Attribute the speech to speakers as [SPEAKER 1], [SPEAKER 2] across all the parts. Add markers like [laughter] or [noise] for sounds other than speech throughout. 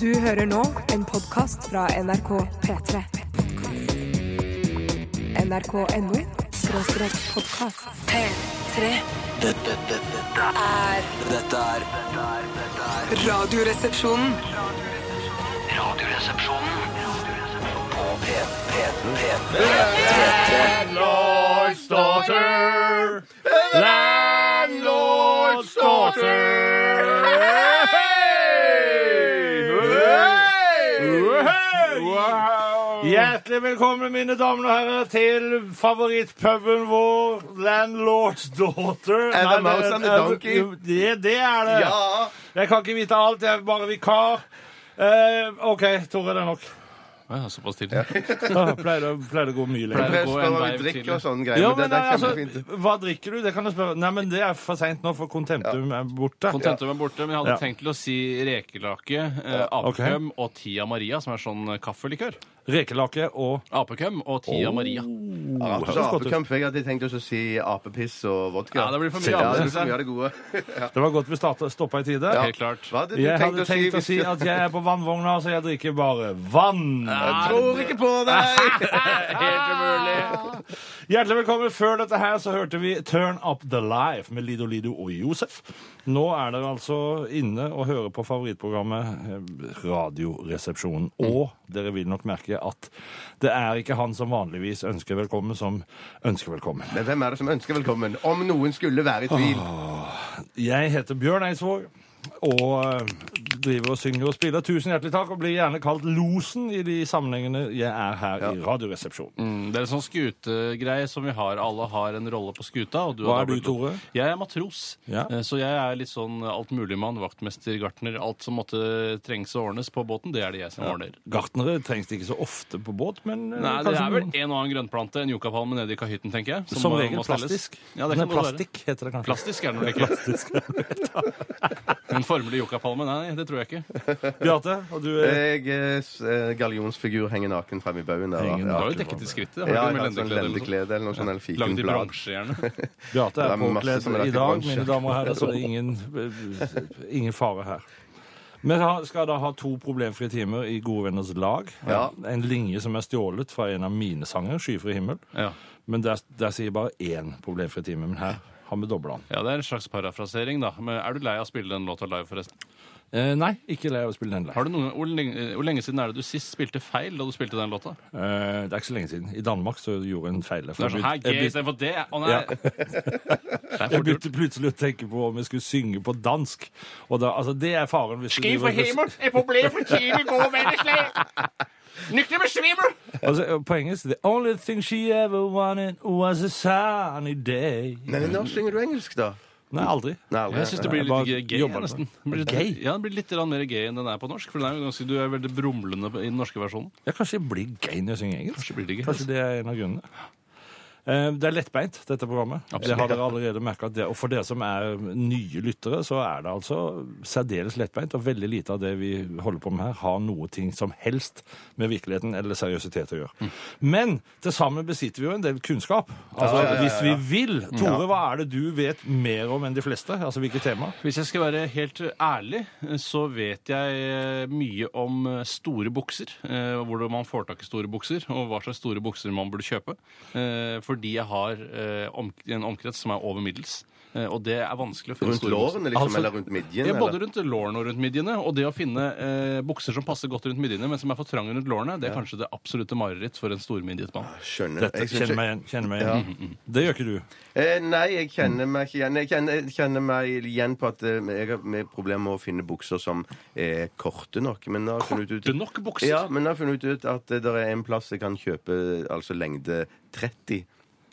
[SPEAKER 1] Du hører nå en podkast fra NRK P3. NRK.no skråstrek podkast. P3
[SPEAKER 2] Dette, dette, dette,
[SPEAKER 1] er
[SPEAKER 2] dette er dette er- dette er
[SPEAKER 1] Radioresepsjonen.
[SPEAKER 2] Radioresepsjonen på P, P, P, P,
[SPEAKER 3] Landlord's daughter. Landlord's daughter. Hjertelig velkommen, mine damer og herrer, til favorittpuben vår, Landlord's Daughter.
[SPEAKER 4] Er det
[SPEAKER 3] Nei,
[SPEAKER 4] Mouse and the
[SPEAKER 3] er
[SPEAKER 4] Donkey?
[SPEAKER 3] Det, det er det.
[SPEAKER 4] Ja.
[SPEAKER 3] Jeg kan ikke vite alt, jeg er bare vikar. Eh, OK, Tore, det er nok.
[SPEAKER 5] Ja, såpass tidlig.
[SPEAKER 3] Da Pleier det pleier det å gå mye lenger.
[SPEAKER 5] Pleier
[SPEAKER 4] Jeg
[SPEAKER 5] å gå
[SPEAKER 4] spør
[SPEAKER 5] en
[SPEAKER 4] hva
[SPEAKER 5] vei
[SPEAKER 4] vi drikker
[SPEAKER 5] tidlig.
[SPEAKER 4] og sånne greier.
[SPEAKER 3] Ja,
[SPEAKER 4] men
[SPEAKER 3] men
[SPEAKER 4] det, det er
[SPEAKER 3] altså,
[SPEAKER 4] kjempefint.
[SPEAKER 3] Hva drikker du? Det kan jeg spørre. Nei, men det er for seint nå, for kontentum er borte.
[SPEAKER 5] Kontentum er borte, men jeg hadde
[SPEAKER 3] Ja.
[SPEAKER 5] tenkt til å si rekelake, eh,
[SPEAKER 3] ok.
[SPEAKER 5] apekøm og Tia Maria, som er sånn kaffelikør.
[SPEAKER 3] Rekelake og
[SPEAKER 5] Apekøm og
[SPEAKER 3] Oh.
[SPEAKER 5] Tia Maria.
[SPEAKER 4] Ja,
[SPEAKER 3] det
[SPEAKER 4] så
[SPEAKER 3] høres godt ut.
[SPEAKER 4] apekamp, for jeg hadde tenkt også å si apepiss og vodka.
[SPEAKER 5] Ja, det blir for mye
[SPEAKER 4] Ja, det
[SPEAKER 5] ape,
[SPEAKER 4] blir for mye av det gode.
[SPEAKER 3] Det var godt vi starta- stoppa i tide.
[SPEAKER 4] Ja.
[SPEAKER 5] Helt klart.
[SPEAKER 4] Hva hadde du
[SPEAKER 3] Jeg hadde
[SPEAKER 4] tenkt å si?
[SPEAKER 3] tenkt å si at jeg er på vannvogna, så jeg drikker bare vann.
[SPEAKER 4] Tror ikke på deg!
[SPEAKER 5] [laughs] Helt umulig.
[SPEAKER 3] Hjertelig velkommen. Før dette her så hørte vi Turn Up The Life med Lido Lido og Josef. Nå er dere altså inne og hører på favorittprogrammet eh, Radioresepsjonen.
[SPEAKER 4] Mm.
[SPEAKER 3] Og dere vil nok merke at det er ikke han som vanligvis ønsker velkommen, som ønsker velkommen.
[SPEAKER 4] Men hvem er det som ønsker velkommen? Om noen skulle være i tvil.
[SPEAKER 3] Jeg heter Bjørn Eidsvåg og eh, driver og synger og spiller. Tusen hjertelig takk, og blir gjerne kalt Losen i de sammenhengene jeg er her i Radioresepsjonen.
[SPEAKER 5] Mm, Det er en sånn skutegreie som vi har. Alle har en rolle på skuta. Og du
[SPEAKER 3] Hva er
[SPEAKER 5] har
[SPEAKER 3] du,
[SPEAKER 5] dobbelt-
[SPEAKER 3] Tore?
[SPEAKER 5] Jeg er matros.
[SPEAKER 3] Ja.
[SPEAKER 5] Eh, Så jeg er litt sånn altmuligmann, vaktmester, gartner. Alt som måtte trengs og ordnes på båten, det er det jeg som ordner.
[SPEAKER 3] Gartnere trengs det ikke så ofte på båt, men eh,
[SPEAKER 5] Nei, Det
[SPEAKER 3] kanskje
[SPEAKER 5] er vel
[SPEAKER 3] noen-
[SPEAKER 5] en og annen grønnplante, en yucapalme nede i kahytten, tenker jeg.
[SPEAKER 3] som
[SPEAKER 5] må-
[SPEAKER 3] regel
[SPEAKER 5] må stelles.
[SPEAKER 3] plastisk.
[SPEAKER 5] Ja, det
[SPEAKER 3] Nei,
[SPEAKER 5] kan godt være.
[SPEAKER 3] plastikk heter det kanskje.
[SPEAKER 5] Plastisk er det vel ikke. [laughs] En formelig yuccapalme? Nei, det tror jeg ikke.
[SPEAKER 3] Bjarte, og du er
[SPEAKER 4] Jeg eh, s- eh, gallionsfigur henger naken frem i baugen der. da.
[SPEAKER 3] Henger
[SPEAKER 5] Du
[SPEAKER 4] Ja.
[SPEAKER 5] har jo dekket i skrittet. Har
[SPEAKER 4] Ja,
[SPEAKER 5] du
[SPEAKER 4] jeg
[SPEAKER 5] ikke
[SPEAKER 4] har
[SPEAKER 5] med
[SPEAKER 4] et sånt
[SPEAKER 5] lendeklede eller noe sånt?
[SPEAKER 4] lendeklede eller noe sånt, eller
[SPEAKER 5] Laget i
[SPEAKER 4] fikenblad.
[SPEAKER 5] bronse, gjerne.
[SPEAKER 3] Bjarte
[SPEAKER 4] det
[SPEAKER 3] er
[SPEAKER 4] er masse
[SPEAKER 3] påkledd
[SPEAKER 4] som er lagt
[SPEAKER 3] i
[SPEAKER 4] i
[SPEAKER 3] dag,
[SPEAKER 4] bransje.
[SPEAKER 3] mine damer og herrer, så det
[SPEAKER 5] [laughs]
[SPEAKER 3] er ingen, eh, ingen fare her. Vi har- skal da ha to problemfrie timer i Gode venners lag.
[SPEAKER 4] Ja.
[SPEAKER 3] En linje som er stjålet fra en av mine sanger, 'Skyfri himmel'.
[SPEAKER 5] Ja.
[SPEAKER 3] Men der, der sier bare én problemfri time. Men her har vi dobla den.
[SPEAKER 5] ja, det er en slags parafrasering, da. Men er du lei av å spille den låta live, forresten?
[SPEAKER 3] Eh, nei, ikke lei av å spille den live.
[SPEAKER 5] Har du noen, hvor, lenge, eh, hvor lenge siden er det du sist spilte feil da du spilte den låta?
[SPEAKER 3] Eh, det er ikke så lenge siden. I Danmark så gjorde jeg en feil.
[SPEAKER 5] Det
[SPEAKER 3] For
[SPEAKER 5] er sånn, Hæ,
[SPEAKER 3] jeg,
[SPEAKER 5] G
[SPEAKER 3] begynte, jeg,
[SPEAKER 5] istedenfor D? Å [laughs] nei!
[SPEAKER 3] Ja.
[SPEAKER 5] Det er
[SPEAKER 3] begynte, jeg
[SPEAKER 5] fort gjort.
[SPEAKER 3] begynte plutselig å tenke på om jeg skulle synge på dansk. Og da, altså, det er faren hvis du
[SPEAKER 6] Skriv for
[SPEAKER 3] driver-
[SPEAKER 6] himmel! Et problem for tidlig gode mennesker! Nykter besvimer!
[SPEAKER 3] Altså, på engelsk The only thing she ever wanted was a sunny day.
[SPEAKER 4] Nei, men når synger du engelsk, da?
[SPEAKER 3] Nei, aldri.
[SPEAKER 4] Nei, aldri.
[SPEAKER 5] Jeg syns det blir
[SPEAKER 3] Jeg bare
[SPEAKER 5] litt gay, gay,
[SPEAKER 3] jobber
[SPEAKER 5] nesten.
[SPEAKER 3] med det.
[SPEAKER 5] Det Blir litt,
[SPEAKER 3] Gay?
[SPEAKER 5] Ja, det blir litt grann mer gay enn den er på norsk. For den er jo ganske, du er veldig brumlende i den norske versjonen.
[SPEAKER 3] Ja, kanskje jeg blir gay når jeg synger engelsk.
[SPEAKER 5] Kanskje blir det gay.
[SPEAKER 3] Kanskje det er en av grunnene. Eh, Det er lettbeint, dette programmet. Det har dere allerede merket at det, Og for dere som er nye lyttere, så er det altså særdeles lettbeint. Og veldig lite av det vi holder på med her, har noe ting som helst med virkeligheten eller seriøsitet å gjøre. Men til sammen besitter vi jo en del kunnskap. Altså, Hvis vi vil. Tore, hva er det du vet mer om enn de fleste? Altså hvilke tema?
[SPEAKER 5] Hvis jeg skal være helt ærlig, så vet jeg eh, mye om store bukser. eh, Hvordan man får tak i store bukser, og hva slags store bukser man burde kjøpe. eh, Fordi jeg har eh, om- en omkrets som er over middels. eh, Og det er vanskelig å finne
[SPEAKER 4] Rundt
[SPEAKER 5] store bukser.
[SPEAKER 4] lårene, liksom?
[SPEAKER 3] Altså-
[SPEAKER 4] eller rundt midjen?
[SPEAKER 5] Ja, både
[SPEAKER 4] eller?
[SPEAKER 5] rundt lårene og rundt midjene. Og det å finne eh, bukser som passer godt rundt midjene, men som er for trange rundt lårene, det er kanskje det absolutte mareritt for en stormidjet mann.
[SPEAKER 4] Skjønner.
[SPEAKER 3] Dette
[SPEAKER 4] Jeg synes
[SPEAKER 3] kjenner meg igjen. Kjenner meg igjen. Det gjør ikke du.
[SPEAKER 4] Eh, nei, jeg kjenner meg ikke igjen. Jeg kjenner, jeg kjenner meg igjen på at eh, jeg har mer problemer med å finne bukser som er korte nok. Men nå har jeg funnet
[SPEAKER 5] Du
[SPEAKER 4] ut,
[SPEAKER 5] nok bukser!
[SPEAKER 4] ja, men nå har jeg funnet ut at det er en plass jeg kan kjøpe altså lengde 30.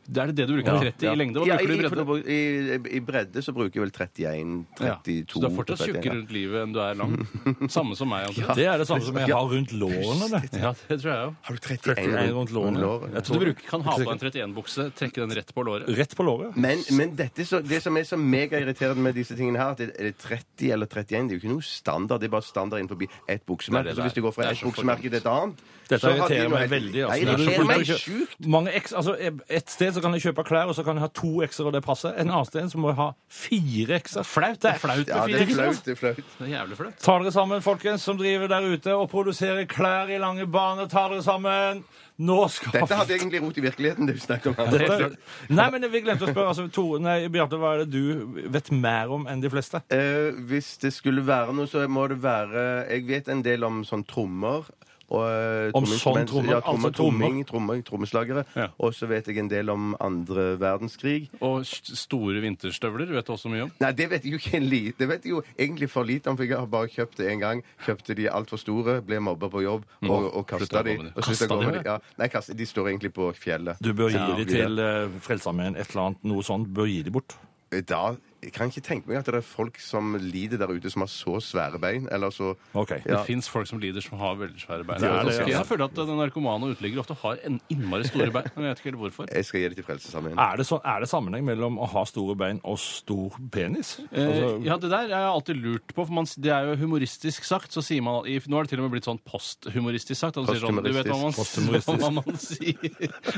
[SPEAKER 5] Det er det det du bruker
[SPEAKER 3] Ja.
[SPEAKER 5] 30 i lengde? Hva
[SPEAKER 4] Ja,
[SPEAKER 5] bruker du i
[SPEAKER 4] i-
[SPEAKER 5] bredde?
[SPEAKER 4] I, i, I bredde så bruker jeg vel 31, 32
[SPEAKER 5] Så du er fortsatt
[SPEAKER 4] 31,
[SPEAKER 5] tjukkere
[SPEAKER 4] ja.
[SPEAKER 5] rundt livet enn du er
[SPEAKER 4] [laughs]
[SPEAKER 5] lang. Samme som meg. altså. omtrent.
[SPEAKER 3] Det er det samme som jeg har rundt lårene. det.
[SPEAKER 5] Ja, det tror jeg jo.
[SPEAKER 4] Har du 31
[SPEAKER 3] Nei, rundt lårene. Jeg
[SPEAKER 5] Så
[SPEAKER 3] tror
[SPEAKER 5] du bruker, kan ha på en 31-bukse, trekke den rett på låret.
[SPEAKER 3] Rett på låret.
[SPEAKER 4] Men, men dette så, det som er så megairriterende med disse tingene her, at det er 30 eller 31 Det er jo ikke noe standard. Det er bare standard innenfor ett buksemerke.
[SPEAKER 5] Det er det
[SPEAKER 4] Så hvis det
[SPEAKER 5] det er.
[SPEAKER 4] går fra
[SPEAKER 5] Det er
[SPEAKER 4] ett
[SPEAKER 5] så fordømt.
[SPEAKER 4] buksemerke til et annet
[SPEAKER 3] Dette
[SPEAKER 4] så har de
[SPEAKER 3] irriterer
[SPEAKER 4] noe
[SPEAKER 3] meg
[SPEAKER 4] helt-
[SPEAKER 3] veldig.
[SPEAKER 4] Nei,
[SPEAKER 3] Altså,
[SPEAKER 4] det
[SPEAKER 3] når du
[SPEAKER 4] irriterer meg
[SPEAKER 3] slutter å kjø-
[SPEAKER 4] sjukt.
[SPEAKER 3] Mange eks, altså, et sted så kan jeg kjøpe klær, og så kan jeg ha to ekser, og det passer. En annen sted så må jeg ha fire ekser.
[SPEAKER 5] Flaut. Det er flaut
[SPEAKER 4] Ja,
[SPEAKER 5] med
[SPEAKER 4] det
[SPEAKER 5] fire
[SPEAKER 4] er flaut.
[SPEAKER 5] ekser.
[SPEAKER 4] Det er flaut.
[SPEAKER 5] Det er jævlig flaut.
[SPEAKER 3] Ta dere sammen, folkens, som driver der ute og produserer klær i lange baner. Ta dere sammen! Nå skal
[SPEAKER 4] Dette hadde egentlig rot i virkeligheten, det vi snakket om. Altså,
[SPEAKER 3] Dette- Nei, men vi glemte å spørre. Altså, Tore, nei, Bjarte, hva er det du vet mer om enn de fleste?
[SPEAKER 4] Eh, hvis det skulle være noe, så må det være Jeg vet en del om sånn trommer. Og, eh,
[SPEAKER 3] Om sånn
[SPEAKER 4] trommeinstrument-
[SPEAKER 3] trommer?
[SPEAKER 4] Ja, trommer,
[SPEAKER 3] Altså trommer?
[SPEAKER 4] tromming, trommer, trommeslagere.
[SPEAKER 5] Ja.
[SPEAKER 4] Og så vet jeg en del om andre verdenskrig.
[SPEAKER 5] Og s- store vinterstøvler vet du også mye om.
[SPEAKER 4] Nei, det vet jeg jo ikke en li. Det vet jeg jo egentlig for lite om, for jeg har bare kjøpt det én gang. Kjøpte de altfor store, ble mobba på jobb og, og
[SPEAKER 5] Slutta
[SPEAKER 4] kasta
[SPEAKER 5] å
[SPEAKER 4] de.
[SPEAKER 5] gå med de.
[SPEAKER 4] Og sluttet
[SPEAKER 5] Kastet
[SPEAKER 4] å gå
[SPEAKER 5] de,
[SPEAKER 4] med de. Ja. Nei, kastet- de står egentlig på fjellet.
[SPEAKER 3] Du bør gi
[SPEAKER 4] Ja,
[SPEAKER 3] de til uh, Frelsesarmeen, et eller annet, noe sånt. Bør gi de bort.
[SPEAKER 4] Da jeg kan ikke tenke meg at det er folk som lider der ute, som har så svære bein. Eller så
[SPEAKER 3] Ok.
[SPEAKER 4] Ja.
[SPEAKER 5] Det fins folk som lider som har veldig svære bein.
[SPEAKER 3] Det er det,
[SPEAKER 5] Jeg
[SPEAKER 4] altså.
[SPEAKER 3] ja.
[SPEAKER 5] føler at eh, narkomane og uteliggere ofte har en innmari store bein. Men jeg vet ikke helt hvorfor.
[SPEAKER 4] Jeg skal gi det til Frelsesarmeen.
[SPEAKER 3] Er det, sånn- er det sammenheng mellom å ha store bein og stor penis? Altså,
[SPEAKER 5] Eh, ja, det der er jeg alltid lurt på, for man, s- det er jo humoristisk sagt. så sier man, i- Nå er det til og med blitt sånn posthumoristisk sagt. at Man sier sånn, du vet hva man, s-
[SPEAKER 3] Posthumoristisk.
[SPEAKER 5] [laughs] hva man, sier,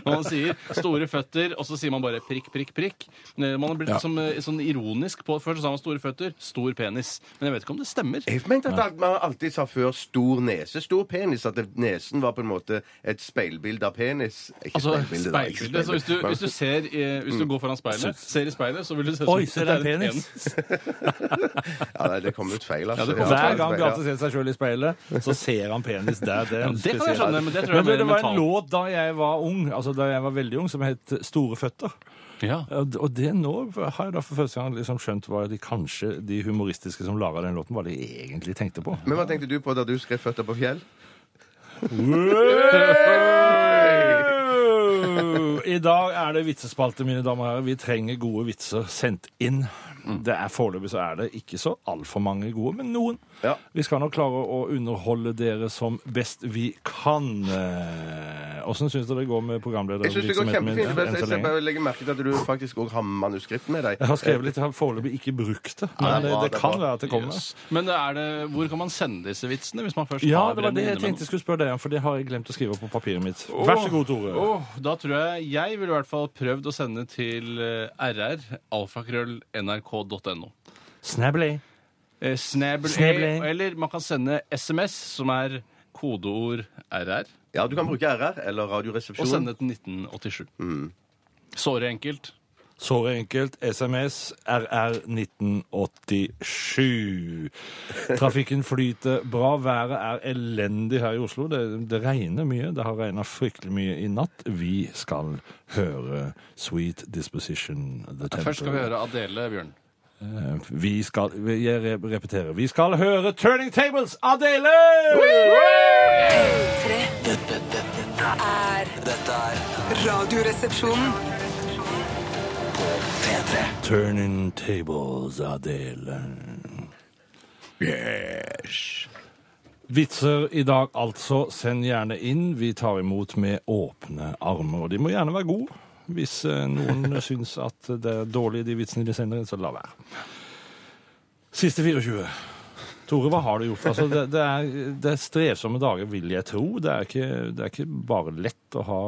[SPEAKER 5] hva man sier. Store føtter, og så sier man bare prikk, prikk, prikk. Eh, Man har blitt
[SPEAKER 3] Ja.
[SPEAKER 5] som, eh, sånn ironisk på Før så sa man store føtter, stor penis. Men jeg vet ikke om det stemmer.
[SPEAKER 4] Jeg mente at man alltid sa før stor nese, stor penis. At det- nesen var på en måte et speilbilde av penis. Ikke
[SPEAKER 5] Altså,
[SPEAKER 4] speilbilde, da, ikke
[SPEAKER 5] speilbildet. Så hvis du, hvis du, ser, i- hvis du går foran speilet, ser i speilet, så vil du se
[SPEAKER 3] Oi,
[SPEAKER 5] som-
[SPEAKER 3] ser det en
[SPEAKER 5] det er
[SPEAKER 3] penis?
[SPEAKER 4] Ja, nei, det kom ut feil, altså.
[SPEAKER 5] det kom
[SPEAKER 4] Ja,
[SPEAKER 3] Hver
[SPEAKER 4] feil,
[SPEAKER 3] gang
[SPEAKER 4] feil,
[SPEAKER 3] Bjarte
[SPEAKER 4] ja.
[SPEAKER 3] ser seg sjøl i speilet, så ser han penis der. Det, er en
[SPEAKER 5] Det kan jeg
[SPEAKER 3] spesiell-
[SPEAKER 5] skjønne, men det tror jeg
[SPEAKER 3] Men,
[SPEAKER 5] er
[SPEAKER 3] det
[SPEAKER 5] mer
[SPEAKER 3] var en
[SPEAKER 5] mentalt.
[SPEAKER 3] låt da jeg var ung, altså da jeg var veldig ung, som het Store føtter.
[SPEAKER 5] Ja.
[SPEAKER 3] Og og det nå har jeg da for første gang liksom skjønt hva de kanskje, de humoristiske som laga den låten, hva de egentlig tenkte på.
[SPEAKER 4] Men hva tenkte du på da du skrev 'Føtter på fjell'?
[SPEAKER 3] I dag er det vitsespalte, mine damer og herrer. Vi trenger gode vitser sendt inn.
[SPEAKER 5] Mm.
[SPEAKER 3] Det er Foreløpig så er det ikke så altfor mange gode, men noen.
[SPEAKER 4] Ja.
[SPEAKER 3] Vi skal nok klare å underholde dere som best vi kan. Eh, Åssen syns dere det går med
[SPEAKER 4] Jeg syns det går
[SPEAKER 3] programledervirksomheten min eh,
[SPEAKER 4] kjempefint.
[SPEAKER 3] enn
[SPEAKER 4] Jeg
[SPEAKER 3] så
[SPEAKER 4] ser
[SPEAKER 3] lenge?
[SPEAKER 4] bare legge merke til at du faktisk òg har manuskript med deg.
[SPEAKER 3] Jeg har skrevet litt, jeg har foreløpig ikke brukt det.
[SPEAKER 4] Ja,
[SPEAKER 3] Men
[SPEAKER 4] det
[SPEAKER 3] det,
[SPEAKER 4] er bra,
[SPEAKER 3] det
[SPEAKER 4] det er
[SPEAKER 3] kan
[SPEAKER 4] bra.
[SPEAKER 3] være at det kommer.
[SPEAKER 5] Yes. Men er det, hvor kan man sende disse vitsene? hvis man først
[SPEAKER 3] Ja,
[SPEAKER 5] har
[SPEAKER 3] det var
[SPEAKER 5] en
[SPEAKER 3] det jeg
[SPEAKER 5] innimellom?
[SPEAKER 3] tenkte jeg skulle spørre deg om, for det har jeg glemt å skrive på papiret mitt. Vær så god, Tore.
[SPEAKER 5] Åh, da tror jeg jeg ville i hvert fall prøvd å sende til eh, rr, alfakrøll.nrk.no.
[SPEAKER 3] Snabbly.
[SPEAKER 5] Eh, Snabel
[SPEAKER 3] Snabel-A.
[SPEAKER 5] A, eller man kan sende SMS, som er kodeord
[SPEAKER 4] Eh,
[SPEAKER 5] rr,
[SPEAKER 4] Ja, du kan bruke RR eller
[SPEAKER 5] og
[SPEAKER 4] Radioresepsjonen.
[SPEAKER 5] sende til 1987. Såre enkelt.
[SPEAKER 3] Såre enkelt. SMS RR1987. Trafikken flyter bra. Været er elendig her i Oslo. Det, det regner mye. Det har regna fryktelig mye i natt. Vi skal høre Sweet Disposition. The Temple.
[SPEAKER 5] Først skal vi høre Adele Bjørn.
[SPEAKER 3] Eh, Vi skal Jeg re- repeterer. Vi skal høre Turning Tables Adele!
[SPEAKER 1] P3
[SPEAKER 2] Dette, dette, dette,
[SPEAKER 1] er
[SPEAKER 2] dette er
[SPEAKER 1] Radioresepsjonen.
[SPEAKER 2] P3.
[SPEAKER 3] Turning Tables Adele. Vitser i dag, altså. Send gjerne inn. Vi tar imot med åpne armer. Og de må gjerne være gode. Hvis eh, noen syns at det er dårlig, de vitsene de sender inn, så la være. Siste 24. Tore, hva har du gjort? Altså, det, det, er, det er strevsomme dager, vil jeg tro. Det er ikke, det er ikke bare lett å ha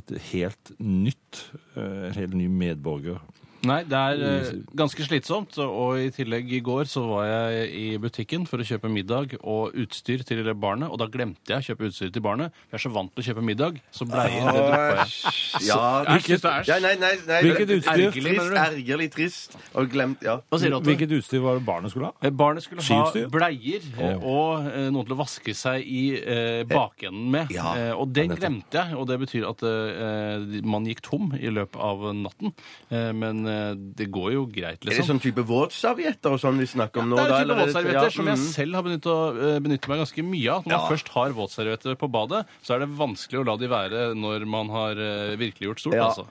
[SPEAKER 3] et helt nytt, eh, en helt ny medborger
[SPEAKER 5] Nei, det er eh, ganske slitsomt. Og i tillegg i går så var jeg i butikken for å kjøpe middag og utstyr til barnet. Og da glemte jeg å kjøpe utstyr til barnet. Jeg er så vant til å kjøpe middag, så bleier det droppa jeg.
[SPEAKER 4] Ja,
[SPEAKER 5] Jeg synes det er
[SPEAKER 4] ja, nei, nei, nei,
[SPEAKER 3] Hvilket
[SPEAKER 4] det-
[SPEAKER 3] utstyr?
[SPEAKER 4] Trist, ergerlig trist. Og glemt, ja.
[SPEAKER 5] Hva sier du, Otto?
[SPEAKER 3] Hvilket utstyr var det barnet skulle ha?
[SPEAKER 5] Eh, Barnet skulle ha
[SPEAKER 3] Skiutstyr?
[SPEAKER 5] bleier eh, og eh, noe til å vaske seg i eh, bakenden med.
[SPEAKER 4] Ja,
[SPEAKER 5] Eh, og det glemte jeg, og det betyr at eh, man gikk tom i løpet av natten. Eh, men eh, det går jo
[SPEAKER 4] Er
[SPEAKER 5] greit,
[SPEAKER 4] det
[SPEAKER 5] liksom.
[SPEAKER 4] sånn type våtservietter og sånn vi snakker om nå?
[SPEAKER 5] Det er
[SPEAKER 4] da,
[SPEAKER 5] jo
[SPEAKER 4] eller
[SPEAKER 5] type våtservietter
[SPEAKER 4] ja,
[SPEAKER 5] som jeg
[SPEAKER 4] mm.
[SPEAKER 5] selv har benyttet, eh, benyttet meg ganske mye av. Når man først har våtservietter på badet, så er det vanskelig å la de være når man har eh, virkeliggjort stort.
[SPEAKER 4] Ja.
[SPEAKER 5] altså.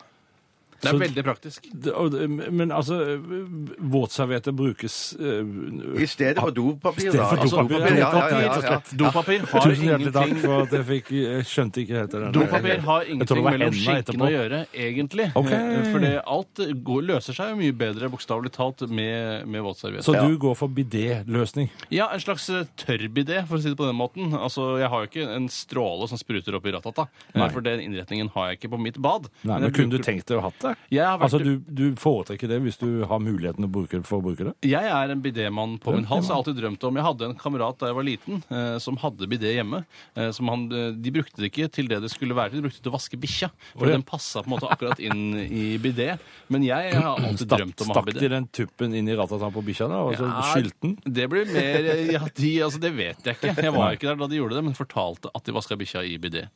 [SPEAKER 5] Det
[SPEAKER 3] Så-
[SPEAKER 5] er veldig praktisk.
[SPEAKER 3] Det- og det- Men altså, våtservietter brukes eh,
[SPEAKER 4] mm. I stedet for dopapir.
[SPEAKER 3] stedet
[SPEAKER 4] da.
[SPEAKER 3] for
[SPEAKER 4] Altså,
[SPEAKER 3] dopapir,
[SPEAKER 4] ja, ja, ja, ja,
[SPEAKER 5] rett
[SPEAKER 4] ja.
[SPEAKER 5] og slett. Dopapir har
[SPEAKER 3] Tusen hjertelig takk
[SPEAKER 5] ingenting
[SPEAKER 3] for at jeg fikk Jeg skjønte ikke helt det der.
[SPEAKER 5] Dopapir har
[SPEAKER 3] Jeg tror
[SPEAKER 5] ingenting
[SPEAKER 3] det var
[SPEAKER 5] mellom
[SPEAKER 3] hendene
[SPEAKER 5] skinkene
[SPEAKER 3] etterpå.
[SPEAKER 5] å gjøre, egentlig.
[SPEAKER 3] Ok.
[SPEAKER 5] For alt går, løser seg jo mye bedre, bokstavelig talt, med, med våtserviett.
[SPEAKER 3] Så du går for bidé-løsning?
[SPEAKER 5] Ja, en slags eh, tørrbidé, for å si det på den måten. Altså, Jeg har jo ikke en stråle som spruter opp i ratata, eh,
[SPEAKER 3] Nei.
[SPEAKER 5] for den innretningen har jeg ikke på mitt bad.
[SPEAKER 3] Nei, men
[SPEAKER 5] jeg
[SPEAKER 3] Kunne du
[SPEAKER 5] bruker-
[SPEAKER 3] tenkt deg å hatt det?
[SPEAKER 5] Jeg har vært-
[SPEAKER 3] Altså, du, du foretrekker det hvis du har muligheten å bruke, for å bruke det?
[SPEAKER 5] Jeg er en bidémann på min hals. Jeg har alltid drømt om Jeg hadde en kamerat da jeg var liten, eh, som hadde bidé hjemme. Eh, som han, eh, de brukte det ikke til det det skulle være til, de brukte det til å vaske bikkja. For
[SPEAKER 3] Å, ja.
[SPEAKER 5] den passa på en måte akkurat inn i bidé. Men jeg har alltid
[SPEAKER 3] Stakk,
[SPEAKER 5] drømt om å ha
[SPEAKER 3] stakk de
[SPEAKER 5] bidé.
[SPEAKER 3] den tuppen inn i ratata på bikkja, da? Og så
[SPEAKER 5] Ja,
[SPEAKER 3] skylte den?
[SPEAKER 5] Det blir mer eh, ja, de, altså, Det vet jeg ikke. Jeg var ikke der da de gjorde det, men fortalte at de vaska bikkja i bidé.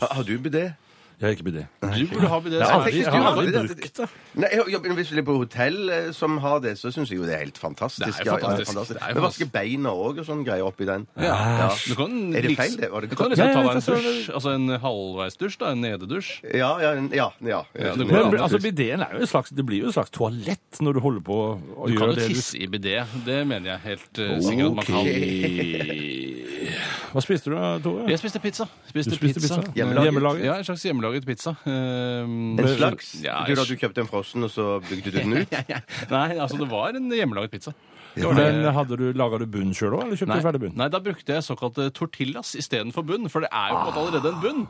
[SPEAKER 4] Har- Har du bidé?
[SPEAKER 3] Jeg har ikke bidé.
[SPEAKER 5] Du burde ha bidé.
[SPEAKER 3] Jeg har
[SPEAKER 5] Sara.
[SPEAKER 3] aldri, jeg
[SPEAKER 4] du
[SPEAKER 3] har
[SPEAKER 4] hadde
[SPEAKER 3] aldri
[SPEAKER 4] det.
[SPEAKER 3] brukt det.
[SPEAKER 4] Nei, jeg- jeg- men Hvis du er på hotell eh, som har det, så syns jeg jo det er helt fantastisk.
[SPEAKER 5] Det er
[SPEAKER 4] Ja, ja,
[SPEAKER 5] fantastisk. Det er jo
[SPEAKER 4] Men vaske beina òg og sånn greier oppi den.
[SPEAKER 5] Ja. Du kan
[SPEAKER 4] Er det
[SPEAKER 5] liksom-
[SPEAKER 4] feil, det? Var det
[SPEAKER 5] Du kan
[SPEAKER 4] godt?
[SPEAKER 5] liksom
[SPEAKER 3] Ja, jeg
[SPEAKER 5] ta deg en
[SPEAKER 3] vet det,
[SPEAKER 5] dusj, altså en halvveisdusj, da, en nededusj.
[SPEAKER 4] Ja, ja, ja. ja.
[SPEAKER 5] Ja, det går
[SPEAKER 3] Men
[SPEAKER 5] an.
[SPEAKER 3] altså, bidéen er jo et slags, det blir jo et slags toalett når du holder på å
[SPEAKER 5] Du kan
[SPEAKER 3] gjøre
[SPEAKER 5] jo
[SPEAKER 3] det du
[SPEAKER 5] tisse i bidé. Det mener jeg helt eh, sikkert at man kan.
[SPEAKER 3] Hva spiste du, Tore?
[SPEAKER 5] Eh, Jeg spiste pizza. Spiste
[SPEAKER 3] Du spiste pizza?
[SPEAKER 4] Hjemmelaget.
[SPEAKER 3] Hjemmelaget?
[SPEAKER 5] Ja, en slags hjemmelaget pizza. Um,
[SPEAKER 4] En slags?
[SPEAKER 5] Ja,
[SPEAKER 4] Du da du kjøpte en frossen, og så bygde du
[SPEAKER 5] [laughs]
[SPEAKER 4] den ut?
[SPEAKER 5] Nei, altså det var en hjemmelaget pizza.
[SPEAKER 3] Men hadde du, laga du bunn sjøl òg, eller kjøpte
[SPEAKER 5] Nei,
[SPEAKER 3] du ferdig bunn?
[SPEAKER 5] nei, da brukte jeg såkalte tortillas istedenfor bunn, for det er jo på en måte allerede en bunn.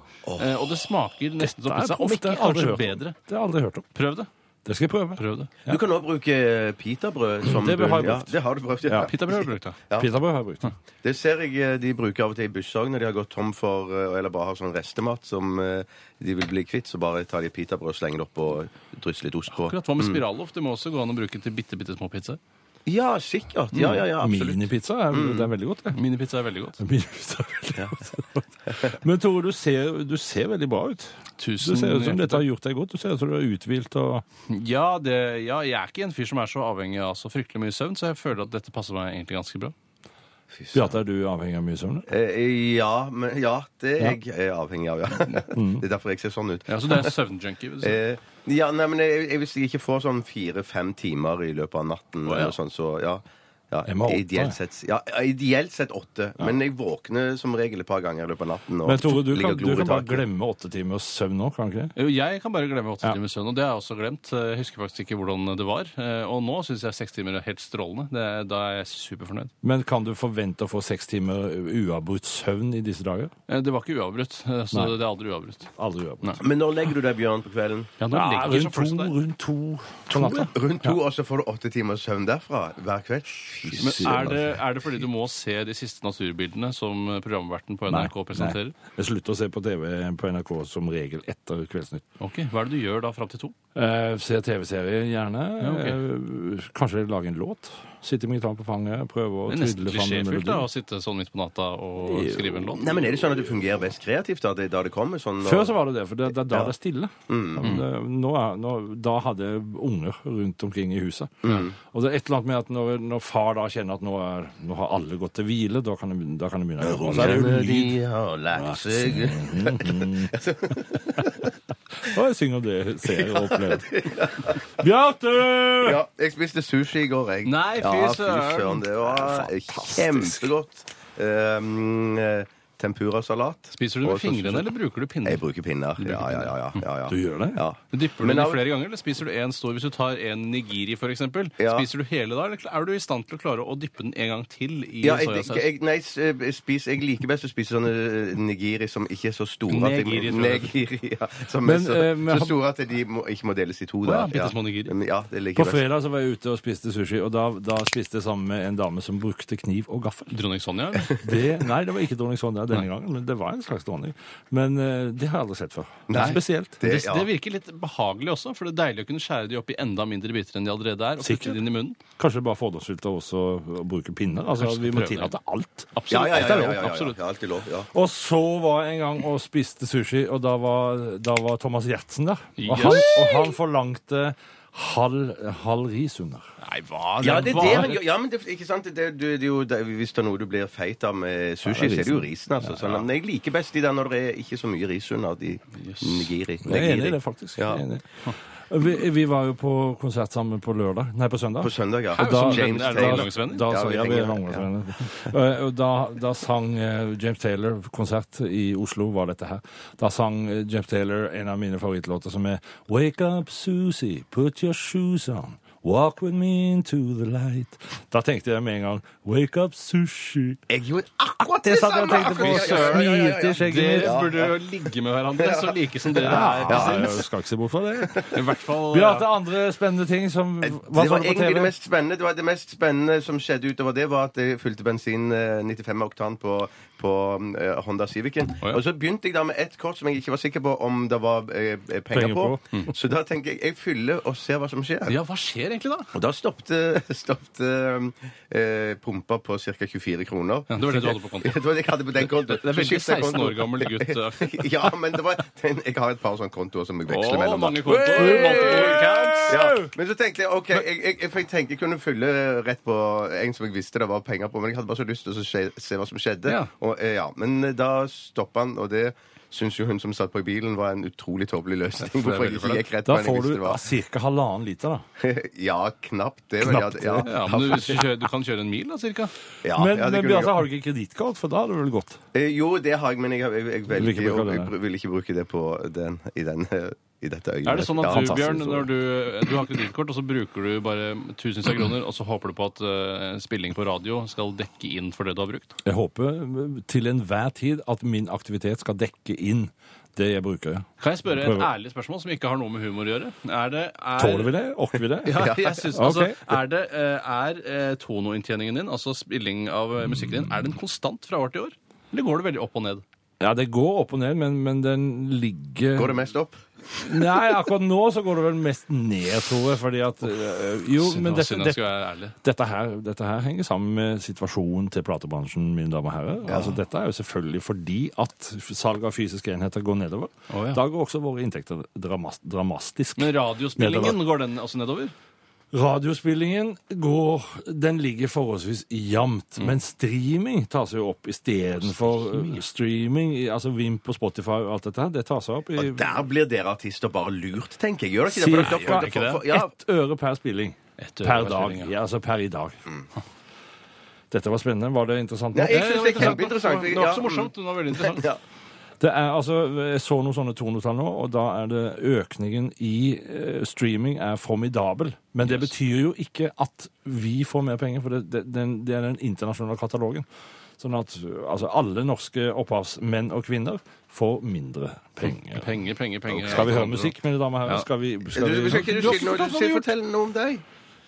[SPEAKER 5] Eh, og det smaker nesten som
[SPEAKER 3] Det Ah. er
[SPEAKER 5] pizza, om
[SPEAKER 3] proft,
[SPEAKER 5] ikke
[SPEAKER 3] det har jeg aldri
[SPEAKER 5] kanskje
[SPEAKER 3] hørt om.
[SPEAKER 5] bedre.
[SPEAKER 3] Det har jeg aldri hørt om.
[SPEAKER 5] Prøv det.
[SPEAKER 3] Det skal jeg prøve.
[SPEAKER 5] Prøv det.
[SPEAKER 4] Du kan òg bruke pitabrød som
[SPEAKER 3] Det har jeg
[SPEAKER 4] bunn. Ja,
[SPEAKER 3] brukt.
[SPEAKER 4] det har du prøvd, ja.
[SPEAKER 5] Pitabrød brukte jeg.
[SPEAKER 4] Ja.
[SPEAKER 3] Pitabrød har jeg brukt.
[SPEAKER 4] Det ser jeg eh, de bruker av og til i busser når de har gått tom for eh, eller bare har sånn restemat som eh, de vil bli kvitt, så bare tar de pitabrød og slenger det opp og drysser litt ost på.
[SPEAKER 5] Akkurat Hva med
[SPEAKER 3] Mm.
[SPEAKER 5] spiralloff? Det må også gå an å bruke til bitte, bitte små pizzaer.
[SPEAKER 4] Ja, sikkert. Ja, ja, ja, absolutt.
[SPEAKER 3] Minipizza er, det er veldig godt, det.
[SPEAKER 5] Minipizza er veldig godt.
[SPEAKER 3] Minipizza er veldig godt. Men Tore, du ser, du ser veldig bra ut. Du
[SPEAKER 5] Tusen
[SPEAKER 3] ser ut som
[SPEAKER 5] hjertelig
[SPEAKER 3] dette har gjort deg godt. Du ser ut som du er uthvilt og
[SPEAKER 5] Ja, det, ja, jeg er ikke en fyr som er så avhengig av så fryktelig mye søvn, så jeg føler at dette passer meg egentlig ganske bra.
[SPEAKER 3] Bjarte, er du avhengig av mye søvn? eller?
[SPEAKER 4] Eh, Ja, men, ja, det er jeg eh, avhengig
[SPEAKER 3] [laughs]
[SPEAKER 4] av, ja.
[SPEAKER 3] Mm.
[SPEAKER 4] Det er derfor jeg ser sånn ut.
[SPEAKER 5] Ja, så det er søvnjunkie. vil du si.
[SPEAKER 4] Eh, Ja, nei, men jeg, jeg, Hvis jeg ikke får sånn fire-fem timer i løpet av natten,
[SPEAKER 5] ja.
[SPEAKER 4] eller sånn, så ja. Ja,
[SPEAKER 3] Jeg må ha åtte,
[SPEAKER 4] ideelt sett, ja, ideelt sett åtte, men jeg våkner som regel et par ganger i løpet av natten. Og
[SPEAKER 3] Men Tore, du
[SPEAKER 4] ligger
[SPEAKER 3] kan,
[SPEAKER 4] og
[SPEAKER 3] du
[SPEAKER 4] glor i
[SPEAKER 3] kan bare
[SPEAKER 4] taket.
[SPEAKER 3] glemme åtte timers søvn nå, kan du ikke det?
[SPEAKER 5] Jo, jeg kan bare glemme åtte
[SPEAKER 3] Ja.
[SPEAKER 5] timer søvn, og det har jeg også glemt. Eh, Jeg husker faktisk ikke hvordan det var. Eh, Og nå syns jeg seks timer er helt strålende. Det, er- da er jeg superfornøyd.
[SPEAKER 3] Men kan du forvente å få seks timer uavbrutt søvn i disse dager?
[SPEAKER 5] Eh, Det var ikke uavbrutt, [laughs] eh, så
[SPEAKER 3] Nei.
[SPEAKER 5] det er aldri uavbrutt.
[SPEAKER 3] Aldri uavbrutt.
[SPEAKER 4] Men når legger du deg, Bjørn, på kvelden?
[SPEAKER 5] Ja, nå
[SPEAKER 3] Ja,
[SPEAKER 5] legger
[SPEAKER 3] rundt
[SPEAKER 5] så folk
[SPEAKER 3] to,
[SPEAKER 5] seg der.
[SPEAKER 3] rundt to på natta.
[SPEAKER 4] Rundt to, og så får du åtte timer søvn derfra hver kveld?
[SPEAKER 5] Men er det, er det fordi du må se de siste naturbildene som programverten på NRK presenterer?
[SPEAKER 3] Nei. Jeg slutter å se på TV på NRK som regel etter Kveldsnytt.
[SPEAKER 5] Ok, Hva er det du gjør da fram til to?
[SPEAKER 3] Eh, se TV-serier gjerne.
[SPEAKER 5] Ja, ok.
[SPEAKER 3] eh, kanskje lage en låt. Sitte med gitaren på fanget, prøve å
[SPEAKER 5] Det er nesten
[SPEAKER 3] trydle fram en
[SPEAKER 5] klisjéfylt da,
[SPEAKER 3] melodi.
[SPEAKER 5] å sitte sånn midt på natta og skrive en låt.
[SPEAKER 4] Nei, men Er det sånn at det fungerer best kreativt? da det, da det kommer sånn...
[SPEAKER 3] Før så var det det, for det det er da
[SPEAKER 4] Ja.
[SPEAKER 3] det er stille. Ja, men det- Nå er, nå, da hadde jeg unger rundt omkring i huset. Og det er et eller annet med at når, når far da kjenner at nå, er, nå har alle gått til hvile, da kan jeg, begynne- da kan jeg begynne å jobbe. Og så er det sånn, eh, jo
[SPEAKER 4] Ungene,
[SPEAKER 3] lyd.
[SPEAKER 4] de har lært seg
[SPEAKER 3] [laughs] Og jeg synger det jeg ser og opplever. Bjarte!
[SPEAKER 4] Ja, jeg spiste sushi i går, jeg.
[SPEAKER 5] Nei, fy
[SPEAKER 4] Ja,
[SPEAKER 5] søren.
[SPEAKER 4] Det var eh, kjempegodt. Um, eh, tempurasalat.
[SPEAKER 5] Spiser du
[SPEAKER 4] Og
[SPEAKER 5] det med
[SPEAKER 4] så-
[SPEAKER 5] fingrene, eller bruker du pinner?
[SPEAKER 4] Jeg bruker pinner. Ja, ja, ja. ja, ja, ja.
[SPEAKER 3] Du gjør det?
[SPEAKER 4] Ja.
[SPEAKER 5] Dypper du
[SPEAKER 4] Men
[SPEAKER 5] den i
[SPEAKER 4] av-
[SPEAKER 5] flere ganger, eller spiser du en stor? Hvis du tar en nigiri, for eksempel,
[SPEAKER 4] Ja.
[SPEAKER 5] spiser du hele da, eller er du i stand til å klare å dyppe den en gang til i
[SPEAKER 4] Ja, jeg,
[SPEAKER 5] soyasaus?
[SPEAKER 4] jeg, nei, s- jeg spis, jeg liker best å spise sånne eh, nigiri som ikke er så store at
[SPEAKER 5] Negiri,
[SPEAKER 4] de,
[SPEAKER 5] tror jeg.
[SPEAKER 4] Negiri, ja, som
[SPEAKER 3] Men,
[SPEAKER 4] er så,
[SPEAKER 3] eh, men
[SPEAKER 4] så
[SPEAKER 3] har-
[SPEAKER 4] store at de må, ikke må deles i to.
[SPEAKER 5] Å
[SPEAKER 4] Da.
[SPEAKER 5] ja, bittesmå nigiri.
[SPEAKER 4] Men Ja, det
[SPEAKER 3] På
[SPEAKER 4] liker jeg best.
[SPEAKER 3] fredag så var jeg ute og spiste sushi, og da, da spiste jeg sammen med en dame som brukte kniv og gaffel.
[SPEAKER 5] Dronning Sonja?
[SPEAKER 4] [laughs]
[SPEAKER 5] eller?
[SPEAKER 3] Det, nei, det var ikke dronning Sonja denne gangen, men det var en slags dronning. Men eh, det har jeg aldri sett før.
[SPEAKER 4] Nei.
[SPEAKER 3] Spesielt.
[SPEAKER 5] Det,
[SPEAKER 4] ja.
[SPEAKER 5] det virker litt behagelig også, for det er deilig å kunne skjære de opp i enda mindre biter enn de allerede er, og putte
[SPEAKER 3] Sikkert.
[SPEAKER 5] de inn i munnen.
[SPEAKER 3] Kanskje det er bare fordomsfullt av oss å å bruke pinner. Altså,
[SPEAKER 5] Kanskje
[SPEAKER 3] vi må
[SPEAKER 5] prøve det.
[SPEAKER 3] tillate alt.
[SPEAKER 4] Ja,
[SPEAKER 5] Absolutt.
[SPEAKER 4] ja, ja, ja, ja, ja, ja,
[SPEAKER 5] Absolutt.
[SPEAKER 4] ja, alltid lov. Ja.
[SPEAKER 3] Og så var jeg en gang og spiste sushi, og da var, da var Thomas Gjertsen der. Og han,
[SPEAKER 5] Yes.
[SPEAKER 3] og han forlangte halv, halv ris under.
[SPEAKER 5] Nei, hva?
[SPEAKER 4] Ja, det er
[SPEAKER 5] hva?
[SPEAKER 4] det, men, ja, men det, ikke sant? Det, det, det er jo, det, hvis det er noe du blir feit av med sushi, så er det jo risen. Altså, sånn. Men jeg liker best de der når det er ikke så mye ris under. De nigiri.
[SPEAKER 3] Jeg er enig i
[SPEAKER 4] nigiri.
[SPEAKER 3] det, faktisk.
[SPEAKER 4] Ja.
[SPEAKER 3] Jeg er enig. Vi, vi var jo på konsert sammen på lørdag. Nei, på søndag.
[SPEAKER 4] På søndag, ja.
[SPEAKER 5] Hau,
[SPEAKER 4] Som
[SPEAKER 5] som venner, er det
[SPEAKER 4] Taylor.
[SPEAKER 5] langlangsvenner?
[SPEAKER 3] Da,
[SPEAKER 4] Ja,
[SPEAKER 3] sang-
[SPEAKER 4] vi
[SPEAKER 3] ja, vi
[SPEAKER 4] henger
[SPEAKER 3] er
[SPEAKER 4] med,
[SPEAKER 3] langlangsvenner. [laughs] Eh, og Da, da sang eh, James Taylor konsert i Oslo, var dette her. Da sang eh, James Taylor en av mine favorittlåter som er Wake up Susie, put your shoes on. Walk with me into the light. Da tenkte jeg med en gang Wake up sushi.
[SPEAKER 4] Jeg gjorde akkurat
[SPEAKER 3] Det
[SPEAKER 4] det
[SPEAKER 3] satt jeg
[SPEAKER 4] samme!
[SPEAKER 3] og tenkte på.
[SPEAKER 4] akkurat- ja, ja, ja, ja, ja, ja.
[SPEAKER 3] Smilte i skjegget mitt.
[SPEAKER 5] Dere burde jo ligge med hverandre så like som dere er.
[SPEAKER 3] Ja, jeg skal ikke se bort fra
[SPEAKER 4] [laughs]
[SPEAKER 3] det.
[SPEAKER 5] I hvert fall
[SPEAKER 3] Bjarte, andre spennende ting som Hva
[SPEAKER 4] Eh, Det
[SPEAKER 3] så
[SPEAKER 4] var
[SPEAKER 3] du på
[SPEAKER 4] egentlig det
[SPEAKER 3] TV?
[SPEAKER 4] mest spennende Det var det mest spennende som skjedde utover det, var at jeg fylte bensin eh, 95 oktan på, på eh, Honda Civicen.
[SPEAKER 5] Å, ja.
[SPEAKER 4] Og så begynte jeg da med ett kort som jeg ikke var sikker på om det var eh, penger,
[SPEAKER 3] Penger
[SPEAKER 4] på.
[SPEAKER 3] på. Mm.
[SPEAKER 4] Så da tenker jeg jeg fyller og ser hva som skjer.
[SPEAKER 5] Ja, hva skjer egentlig da?
[SPEAKER 4] Og da stoppte, [laughs] stoppte eh, pumpa på ca. 24 kroner.
[SPEAKER 5] Ja, det var det du hadde på konto.
[SPEAKER 4] [laughs] Det var det jeg hadde på den kontoen.
[SPEAKER 5] Det er
[SPEAKER 4] Så
[SPEAKER 5] veldig
[SPEAKER 4] skiftet jeg
[SPEAKER 5] 16 år
[SPEAKER 4] konto.
[SPEAKER 5] gammel gutt. da.
[SPEAKER 4] [laughs] ja, men det var, den, jeg har et par sånne kontoer som jeg veksler
[SPEAKER 5] Å,
[SPEAKER 4] mellom. da.
[SPEAKER 5] mange kontoer. multiple accounts.
[SPEAKER 4] Ja, men så tenkte jeg ok, jeg, jeg, for jeg tenkte jeg kunne fylle rett på en som jeg visste det var penger på, men jeg hadde bare så lyst til å se, se hva som skjedde.
[SPEAKER 5] Ja.
[SPEAKER 4] Og, eh, ja, men eh, da stoppa han, og det syns jo hun som satt på i bilen, var en utrolig tåpelig løsning.
[SPEAKER 5] [laughs] det er
[SPEAKER 4] Hvorfor jeg
[SPEAKER 5] veldig
[SPEAKER 4] ikke gikk rett
[SPEAKER 3] Da
[SPEAKER 4] på en jeg
[SPEAKER 3] får du
[SPEAKER 4] visste det var. [laughs]
[SPEAKER 3] ca. halvannen liter, da.
[SPEAKER 4] Ja, knapt det. Men ja,
[SPEAKER 3] Knapt
[SPEAKER 4] det- ja,
[SPEAKER 5] Ja, men du, hvis du, kjører, du kan kjøre en mil, da, cirka?
[SPEAKER 4] ja,
[SPEAKER 3] Men,
[SPEAKER 4] ja, det
[SPEAKER 3] men
[SPEAKER 4] kunne jeg
[SPEAKER 3] Bjarte, har du ikke kredittkort? For da hadde det vel gått.
[SPEAKER 4] Eh, Jo, det har jeg, men jeg, jeg, jeg,
[SPEAKER 3] vil ikke
[SPEAKER 4] velger,
[SPEAKER 3] bruke
[SPEAKER 4] å-
[SPEAKER 3] det,
[SPEAKER 4] jeg
[SPEAKER 3] nei.
[SPEAKER 4] vil ikke bruke det på den, i, den, eh, i dette øyeblikket.
[SPEAKER 5] Er det sånn
[SPEAKER 4] Ja,
[SPEAKER 5] at du,
[SPEAKER 4] fantastisk
[SPEAKER 5] Bjørn,
[SPEAKER 4] historie.
[SPEAKER 5] når du, du har kredittkort, og så bruker du bare tusenvis av kroner, og så håper du på at eh, spilling på radio skal dekke inn for det du har brukt?
[SPEAKER 3] Jeg håper eh, til enhver tid at min aktivitet skal dekke inn det jeg bruker.
[SPEAKER 5] Kan jeg spørre et
[SPEAKER 3] Prøver.
[SPEAKER 5] ærlig spørsmål som ikke har noe med humor å gjøre? Er det, er,
[SPEAKER 3] Tåler vi det? Orker vi det?
[SPEAKER 5] [laughs] Ja, jeg synes,
[SPEAKER 3] Ok.
[SPEAKER 5] altså, er, det, eh, er eh, tonoinntjeningen din, altså spilling av eh, musikken din, er den konstant fra år til år? Eller går det veldig opp og ned?
[SPEAKER 3] Ja, det går opp og ned, men, men den ligger
[SPEAKER 4] Går det mest opp?
[SPEAKER 3] Nei, akkurat nå så går det vel mest ned, tror jeg, fordi at eh, Jo, men
[SPEAKER 5] Synd-
[SPEAKER 3] dette,
[SPEAKER 5] Synd jeg
[SPEAKER 3] dette,
[SPEAKER 5] skulle være ærlig.
[SPEAKER 3] dette, her, dette her henger sammen med situasjonen til platebransjen, mine damer og herrer. Altså, dette er jo selvfølgelig fordi at salget av fysiske enheter går nedover.
[SPEAKER 5] Å, ja.
[SPEAKER 3] Da går også våre inntekter dramas dramatisk
[SPEAKER 5] Men radiospillingen,
[SPEAKER 3] Nedover.
[SPEAKER 5] går den også nedover?
[SPEAKER 3] Radiospillingen går, den ligger forholdsvis jevnt, men streaming tar seg jo opp istedenfor eh, streaming. i- Altså Vimp og Spotify og alt dette her, det tar seg opp i
[SPEAKER 4] Og der blir dere artister bare lurt, tenker jeg. Gjør dere ikke det? For dere-
[SPEAKER 3] Cirka
[SPEAKER 4] for- for- for- ja,
[SPEAKER 3] ett øre per spilling.
[SPEAKER 5] Ett øre
[SPEAKER 3] Per
[SPEAKER 5] per
[SPEAKER 3] dag.
[SPEAKER 5] spilling, ja.
[SPEAKER 3] Ja, altså per i dag. Dette var spennende. Var det interessant?
[SPEAKER 4] Nei,
[SPEAKER 3] nok?
[SPEAKER 4] jeg synes det er kjempeinteressant.
[SPEAKER 5] Det var ikke så morsomt, men det var
[SPEAKER 3] [laughs]
[SPEAKER 5] veldig interessant.
[SPEAKER 4] Ja.
[SPEAKER 3] Det er altså, Jeg så noen sånne tonetall nå, og da er det økningen i eh, streaming er formidabel. Men det betyr jo ikke at vi får mer penger, for det, det, den, det er den internasjonale katalogen. Sånn at altså, alle norske opphavsmenn og -kvinner får mindre penger.
[SPEAKER 5] Penger, penger, penger.
[SPEAKER 3] Skal vi høre musikk, mine damer og herrer?
[SPEAKER 5] Ja.
[SPEAKER 3] Skal vi,
[SPEAKER 4] Du,
[SPEAKER 3] skal vi,
[SPEAKER 4] du skal ikke du si noe, du sier fortell noe om deg.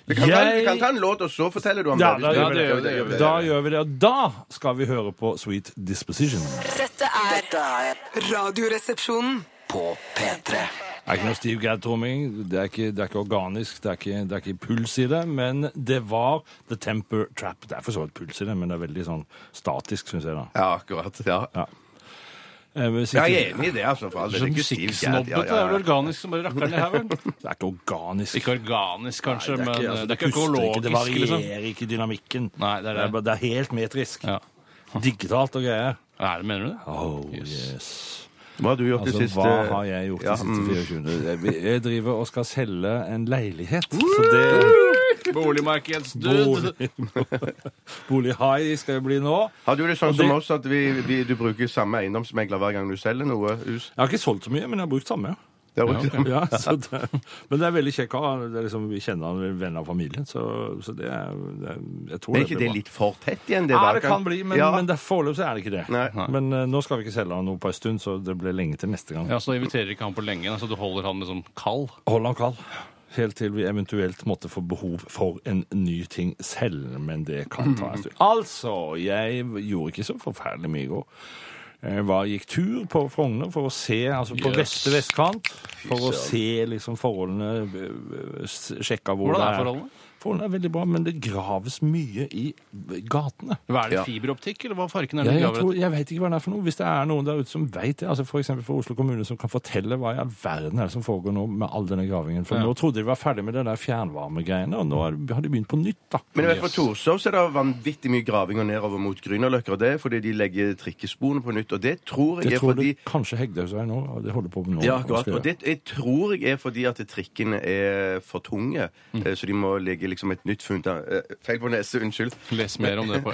[SPEAKER 4] Vi kan, ta,
[SPEAKER 3] Jeg-
[SPEAKER 4] vi kan ta en låt, og så forteller du om
[SPEAKER 3] Ja,
[SPEAKER 4] deg.
[SPEAKER 3] da gjør vi
[SPEAKER 5] det gjør vi, det gjør
[SPEAKER 3] det. Da gjør vi det. Og da skal vi høre på Sweet Disposition.
[SPEAKER 7] Dette er
[SPEAKER 2] Dette er
[SPEAKER 7] Radioresepsjonen.
[SPEAKER 2] på P3.
[SPEAKER 3] Det er ikke noe Steve Gadd-tromming. Det, er ikke- det er ikke organisk. Det er ikke, det er ikke puls i det. Men det var The Temper Trap. Det er for så vidt puls i det, men det er veldig sånn statisk, syns jeg, da.
[SPEAKER 4] Ja, akkurat. Ja.
[SPEAKER 3] Eh, men sitter-
[SPEAKER 4] Ja, Jeg er enig i det, altså. For all del. Det er ikke Steve Gadd. Ja,
[SPEAKER 5] Musikksnobbete
[SPEAKER 4] ja,
[SPEAKER 5] er vel
[SPEAKER 4] ja.
[SPEAKER 5] organisk som bare rakker ned her, vel?
[SPEAKER 3] Det er ikke organisk.
[SPEAKER 5] [laughs] Ikke organisk, kanskje,
[SPEAKER 3] Nei,
[SPEAKER 5] men
[SPEAKER 3] altså,
[SPEAKER 5] eh, det er ikke
[SPEAKER 3] puster ikke, Det
[SPEAKER 5] økologisk, liksom.
[SPEAKER 3] varierer ikke dynamikken.
[SPEAKER 5] Nei, det er det.
[SPEAKER 3] bare- det er helt metrisk.
[SPEAKER 5] Ja.
[SPEAKER 3] Digitalt og greier.
[SPEAKER 5] Er det, mener du det?
[SPEAKER 3] Oh,
[SPEAKER 5] Yes.
[SPEAKER 3] yes.
[SPEAKER 4] Hva har du gjort
[SPEAKER 3] Altså,
[SPEAKER 4] det siste?
[SPEAKER 3] Hva har jeg gjort
[SPEAKER 4] Ja,
[SPEAKER 3] de siste
[SPEAKER 4] mm.
[SPEAKER 3] 24? Jeg- Jeg driver og skal selge en leilighet. Så det
[SPEAKER 5] Boligmarkedsdude!
[SPEAKER 3] Bolig, [laughs] bolighai skal jeg bli nå.
[SPEAKER 4] Har du det
[SPEAKER 3] Og
[SPEAKER 4] sånn som
[SPEAKER 3] det-
[SPEAKER 4] oss at vi, vi, du bruker samme eiendomsmegler hver gang du selger noe hus?
[SPEAKER 3] Jeg har ikke solgt så mye, men jeg har brukt samme.
[SPEAKER 4] Det er jo ikke samme. [laughs]
[SPEAKER 3] Ja, så det, men det er veldig kjekk kar. Det er liksom, vi kjenner han, vi er venner av familien, så, så det, er, det er Jeg tror
[SPEAKER 4] Men er ikke det
[SPEAKER 3] blir bra.
[SPEAKER 4] litt for tett igjen?
[SPEAKER 3] Ja,
[SPEAKER 4] hver
[SPEAKER 3] det
[SPEAKER 4] gang?
[SPEAKER 3] kan bli, men,
[SPEAKER 4] Ja.
[SPEAKER 3] men det, foreløpig så er det ikke det.
[SPEAKER 4] Nei.
[SPEAKER 3] Men eh, nå skal vi ikke selge han noe på en stund, så det blir lenge til neste gang.
[SPEAKER 5] Ja, så inviterer ikke han på lenge, så du holder han liksom kald.
[SPEAKER 3] Hold han kald. Helt til vi eventuelt måtte få behov for en ny ting selv, men det kan ta en stund. Altså, jeg gjorde ikke så forferdelig mye i går. Jeg var, gikk tur på Frogner for å se, altså på
[SPEAKER 5] Yes.
[SPEAKER 3] beste vestkant, for å se liksom forholdene, øh, øh, s- sjekka hvor
[SPEAKER 5] Hvordan
[SPEAKER 3] det
[SPEAKER 5] er forholdene?
[SPEAKER 3] Polen er veldig bra, men det graves mye i gatene.
[SPEAKER 5] Hva er det,
[SPEAKER 4] Ja.
[SPEAKER 5] fiberoptikk, eller hva farken er
[SPEAKER 3] Jeg,
[SPEAKER 5] det?
[SPEAKER 3] jeg,
[SPEAKER 5] graver
[SPEAKER 3] tror, jeg vet ikke hva det er for noe. Hvis det er noen der ute som vet det, altså f.eks. for Oslo kommune, som kan fortelle hva i all verden er det som foregår nå med all denne gravingen. For
[SPEAKER 5] Ja.
[SPEAKER 3] nå trodde de var ferdig med det der fjernvarmegreiene, og nå er, har de begynt på nytt, da.
[SPEAKER 4] Men jeg vet, på Torshov så er det vanvittig mye gravinger nedover mot Grünerløkka. og Det er fordi de legger trikkesporene på nytt. Og det tror jeg
[SPEAKER 3] Det
[SPEAKER 4] er
[SPEAKER 3] tror
[SPEAKER 4] fordi
[SPEAKER 3] du kanskje Hegdehaugsveien nå, og det holder på med nå.
[SPEAKER 4] Ja, akkurat.
[SPEAKER 3] Skal
[SPEAKER 4] Og det jeg tror jeg er fordi at trikkene er for tunge.
[SPEAKER 3] Mm.
[SPEAKER 4] eh, Så de må legge liksom et nytt funda... eh, Feil på nese, unnskyld.
[SPEAKER 5] dette? Les mer om det på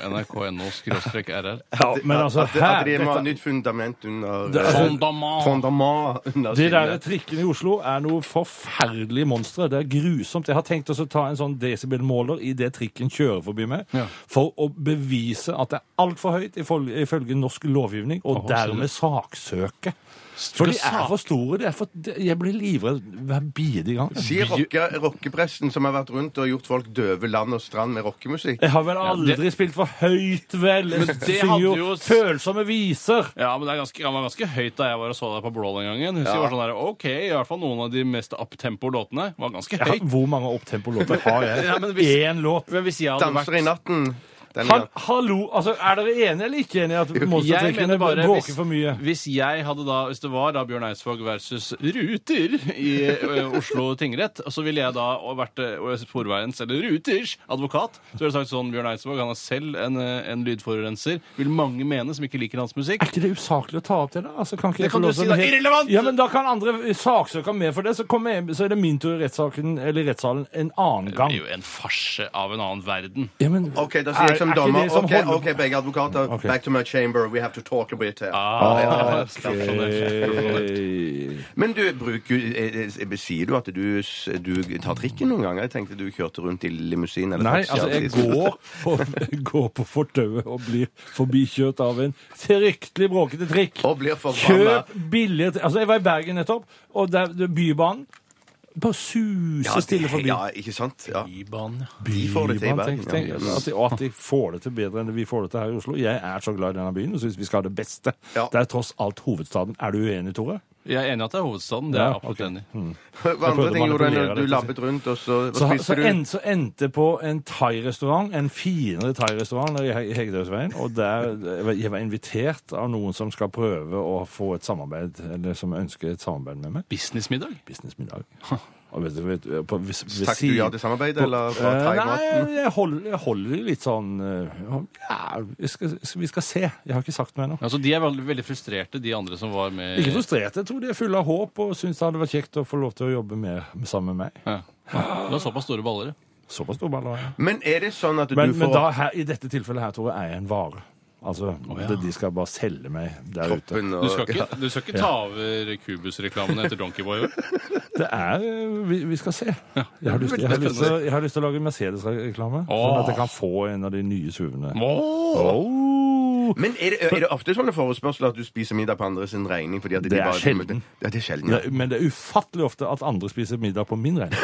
[SPEAKER 5] nrk.no-rr.
[SPEAKER 3] Ja, men altså,
[SPEAKER 4] at, at de
[SPEAKER 3] her-
[SPEAKER 4] må ha
[SPEAKER 3] dette-
[SPEAKER 4] nytt fundament under
[SPEAKER 3] Det-
[SPEAKER 4] eh,
[SPEAKER 5] Fondament.
[SPEAKER 4] fondament under
[SPEAKER 3] De der
[SPEAKER 4] skinnet.
[SPEAKER 3] trikkene i Oslo er noe forferdelig monstre. Det er grusomt. Jeg har tenkt også å ta en sånn desibelmåler i det trikken kjører forbi meg,
[SPEAKER 5] Ja.
[SPEAKER 3] for å bevise at det er altfor høyt ifol- ifølge norsk lovgivning, og
[SPEAKER 5] Åh,
[SPEAKER 3] dermed saksøke. For de er
[SPEAKER 5] sak-
[SPEAKER 3] for store. De er for, de- jeg blir livredd hver bidige gang.
[SPEAKER 4] Sier rocke- rockepresten som har vært rundt og gjort folk døve land og strand med rockemusikk.
[SPEAKER 3] Jeg har vel aldri
[SPEAKER 5] det-
[SPEAKER 3] spilt for høyt, vel? Jeg
[SPEAKER 5] Men det
[SPEAKER 3] synger jo
[SPEAKER 5] hadde jo-
[SPEAKER 3] følsomme viser.
[SPEAKER 5] Ja, men det er ganske, Han var ganske høyt da jeg var og så deg på Blå den gangen. Husker jeg var sånn der, ok, i hvert fall Noen av de mest uptempo-låtene var ganske
[SPEAKER 3] Jeg har,
[SPEAKER 5] høyt.
[SPEAKER 3] hvor mange opptempo-låter har jeg?
[SPEAKER 5] Ja, men hvis-
[SPEAKER 3] Én låt.
[SPEAKER 5] Men hvis jeg hadde
[SPEAKER 4] Danser i natten. Den
[SPEAKER 3] Han,
[SPEAKER 4] er-
[SPEAKER 3] hallo, altså, Er dere enige eller ikke enige i at
[SPEAKER 5] jeg
[SPEAKER 3] monstertrikkene
[SPEAKER 5] mener bare
[SPEAKER 3] bråker
[SPEAKER 5] hvis,
[SPEAKER 3] for mye?
[SPEAKER 5] hvis jeg hadde da Hvis det var da Bjørn Eidsvåg versus Ruter i ø, Oslo tingrett, så ville jeg da vært ø, Sporveiens eller Ruters advokat. Så ville jeg sagt sånn Bjørn Eidsvåg han er selv en, ø, en lydforurenser. Vil mange mene som ikke liker hans musikk.
[SPEAKER 3] Er ikke det usaklig å ta opp det, da? Altså, kan ikke jeg
[SPEAKER 5] kan
[SPEAKER 3] få lov
[SPEAKER 5] du si,
[SPEAKER 3] til å-
[SPEAKER 5] da. Irrelevant!
[SPEAKER 3] Ja, men Da kan andre saksøke meg for det, så, kommer jeg, så er det min tur i rettssaken eller i rettssalen en annen
[SPEAKER 5] Det
[SPEAKER 3] gang.
[SPEAKER 5] er jo en farse av en annen verden.
[SPEAKER 3] Ja, men,
[SPEAKER 4] OK, da sier jeg som
[SPEAKER 3] er ikke
[SPEAKER 4] dommer.
[SPEAKER 3] det som
[SPEAKER 4] OK,
[SPEAKER 3] holder-
[SPEAKER 4] ok, begge advokater.
[SPEAKER 3] Ok.
[SPEAKER 4] Back to my chamber. We have to talk a bit here.
[SPEAKER 5] Ah. Sånn
[SPEAKER 3] Eh,
[SPEAKER 4] Men du, bruker, eh, eh, sier du at du, s- du tar trikken noen ganger? Jeg tenkte du kjørte rundt i limousin. Eller
[SPEAKER 3] Nei,
[SPEAKER 4] taxi,
[SPEAKER 3] altså, jeg
[SPEAKER 4] eller-
[SPEAKER 3] går på, går på fortauet og blir forbikjørt av en fryktelig bråkete trikk.
[SPEAKER 4] [laughs] Og blir forbanna.
[SPEAKER 3] Kjøp billige tri- Altså, jeg var i Bergen nettopp, og der, det- Bybanen bare suser
[SPEAKER 4] Ja, det-
[SPEAKER 3] stille forbi.
[SPEAKER 4] Ja, ikke sant? Ja.
[SPEAKER 5] Bybanen, ja.
[SPEAKER 4] De får det til i
[SPEAKER 3] Bybanen,
[SPEAKER 4] Bergen,
[SPEAKER 3] tenk- tenk-
[SPEAKER 4] ja.
[SPEAKER 3] At de, og at de får det til bedre enn vi får det til her i Oslo. Jeg er så glad i denne byen og syns vi skal ha det beste.
[SPEAKER 4] Ja.
[SPEAKER 3] Det er tross alt hovedstaden. Er du uenig, Tore?
[SPEAKER 5] Jeg er enig i at det er hovedstaden. Det er
[SPEAKER 3] Ja,
[SPEAKER 5] jeg absolutt
[SPEAKER 3] ok.
[SPEAKER 5] enig i.
[SPEAKER 4] Hva andre
[SPEAKER 3] prøvde å
[SPEAKER 4] ting gjorde du
[SPEAKER 3] manipulere
[SPEAKER 4] når du
[SPEAKER 3] dette.
[SPEAKER 4] labbet rundt, og
[SPEAKER 3] Så,
[SPEAKER 4] så hva
[SPEAKER 3] så,
[SPEAKER 4] spiste du?
[SPEAKER 3] en, så endte jeg på en thai-restaurant, en finere thai-restaurant nede i He- Hegdehaugsveien, og der jeg var- jeg var invitert av noen som skal prøve å få et samarbeid, eller som ønsker et samarbeid med meg.
[SPEAKER 5] Businessmiddag?
[SPEAKER 4] [laughs]
[SPEAKER 3] Businessmiddag. Og vet du, vet, du, på, hvis, ved
[SPEAKER 4] Takk du ja
[SPEAKER 3] siden-
[SPEAKER 4] til samarbeidet, eller var
[SPEAKER 3] Eh,
[SPEAKER 4] thaimaten?
[SPEAKER 3] Nei, jeg holder, jeg holder i litt sånn eh, Ja, vi skal, vi skal se. Jeg har ikke sagt noe ennå.
[SPEAKER 5] Altså, de er veldig, veldig frustrerte, de andre som var med
[SPEAKER 3] Ikke frustrert. Jeg tror de er fulle av håp og syns det hadde vært kjekt å få lov til å jobbe mer sammen med meg.
[SPEAKER 5] Ja. Det var såpass store baller.
[SPEAKER 3] Såpass stor baller har jeg.
[SPEAKER 4] Men er det sånn at du
[SPEAKER 3] Men, men da,
[SPEAKER 4] får
[SPEAKER 3] her, i dette tilfellet her, Tore, er jeg en vare. Altså, det, De skal bare selge meg der ute.
[SPEAKER 4] kroppen
[SPEAKER 5] Du skal
[SPEAKER 4] og
[SPEAKER 5] ikke, du skal ikke ta over Cubus-reklamen etter Donkeyboy?
[SPEAKER 3] Det er eh, Vi, vi skal se. Jeg har lyst, jeg har lyst, til, å- jeg har lyst til å lage Mercedes-reklame, sånn at jeg kan få en av de nye SUV-ene. Åh!
[SPEAKER 4] Men er det, er det ofte sånne forespørsler at du spiser middag på andre sin regning? Fordi at de
[SPEAKER 3] Det er
[SPEAKER 4] bare,
[SPEAKER 3] sjelden.
[SPEAKER 4] Ja, det er sjelden. Ja.
[SPEAKER 3] Det- Men det er ufattelig ofte at andre spiser middag på min regning.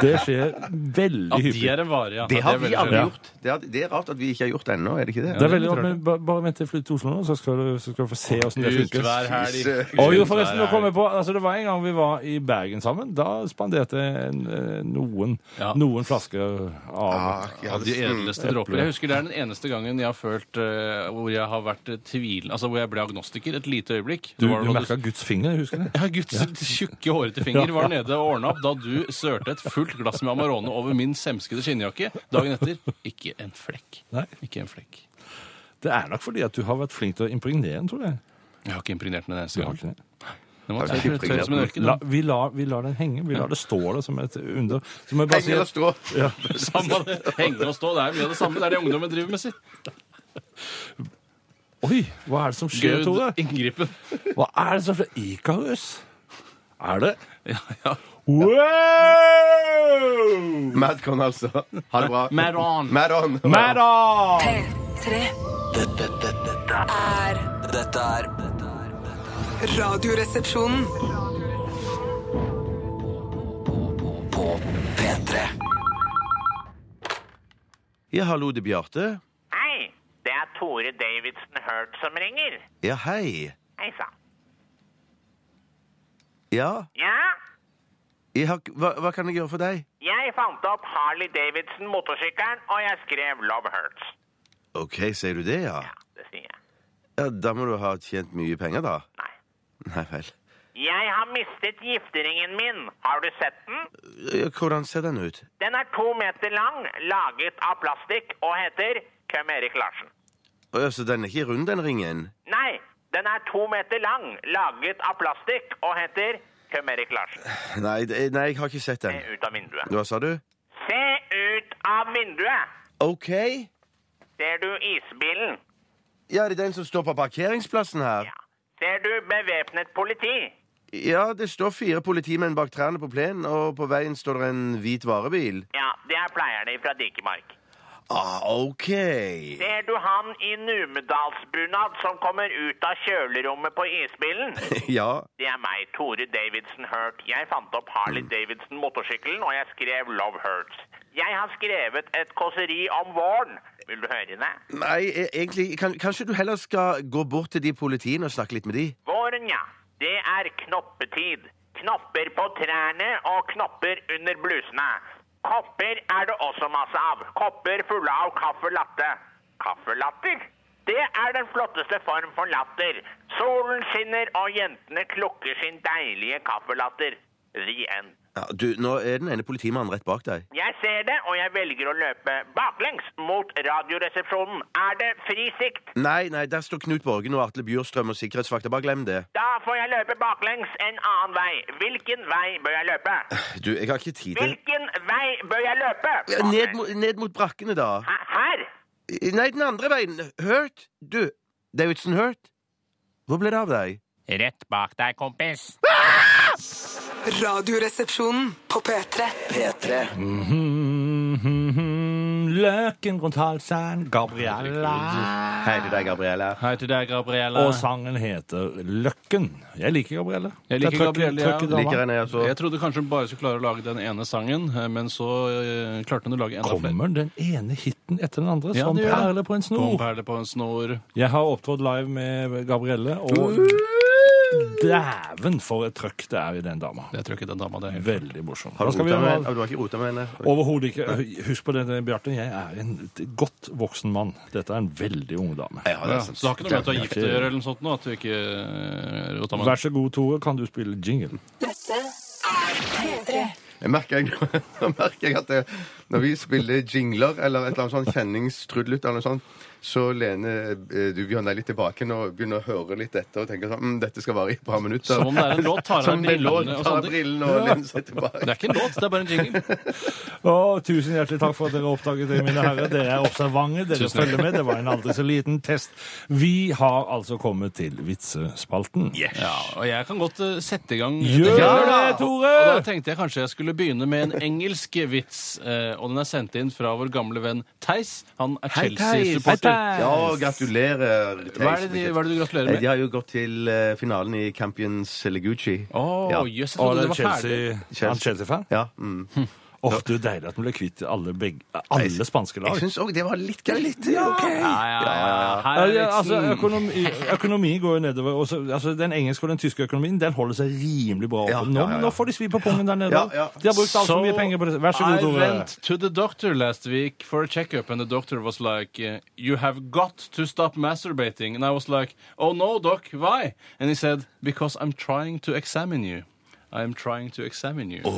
[SPEAKER 3] Det skjer veldig
[SPEAKER 5] At de
[SPEAKER 3] hyppig.
[SPEAKER 5] er en vare, ja.
[SPEAKER 4] Det
[SPEAKER 5] Ja,
[SPEAKER 4] har
[SPEAKER 5] er
[SPEAKER 4] vi
[SPEAKER 5] veldig
[SPEAKER 4] aldri
[SPEAKER 5] rart.
[SPEAKER 4] gjort. Det er, det er rart at vi ikke har gjort det ennå, er det ikke det?
[SPEAKER 3] Det er veldig rart, men ba- Bare vent til jeg flytter til Oslo, nå, så skal du, så skal du få se åssen det
[SPEAKER 5] Ut
[SPEAKER 3] funker.
[SPEAKER 5] hver helg.
[SPEAKER 4] Fy
[SPEAKER 3] Å jo, forresten,
[SPEAKER 5] Ut
[SPEAKER 3] nå
[SPEAKER 5] hver
[SPEAKER 3] kom jeg
[SPEAKER 5] helg.
[SPEAKER 3] på, altså Det var en gang vi var i Bergen sammen. Da spanderte jeg en, eh, noen,
[SPEAKER 5] Ja.
[SPEAKER 3] noen flasker av
[SPEAKER 4] Ah, ja,
[SPEAKER 5] Av de
[SPEAKER 4] det-
[SPEAKER 5] edleste dråper. Jeg husker Det er den eneste gangen jeg har følt eh, hvor jeg har vært eh, tvil... Altså hvor jeg ble agnostiker et lite øyeblikk.
[SPEAKER 3] Du,
[SPEAKER 5] Det var
[SPEAKER 3] du
[SPEAKER 5] da
[SPEAKER 3] merka Guds finger, husker
[SPEAKER 5] [laughs]
[SPEAKER 3] du det?
[SPEAKER 5] Ja, Guds tjukke, hårete finger var nede og ordna opp da du sørte et fullt glass med Amarone over min semskede skinnjakke. Dagen etter ikke en flekk.
[SPEAKER 3] Nei.
[SPEAKER 5] Ikke en flekk.
[SPEAKER 3] Det er nok fordi at du har vært flink til å impregnere den, tror jeg.
[SPEAKER 5] Jeg har ikke impregnert den en eneste
[SPEAKER 3] Du har
[SPEAKER 5] gang.
[SPEAKER 3] ikke det?
[SPEAKER 5] Den var
[SPEAKER 4] Har du
[SPEAKER 5] tørr,
[SPEAKER 4] ikke
[SPEAKER 5] tørr som en
[SPEAKER 4] impregnert
[SPEAKER 5] ørken.
[SPEAKER 3] La, vi, lar, vi lar den henge. Vi lar det stå der som et under. Så må Altså, jeg bare
[SPEAKER 4] Henge
[SPEAKER 3] si
[SPEAKER 4] eller
[SPEAKER 3] at
[SPEAKER 4] strå?
[SPEAKER 5] Samme det. Henge og stå, det er mye av det samme. Det er det ungdommen driver med, sitt.
[SPEAKER 3] Oi, hva er det som skjer, Tore?
[SPEAKER 5] Gud, inngripen.
[SPEAKER 3] Hva er det som skjer? Ikarus? Er det?
[SPEAKER 5] Ja, ja.
[SPEAKER 3] Wow!
[SPEAKER 4] Madcon, altså. Ha det bra.
[SPEAKER 5] Madon.
[SPEAKER 4] Madon.
[SPEAKER 3] Madda!
[SPEAKER 7] P3
[SPEAKER 2] Dette, dette, dette,
[SPEAKER 7] er
[SPEAKER 2] er- dette er
[SPEAKER 7] Radioresepsjonen.
[SPEAKER 2] på P3.
[SPEAKER 4] Ja, hallo, det er Bjarte.
[SPEAKER 8] Hei, det er Tore Davidsen Hurt som ringer.
[SPEAKER 4] Ja, hei.
[SPEAKER 8] Hei sann.
[SPEAKER 4] Ja,
[SPEAKER 8] Ja,
[SPEAKER 4] Jeg har, hva, hva kan jeg gjøre for deg?
[SPEAKER 8] Jeg fant opp Harley Davidson-motorsykkelen, og jeg skrev Love Hurts.
[SPEAKER 4] OK, sier du det, ja?
[SPEAKER 8] Det sier jeg.
[SPEAKER 4] ja? Da må du ha tjent mye penger, da.
[SPEAKER 8] Nei.
[SPEAKER 4] Nei vel.
[SPEAKER 8] Jeg har mistet gifteringen min. Har du sett den?
[SPEAKER 4] Ja, Hvordan ser den ut?
[SPEAKER 8] Den er to meter lang, laget av plastikk og heter Køm Erik Larsen.
[SPEAKER 4] Å, ja, Så den er ikke rund, den ringen?
[SPEAKER 8] Nei, den er to meter lang, laget av plastikk og heter Køm Erik Larsen.
[SPEAKER 4] Nei, det- nei, jeg har ikke sett
[SPEAKER 8] Se
[SPEAKER 4] den.
[SPEAKER 8] ut av vinduet.
[SPEAKER 4] Hva sa du?
[SPEAKER 8] Se ut av vinduet!
[SPEAKER 4] OK.
[SPEAKER 8] Ser du isbilen?
[SPEAKER 4] Ja, det er den som står på parkeringsplassen her?
[SPEAKER 8] Ja. Ser du bevæpnet politi?
[SPEAKER 4] Ja, det står fire politimenn bak trærne på plenen, og på veien står det en hvit varebil.
[SPEAKER 8] Ja, det er pleierne fra Dikemark.
[SPEAKER 4] Ah, OK.
[SPEAKER 8] Ser du han i Numedalsbunad som kommer ut av kjølerommet på isbilen?
[SPEAKER 4] Ja.
[SPEAKER 8] Det er meg, Tore Davidson Hurt. Jeg fant opp Harley Davidson motorsykkelen, og jeg skrev Love Hurts. Jeg har skrevet et kåseri om våren. Vil du høre det?
[SPEAKER 4] Nei, e- egentlig kan, Kanskje du heller skal gå bort til de politiene og snakke litt med de?
[SPEAKER 8] Våren, ja. Det er knoppetid. Knopper på trærne og knopper under blusene. Kopper er det også masse av. Kopper fulle av kaffe latte. Kaffelatter? Det er den flotteste form for latter. Solen skinner, og jentene klukker sin deilige kaffelatter. The end.
[SPEAKER 4] Ja, du, Nå er den ene politimannen rett bak deg.
[SPEAKER 8] Jeg ser det, og jeg velger å løpe baklengs mot radioresepsjonen. Er det fri sikt?
[SPEAKER 4] Nei, nei, der står Knut Borgen og Atle Bjurstrøm og sikkerhetsvakter. Bare glem det.
[SPEAKER 8] Da får jeg løpe baklengs en annen vei. Hvilken vei bør jeg løpe?
[SPEAKER 4] Du, jeg har ikke tid til
[SPEAKER 8] Hvilken vei bør jeg løpe?
[SPEAKER 4] Ja, ned, mot- ned mot brakkene, da.
[SPEAKER 8] Hæ- Her?
[SPEAKER 4] I- Nei, den andre veien. Hurt. Du, Davidson Hurt. Hvor ble det av deg?
[SPEAKER 6] Rett bak deg, kompis.
[SPEAKER 7] Radioresepsjonen på P3.
[SPEAKER 2] P3.
[SPEAKER 3] Løken rundt halsen, Gabriella.
[SPEAKER 4] Hei til deg, Gabrielle.
[SPEAKER 5] Hei til deg, Gabrielle.
[SPEAKER 3] Og sangen heter Løkken. Jeg liker Gabrielle.
[SPEAKER 5] Jeg
[SPEAKER 3] Det er
[SPEAKER 5] liker
[SPEAKER 3] trøkk-
[SPEAKER 5] Gabrielle, ja.
[SPEAKER 3] trøkk i dama.
[SPEAKER 4] Liker henne, jeg
[SPEAKER 5] Jeg
[SPEAKER 4] også.
[SPEAKER 5] trodde kanskje hun bare skulle klare å lage den ene sangen, eh, men så eh, klarte hun å lage enda flere.
[SPEAKER 3] Kommer den ene hiten etter den andre
[SPEAKER 5] Ja,
[SPEAKER 3] som
[SPEAKER 5] det gjør det.
[SPEAKER 3] perler på en
[SPEAKER 5] Kom,
[SPEAKER 3] snor?
[SPEAKER 5] perle på en snor.
[SPEAKER 3] Jeg har opptrådt live med Gabrielle, og
[SPEAKER 5] Mm.
[SPEAKER 3] dæven for et trøkk det er i den dama.
[SPEAKER 5] Jeg tror ikke den dama det er.
[SPEAKER 3] Veldig morsom.
[SPEAKER 4] Har
[SPEAKER 3] Hva
[SPEAKER 4] du,
[SPEAKER 3] skal vi
[SPEAKER 4] rota med, henne?
[SPEAKER 3] gjøre?
[SPEAKER 4] Å, du har ikke rota med henne?
[SPEAKER 3] Overhodet ikke. Husk på det, Bjarte. Jeg er en godt voksen mann. Dette er en veldig ung dame.
[SPEAKER 4] Ja, det
[SPEAKER 5] Ja,
[SPEAKER 4] er
[SPEAKER 5] så
[SPEAKER 4] sant.
[SPEAKER 5] det har ikke noe med at du er gift å
[SPEAKER 3] ikke-
[SPEAKER 5] gjøre eller noe sånt nå? At du ikke eh, rota med
[SPEAKER 3] Vær så god, Tore. Kan du spille jingle?
[SPEAKER 4] Jeg [laughs] merker, jeg, nå merker jeg at det, når vi spiller jingler eller et eller annet sånn kjenningstrudlet eller noe sånt, så lener eh, du Bjørn deg litt tilbake nå og begynner å høre litt etter og tenker sånn mm, Dette skal vare i et par minutter.
[SPEAKER 5] Som om det er en låt, tar av
[SPEAKER 4] Som om det er en
[SPEAKER 5] brillene
[SPEAKER 4] låt,
[SPEAKER 5] og
[SPEAKER 4] tar av
[SPEAKER 5] sånne ting.
[SPEAKER 4] brillene og lener seg tilbake.
[SPEAKER 5] Det er ikke en låt, det er bare en jingle.
[SPEAKER 3] Å, tusen hjertelig takk for at dere oppdaget det, mine herrer. Dere er observante, dere følger med. Det var en aldri så liten test. Vi har altså kommet til vitsespalten.
[SPEAKER 5] Ja, og jeg kan godt eh, sette i gang.
[SPEAKER 3] Gjør det,
[SPEAKER 5] Og da
[SPEAKER 3] Tore!
[SPEAKER 5] tenkte jeg kanskje jeg skulle begynne med en engelsk vits. eh, Og den er sendt inn fra vår gamle venn Theis. Han er
[SPEAKER 4] Hei,
[SPEAKER 5] Chelsea-supporter.
[SPEAKER 4] Ja, gratulerer. Theis.
[SPEAKER 5] Hva er det, de, hva er det du gratulerer
[SPEAKER 4] Eh, De
[SPEAKER 5] med?
[SPEAKER 4] har jo gått til eh, finalen i Champions Legucci.
[SPEAKER 5] Å,
[SPEAKER 4] Ja.
[SPEAKER 5] jøss, jeg
[SPEAKER 3] Og
[SPEAKER 5] trodde
[SPEAKER 3] det
[SPEAKER 5] det
[SPEAKER 3] er
[SPEAKER 5] var ferdig.
[SPEAKER 3] Chelsea. Han er Chelsea-fan?
[SPEAKER 4] Ja. Mm.
[SPEAKER 3] Åh, du, deilig at den ble kvitt alle, begge, alle spanske
[SPEAKER 4] Jeg
[SPEAKER 3] lag.
[SPEAKER 4] syns òg det var litt gøy. Litt, ok.
[SPEAKER 5] Ja, ja, ja. Her
[SPEAKER 3] Ja,
[SPEAKER 5] er
[SPEAKER 3] ja, altså,
[SPEAKER 5] vitsen.
[SPEAKER 3] økonomi, økonomi går jo nedover. Og så, altså, den engelske og den tyske økonomien den holder seg rimelig bra oppe.
[SPEAKER 4] Ja,
[SPEAKER 3] Nå,
[SPEAKER 4] ja, ja, ja.
[SPEAKER 3] nå får de svi på pungen der nede.
[SPEAKER 4] Ja, ja.
[SPEAKER 3] De har brukt altfor mye penger på det. Vær så god,
[SPEAKER 5] I
[SPEAKER 3] Tore.
[SPEAKER 5] went to the doctor last week for a checkup, and the doctor was like, uh, "You have got to stop masturbating." And I was like, "Oh no, doc, why?" And he said, "Because I'm trying to examine you. I'm trying to examine you."
[SPEAKER 3] He's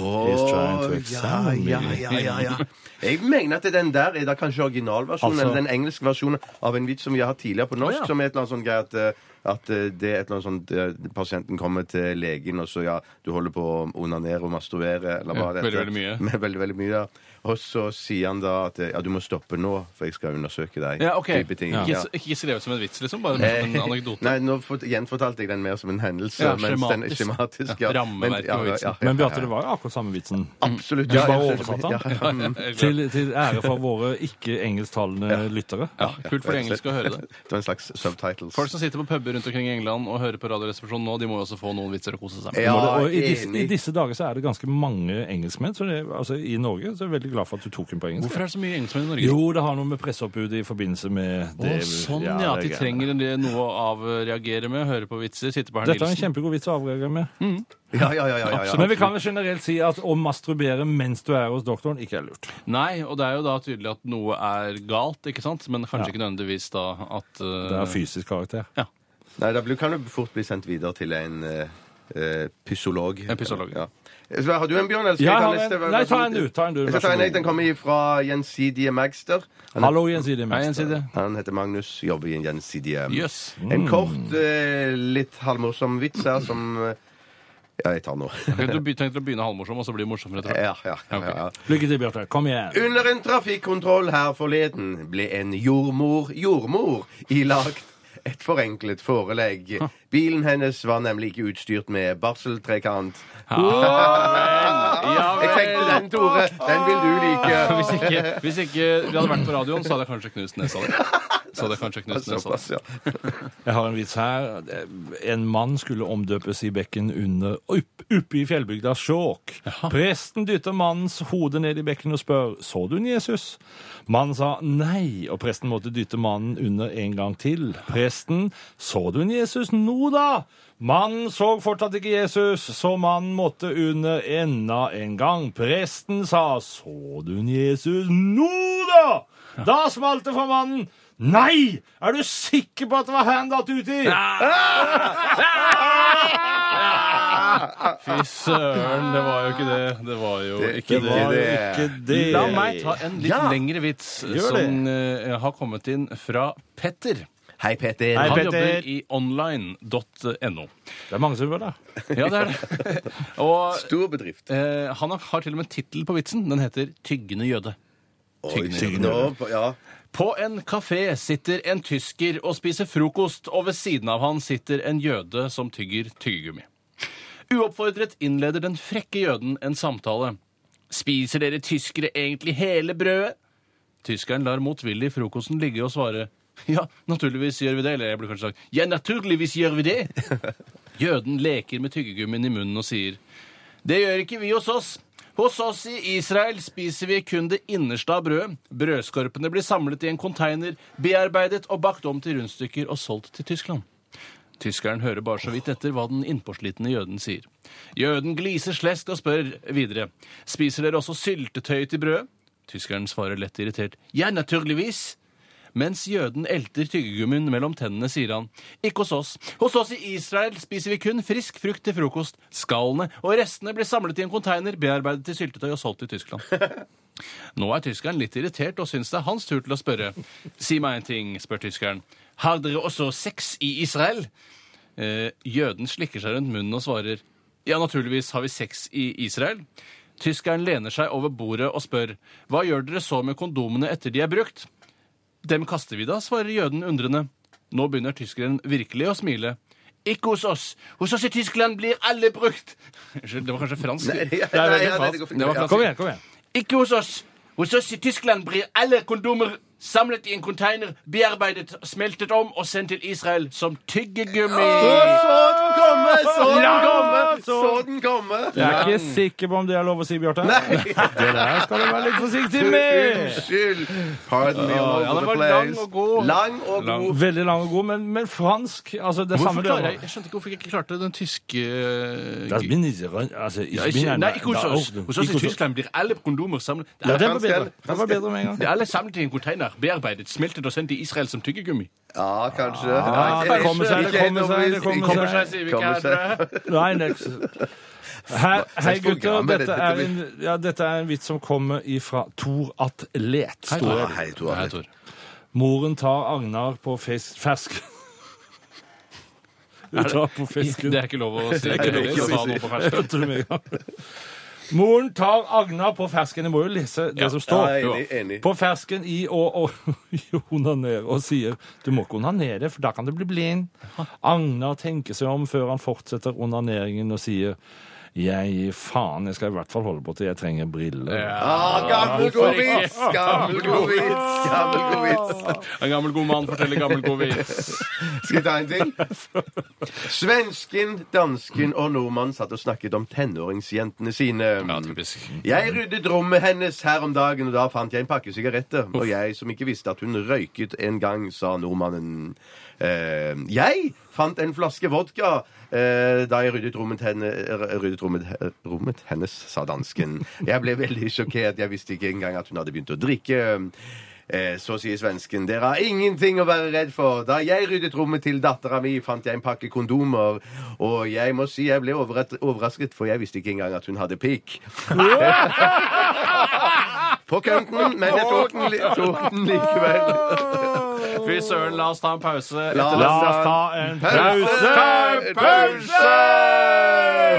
[SPEAKER 3] trying to
[SPEAKER 4] Å,
[SPEAKER 3] examine
[SPEAKER 4] ja, ja, ja, ja, ja. Jeg mener at den der er da kanskje originalversjonen,
[SPEAKER 3] Altså-
[SPEAKER 4] eller den engelske versjonen av en vits som vi har hatt tidligere på norsk,
[SPEAKER 5] Å, ja.
[SPEAKER 4] som er et eller annet sånn greie at, eh, at eh, det er et eller annet sånt eh, Pasienten kommer til legen, og så ja, du holder på å onanere og masturbere, eller hva
[SPEAKER 5] Ja,
[SPEAKER 4] det heter. [laughs]
[SPEAKER 5] veldig, veldig mye.
[SPEAKER 4] Men veldig, veldig mye, ja. Og så sier han da at eh, ja, du må stoppe nå, for jeg skal undersøke deg.
[SPEAKER 5] Ja, ok.
[SPEAKER 4] Type ting.
[SPEAKER 5] Ikke,
[SPEAKER 4] Ja.
[SPEAKER 5] ikke skrevet som en vits, liksom, bare som en
[SPEAKER 3] Eh. [laughs]
[SPEAKER 5] anekdote.
[SPEAKER 4] Nei, nå fort- gjenfortalte jeg den mer som en hendelse.
[SPEAKER 5] Ja,
[SPEAKER 4] mens den er
[SPEAKER 5] skjematisk.
[SPEAKER 4] skjematisk
[SPEAKER 5] Ja,
[SPEAKER 4] ja.
[SPEAKER 5] rammeverket på vitsen.
[SPEAKER 3] Men Bjarte, det var jo akkurat samme vitsen.
[SPEAKER 5] Mm.
[SPEAKER 4] Absolutt.
[SPEAKER 3] Du
[SPEAKER 4] ja,
[SPEAKER 3] bare
[SPEAKER 4] ja,
[SPEAKER 3] oversatte den.
[SPEAKER 4] ja,
[SPEAKER 5] [laughs]
[SPEAKER 4] ja, mm.
[SPEAKER 5] Jeg er glad.
[SPEAKER 3] Til, til ære for våre ikke-engelsktalende lyttere.
[SPEAKER 5] ja, kult for de engelske å høre det.
[SPEAKER 4] Det var en slags subtitles.
[SPEAKER 5] Folk som sitter på puber rundt omkring i England og hører på Radioresepsjonen nå, de må jo også få noen vitser og kose seg med.
[SPEAKER 4] Ja,
[SPEAKER 3] og i, disse, I
[SPEAKER 4] enig.
[SPEAKER 3] disse dager så er det ganske mange engelskmenn så det, altså, i Norge. Så jeg er veldig glad for at du tok den på engelsk.
[SPEAKER 5] Hvorfor er det så mye engelskmenn i Norge?
[SPEAKER 3] Jo, det har noe med presseoppbudet i forbindelse med
[SPEAKER 5] Å,
[SPEAKER 3] det.
[SPEAKER 5] sånn, ja.
[SPEAKER 3] det
[SPEAKER 5] At de
[SPEAKER 3] er
[SPEAKER 5] trenger en del- noe å avreagere med, høre på vitser, sitte på
[SPEAKER 3] greier.
[SPEAKER 5] herr
[SPEAKER 3] Dette er en
[SPEAKER 5] Nilsen.
[SPEAKER 3] kjempegod vits å avreagere med.
[SPEAKER 4] Ja, ja, ja, ja, ja, ja.
[SPEAKER 3] Men vi kan vel generelt si at å masturbere mens du er hos doktoren, ikke er lurt.
[SPEAKER 5] Nei, og det er jo da tydelig at noe er galt, ikke sant? Men kanskje ikke nødvendigvis da at eh,
[SPEAKER 3] Det er fysisk karakter.
[SPEAKER 4] Nei, da blir- kan du fort bli sendt videre til en eh, eh, pysolog.
[SPEAKER 5] En pysolog, ja.
[SPEAKER 4] Ja. Eh, Så Har du en, Bjørn? Eller skal
[SPEAKER 3] Ja,
[SPEAKER 4] jeg ta
[SPEAKER 3] jeg har
[SPEAKER 4] neste?
[SPEAKER 3] en.
[SPEAKER 4] Hva-
[SPEAKER 3] Nei,
[SPEAKER 4] hva-
[SPEAKER 3] ta en du, ta en du,
[SPEAKER 4] Jeg
[SPEAKER 3] vær
[SPEAKER 4] skal
[SPEAKER 3] så
[SPEAKER 4] ta en,
[SPEAKER 3] god.
[SPEAKER 4] jeg. Den kommer fra Gjensidige Magster. Han,
[SPEAKER 3] Hallo, Gjensidige Mm.
[SPEAKER 5] Nei,
[SPEAKER 3] Mester.
[SPEAKER 5] gjensidige.
[SPEAKER 4] han heter Magnus, jobber i en Gjensidige.
[SPEAKER 5] Jøss.
[SPEAKER 4] En kort, eh, litt halvmorsom vits her som eh, Ja, jeg tar nå. [laughs]
[SPEAKER 5] Okay, du be- tenkte å begynne halvmorsom, og så blir det morsommere etter hvert?
[SPEAKER 4] Ja, ja, ja,
[SPEAKER 5] Ok.
[SPEAKER 4] ja.
[SPEAKER 3] Lykke til, Bjarte. Kom igjen.
[SPEAKER 4] Under en trafikkontroll her forleden ble en jordmor jordmor ilagt et forenklet forelegg. Bilen hennes var nemlig ikke utstyrt med barseltrekant.
[SPEAKER 5] Ah, Ja
[SPEAKER 4] Jeg tenkte den, Tore. Den vil du like.
[SPEAKER 5] Hvis ikke, hvis ikke vi hadde vært på radioen, så hadde jeg kanskje knust nesa di. Så hadde jeg kanskje knust nesa di.
[SPEAKER 4] Såpass, ja.
[SPEAKER 3] Jeg har en vits her. En mann skulle omdøpes i bekken under opp- Oppe i fjellbygda Skjåk. Presten dytter mannens hode ned i bekken og spør så du en Jesus. Mannen sa nei, og presten måtte dytte mannen under en gang til. Presten så du en Jesus nå da? Mannen så fortsatt ikke Jesus, så mannen måtte under enda en gang. Presten sa så du en Jesus nå da? Da smalt det for mannen. Nei! Er du sikker på at det var hand-out uti?
[SPEAKER 5] Fy søren, det var jo ikke det. Det var jo
[SPEAKER 4] Det-
[SPEAKER 5] ikke
[SPEAKER 4] det
[SPEAKER 5] det.
[SPEAKER 4] var-
[SPEAKER 3] det.
[SPEAKER 5] La meg ta en litt
[SPEAKER 4] Ja.
[SPEAKER 5] lengre vits
[SPEAKER 3] Gjør det.
[SPEAKER 5] som eh, har kommet inn fra Petter.
[SPEAKER 4] Hei, Peter.
[SPEAKER 3] Hei,
[SPEAKER 5] Han
[SPEAKER 3] Petter.
[SPEAKER 5] jobber i online.no.
[SPEAKER 3] Det er mange som gjør det.
[SPEAKER 5] Ja, det er det. Og
[SPEAKER 4] Stor bedrift.
[SPEAKER 5] eh, han har- har til og med en tittel på vitsen. Den heter 'Tyggende jøde'.
[SPEAKER 4] Oi, nå, ja.
[SPEAKER 5] På en kafé sitter en tysker og spiser frokost, og ved siden av han sitter en jøde som tygger tyggegummi. Uoppfordret innleder den frekke jøden en samtale. Spiser dere tyskere egentlig hele brødet? Tyskeren lar motvillig frokosten ligge og svare. Ja, naturligvis gjør vi det. Eller jeg burde kanskje sagt ja, naturligvis gjør vi det. Jøden leker med tyggegummien i munnen og sier det gjør ikke vi hos oss. Hos oss i Israel spiser vi kun det innerste av brødet. Brødskorpene blir samlet i en konteiner, bearbeidet og bakt om til rundstykker og solgt til Tyskland. Tyskeren hører bare så vidt etter hva den innpåslitne jøden sier. Jøden gliser slesk og spør videre. Spiser dere også syltetøy til brødet? Tyskeren svarer lett irritert. Ja, naturligvis. Mens jøden elter tyggegummien mellom tennene, sier han Ikke hos oss. Hos oss i Israel spiser vi kun frisk frukt til frokost. Skallene og restene blir samlet i en konteiner, bearbeidet til syltetøy og solgt til Tyskland. Nå er tyskeren litt irritert og syns det er hans tur til å spørre. Si meg en ting, spør tyskeren. Har dere også sex i Israel? Eh, jøden slikker seg rundt munnen og svarer Ja, naturligvis har vi sex i Israel. Tyskeren lener seg over bordet og spør Hva gjør dere så med kondomene etter de er brukt? Dem kaster vi da, svarer jøden undrende. Nå begynner tyskeren virkelig å smile. Ikke hos oss. Hos oss i Tyskland blir alle brukt. [laughs] Unnskyld, det var kanskje fransk?
[SPEAKER 4] ja,
[SPEAKER 5] det er
[SPEAKER 4] nei, ja, nei,
[SPEAKER 5] veldig
[SPEAKER 4] det
[SPEAKER 5] fransk.
[SPEAKER 4] går fint.
[SPEAKER 5] Det var
[SPEAKER 4] Ja.
[SPEAKER 5] fransk.
[SPEAKER 3] Kom igjen, kom igjen.
[SPEAKER 5] Ikke hos oss. Hos oss i Tyskland blir alle kondomer samlet i en konteiner, bearbeidet, smeltet om og sendt til Israel som tyggegummi.
[SPEAKER 4] Så den komme! Så den komme! Så den komme!
[SPEAKER 3] Jeg er ikke sikker på om det er lov å si, Bjarte. [laughs] Det der skal du være litt forsiktig med.
[SPEAKER 4] Unnskyld! Pardon me all
[SPEAKER 5] ja,
[SPEAKER 4] over
[SPEAKER 5] den
[SPEAKER 4] the
[SPEAKER 5] var
[SPEAKER 4] place.
[SPEAKER 5] lang og god.
[SPEAKER 4] Lang og
[SPEAKER 5] Lang.
[SPEAKER 4] god.
[SPEAKER 3] Veldig lang og god, men, men fransk altså det er
[SPEAKER 5] Hvorfor
[SPEAKER 3] samme
[SPEAKER 5] klarer jeg, jeg skjønte ikke hvorfor jeg ikke klarte den tyske eh,
[SPEAKER 3] Das bin ich, altså, ich
[SPEAKER 5] Ja, ikke,
[SPEAKER 3] bin ein-
[SPEAKER 5] Nei, ikke hos
[SPEAKER 3] da-
[SPEAKER 5] oss.
[SPEAKER 3] oh,
[SPEAKER 5] Hos oss
[SPEAKER 3] ikke
[SPEAKER 5] i Tyskland blir alle kondomer samlet det
[SPEAKER 3] Ja,
[SPEAKER 5] er,
[SPEAKER 3] den var bedre. Den var bedre med en gang.
[SPEAKER 5] det er alle samlet i en konteiner, bearbeidet, smeltet og sendt til Israel som tyggegummi.
[SPEAKER 4] Ja, kanskje.
[SPEAKER 3] Ah, det kommer seg, det
[SPEAKER 4] Ikke helt
[SPEAKER 3] kommer seg, det
[SPEAKER 4] overbevist.
[SPEAKER 3] kommer
[SPEAKER 5] Kommer seg, sier vi ikke
[SPEAKER 4] Kommer seg.
[SPEAKER 5] her. brød.
[SPEAKER 3] Nei, next. Hei, hei gutter,
[SPEAKER 4] program er
[SPEAKER 3] dette
[SPEAKER 4] dette,
[SPEAKER 3] er, en, ja, dette er en vits som kommer ifra Tor Atlet.
[SPEAKER 4] Tor.
[SPEAKER 3] Stor.
[SPEAKER 4] Hei, Tor.
[SPEAKER 5] Nei, Tor.
[SPEAKER 3] Moren tar agnar på fes- fersk... Hun tar på fisken.
[SPEAKER 5] Det er ikke lov å si. Det er ikke
[SPEAKER 4] lov å
[SPEAKER 5] lov å si.
[SPEAKER 3] Jeg [laughs] tror meg, ja. [laughs] Moren tar agna på fersken. Jeg må jo lese det
[SPEAKER 5] Ja.
[SPEAKER 3] som
[SPEAKER 4] Ja,
[SPEAKER 3] står.
[SPEAKER 4] jeg er enig, enig.
[SPEAKER 3] På fersken i å [laughs] og onanere og sier du må ikke onanere, for da kan du bli blind. Agnar tenker seg om før han fortsetter onaneringen og sier Jeg gir faen, jeg skal i hvert fall holde på til jeg trenger briller.
[SPEAKER 4] Ah, gammel
[SPEAKER 5] hvorfor
[SPEAKER 4] god
[SPEAKER 5] ikke?
[SPEAKER 4] vits! Gammel god vits! Gammel god vits!
[SPEAKER 5] En gammel god mann forteller gammel god vits.
[SPEAKER 4] Skal jeg ta en til? Svensken, dansken og nordmannen satt og snakket om tenåringsjentene sine.
[SPEAKER 5] Ja, typisk.
[SPEAKER 4] Jeg ryddet rommet hennes her om dagen, og da fant jeg en pakke sigaretter. Og jeg som ikke visste at hun røyket en gang, sa nordmannen. Eh, jeg fant en flaske vodka eh, da jeg ryddet rommet, henne, r- ryddet rommet, he- rommet hennes, sa dansken. Jeg ble veldig sjokkert. Jeg visste ikke engang at hun hadde begynt å drikke. Eh, Så sier svensken dere har ingenting å være redd for. Da jeg ryddet rommet til dattera mi, fant jeg en pakke kondomer. Og jeg må si jeg ble overrat- overrasket, for jeg visste ikke engang at hun hadde
[SPEAKER 3] [laughs]
[SPEAKER 4] pikk. På kønten, men jeg tok den, li tok den likevel.
[SPEAKER 5] Fy søren, la oss ta en pause.
[SPEAKER 4] La
[SPEAKER 5] Etter
[SPEAKER 3] La oss ta en pause!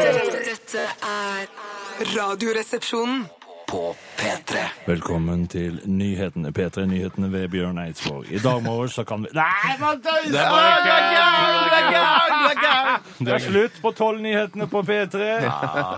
[SPEAKER 7] Dette, dette er Radioresepsjonen.
[SPEAKER 2] På P3.
[SPEAKER 3] Velkommen til nyhetene, P3 Nyhetene ved Bjørn Eidsvåg. I dag morges så kan vi Nei, man tøyser! Det Det er slutt på tolvnyhetene på P3.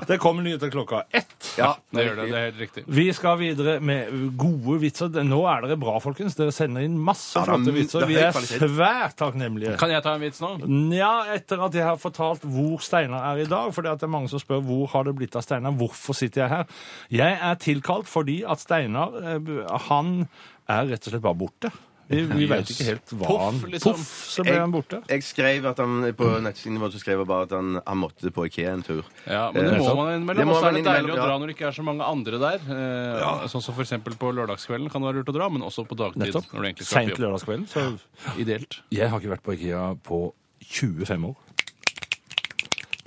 [SPEAKER 3] Det kommer nyheter klokka ett.
[SPEAKER 4] Ja,
[SPEAKER 5] Det gjør det, det er helt riktig.
[SPEAKER 3] Vi skal videre med gode vitser. Nå er dere bra, folkens. Dere sender inn masse
[SPEAKER 4] Ja, det er-
[SPEAKER 3] flotte vitser.
[SPEAKER 4] det er
[SPEAKER 3] Vi
[SPEAKER 4] høy
[SPEAKER 3] er
[SPEAKER 4] kvalitet.
[SPEAKER 3] svært takknemlige.
[SPEAKER 5] Kan jeg ta en vits nå?
[SPEAKER 3] Nja, etter at jeg har fortalt hvor Steinar er i dag, for det er mange som spør hvor har det blitt av Steinar, hvorfor sitter jeg her? Jeg er tilkalt fordi at Steinar, eh, han er rett og slett bare borte. Vi, vi veit ikke helt hva
[SPEAKER 5] Poff,
[SPEAKER 3] han
[SPEAKER 5] liksom.
[SPEAKER 3] Poff, så ble han borte.
[SPEAKER 4] Jeg skrev at han på nettsiden vår så skrev jeg bare at han, han måtte på Ikea en tur.
[SPEAKER 5] Ja, men det
[SPEAKER 4] Eh,
[SPEAKER 5] må man
[SPEAKER 4] Det
[SPEAKER 5] innimellom.
[SPEAKER 4] må
[SPEAKER 5] Og så
[SPEAKER 4] man
[SPEAKER 5] er det deilig å
[SPEAKER 4] innimellom, ja.
[SPEAKER 5] dra når det ikke er så mange andre der. Eh, Sånn som for eksempel på lørdagskvelden kan det være lurt å dra, men også på dagtid.
[SPEAKER 3] Nettopp.
[SPEAKER 5] Når du egentlig skal
[SPEAKER 3] Seint
[SPEAKER 5] på jobb.
[SPEAKER 3] lørdagskvelden. Så
[SPEAKER 5] Ideelt.
[SPEAKER 3] jeg har ikke vært på Ikea på 25 år.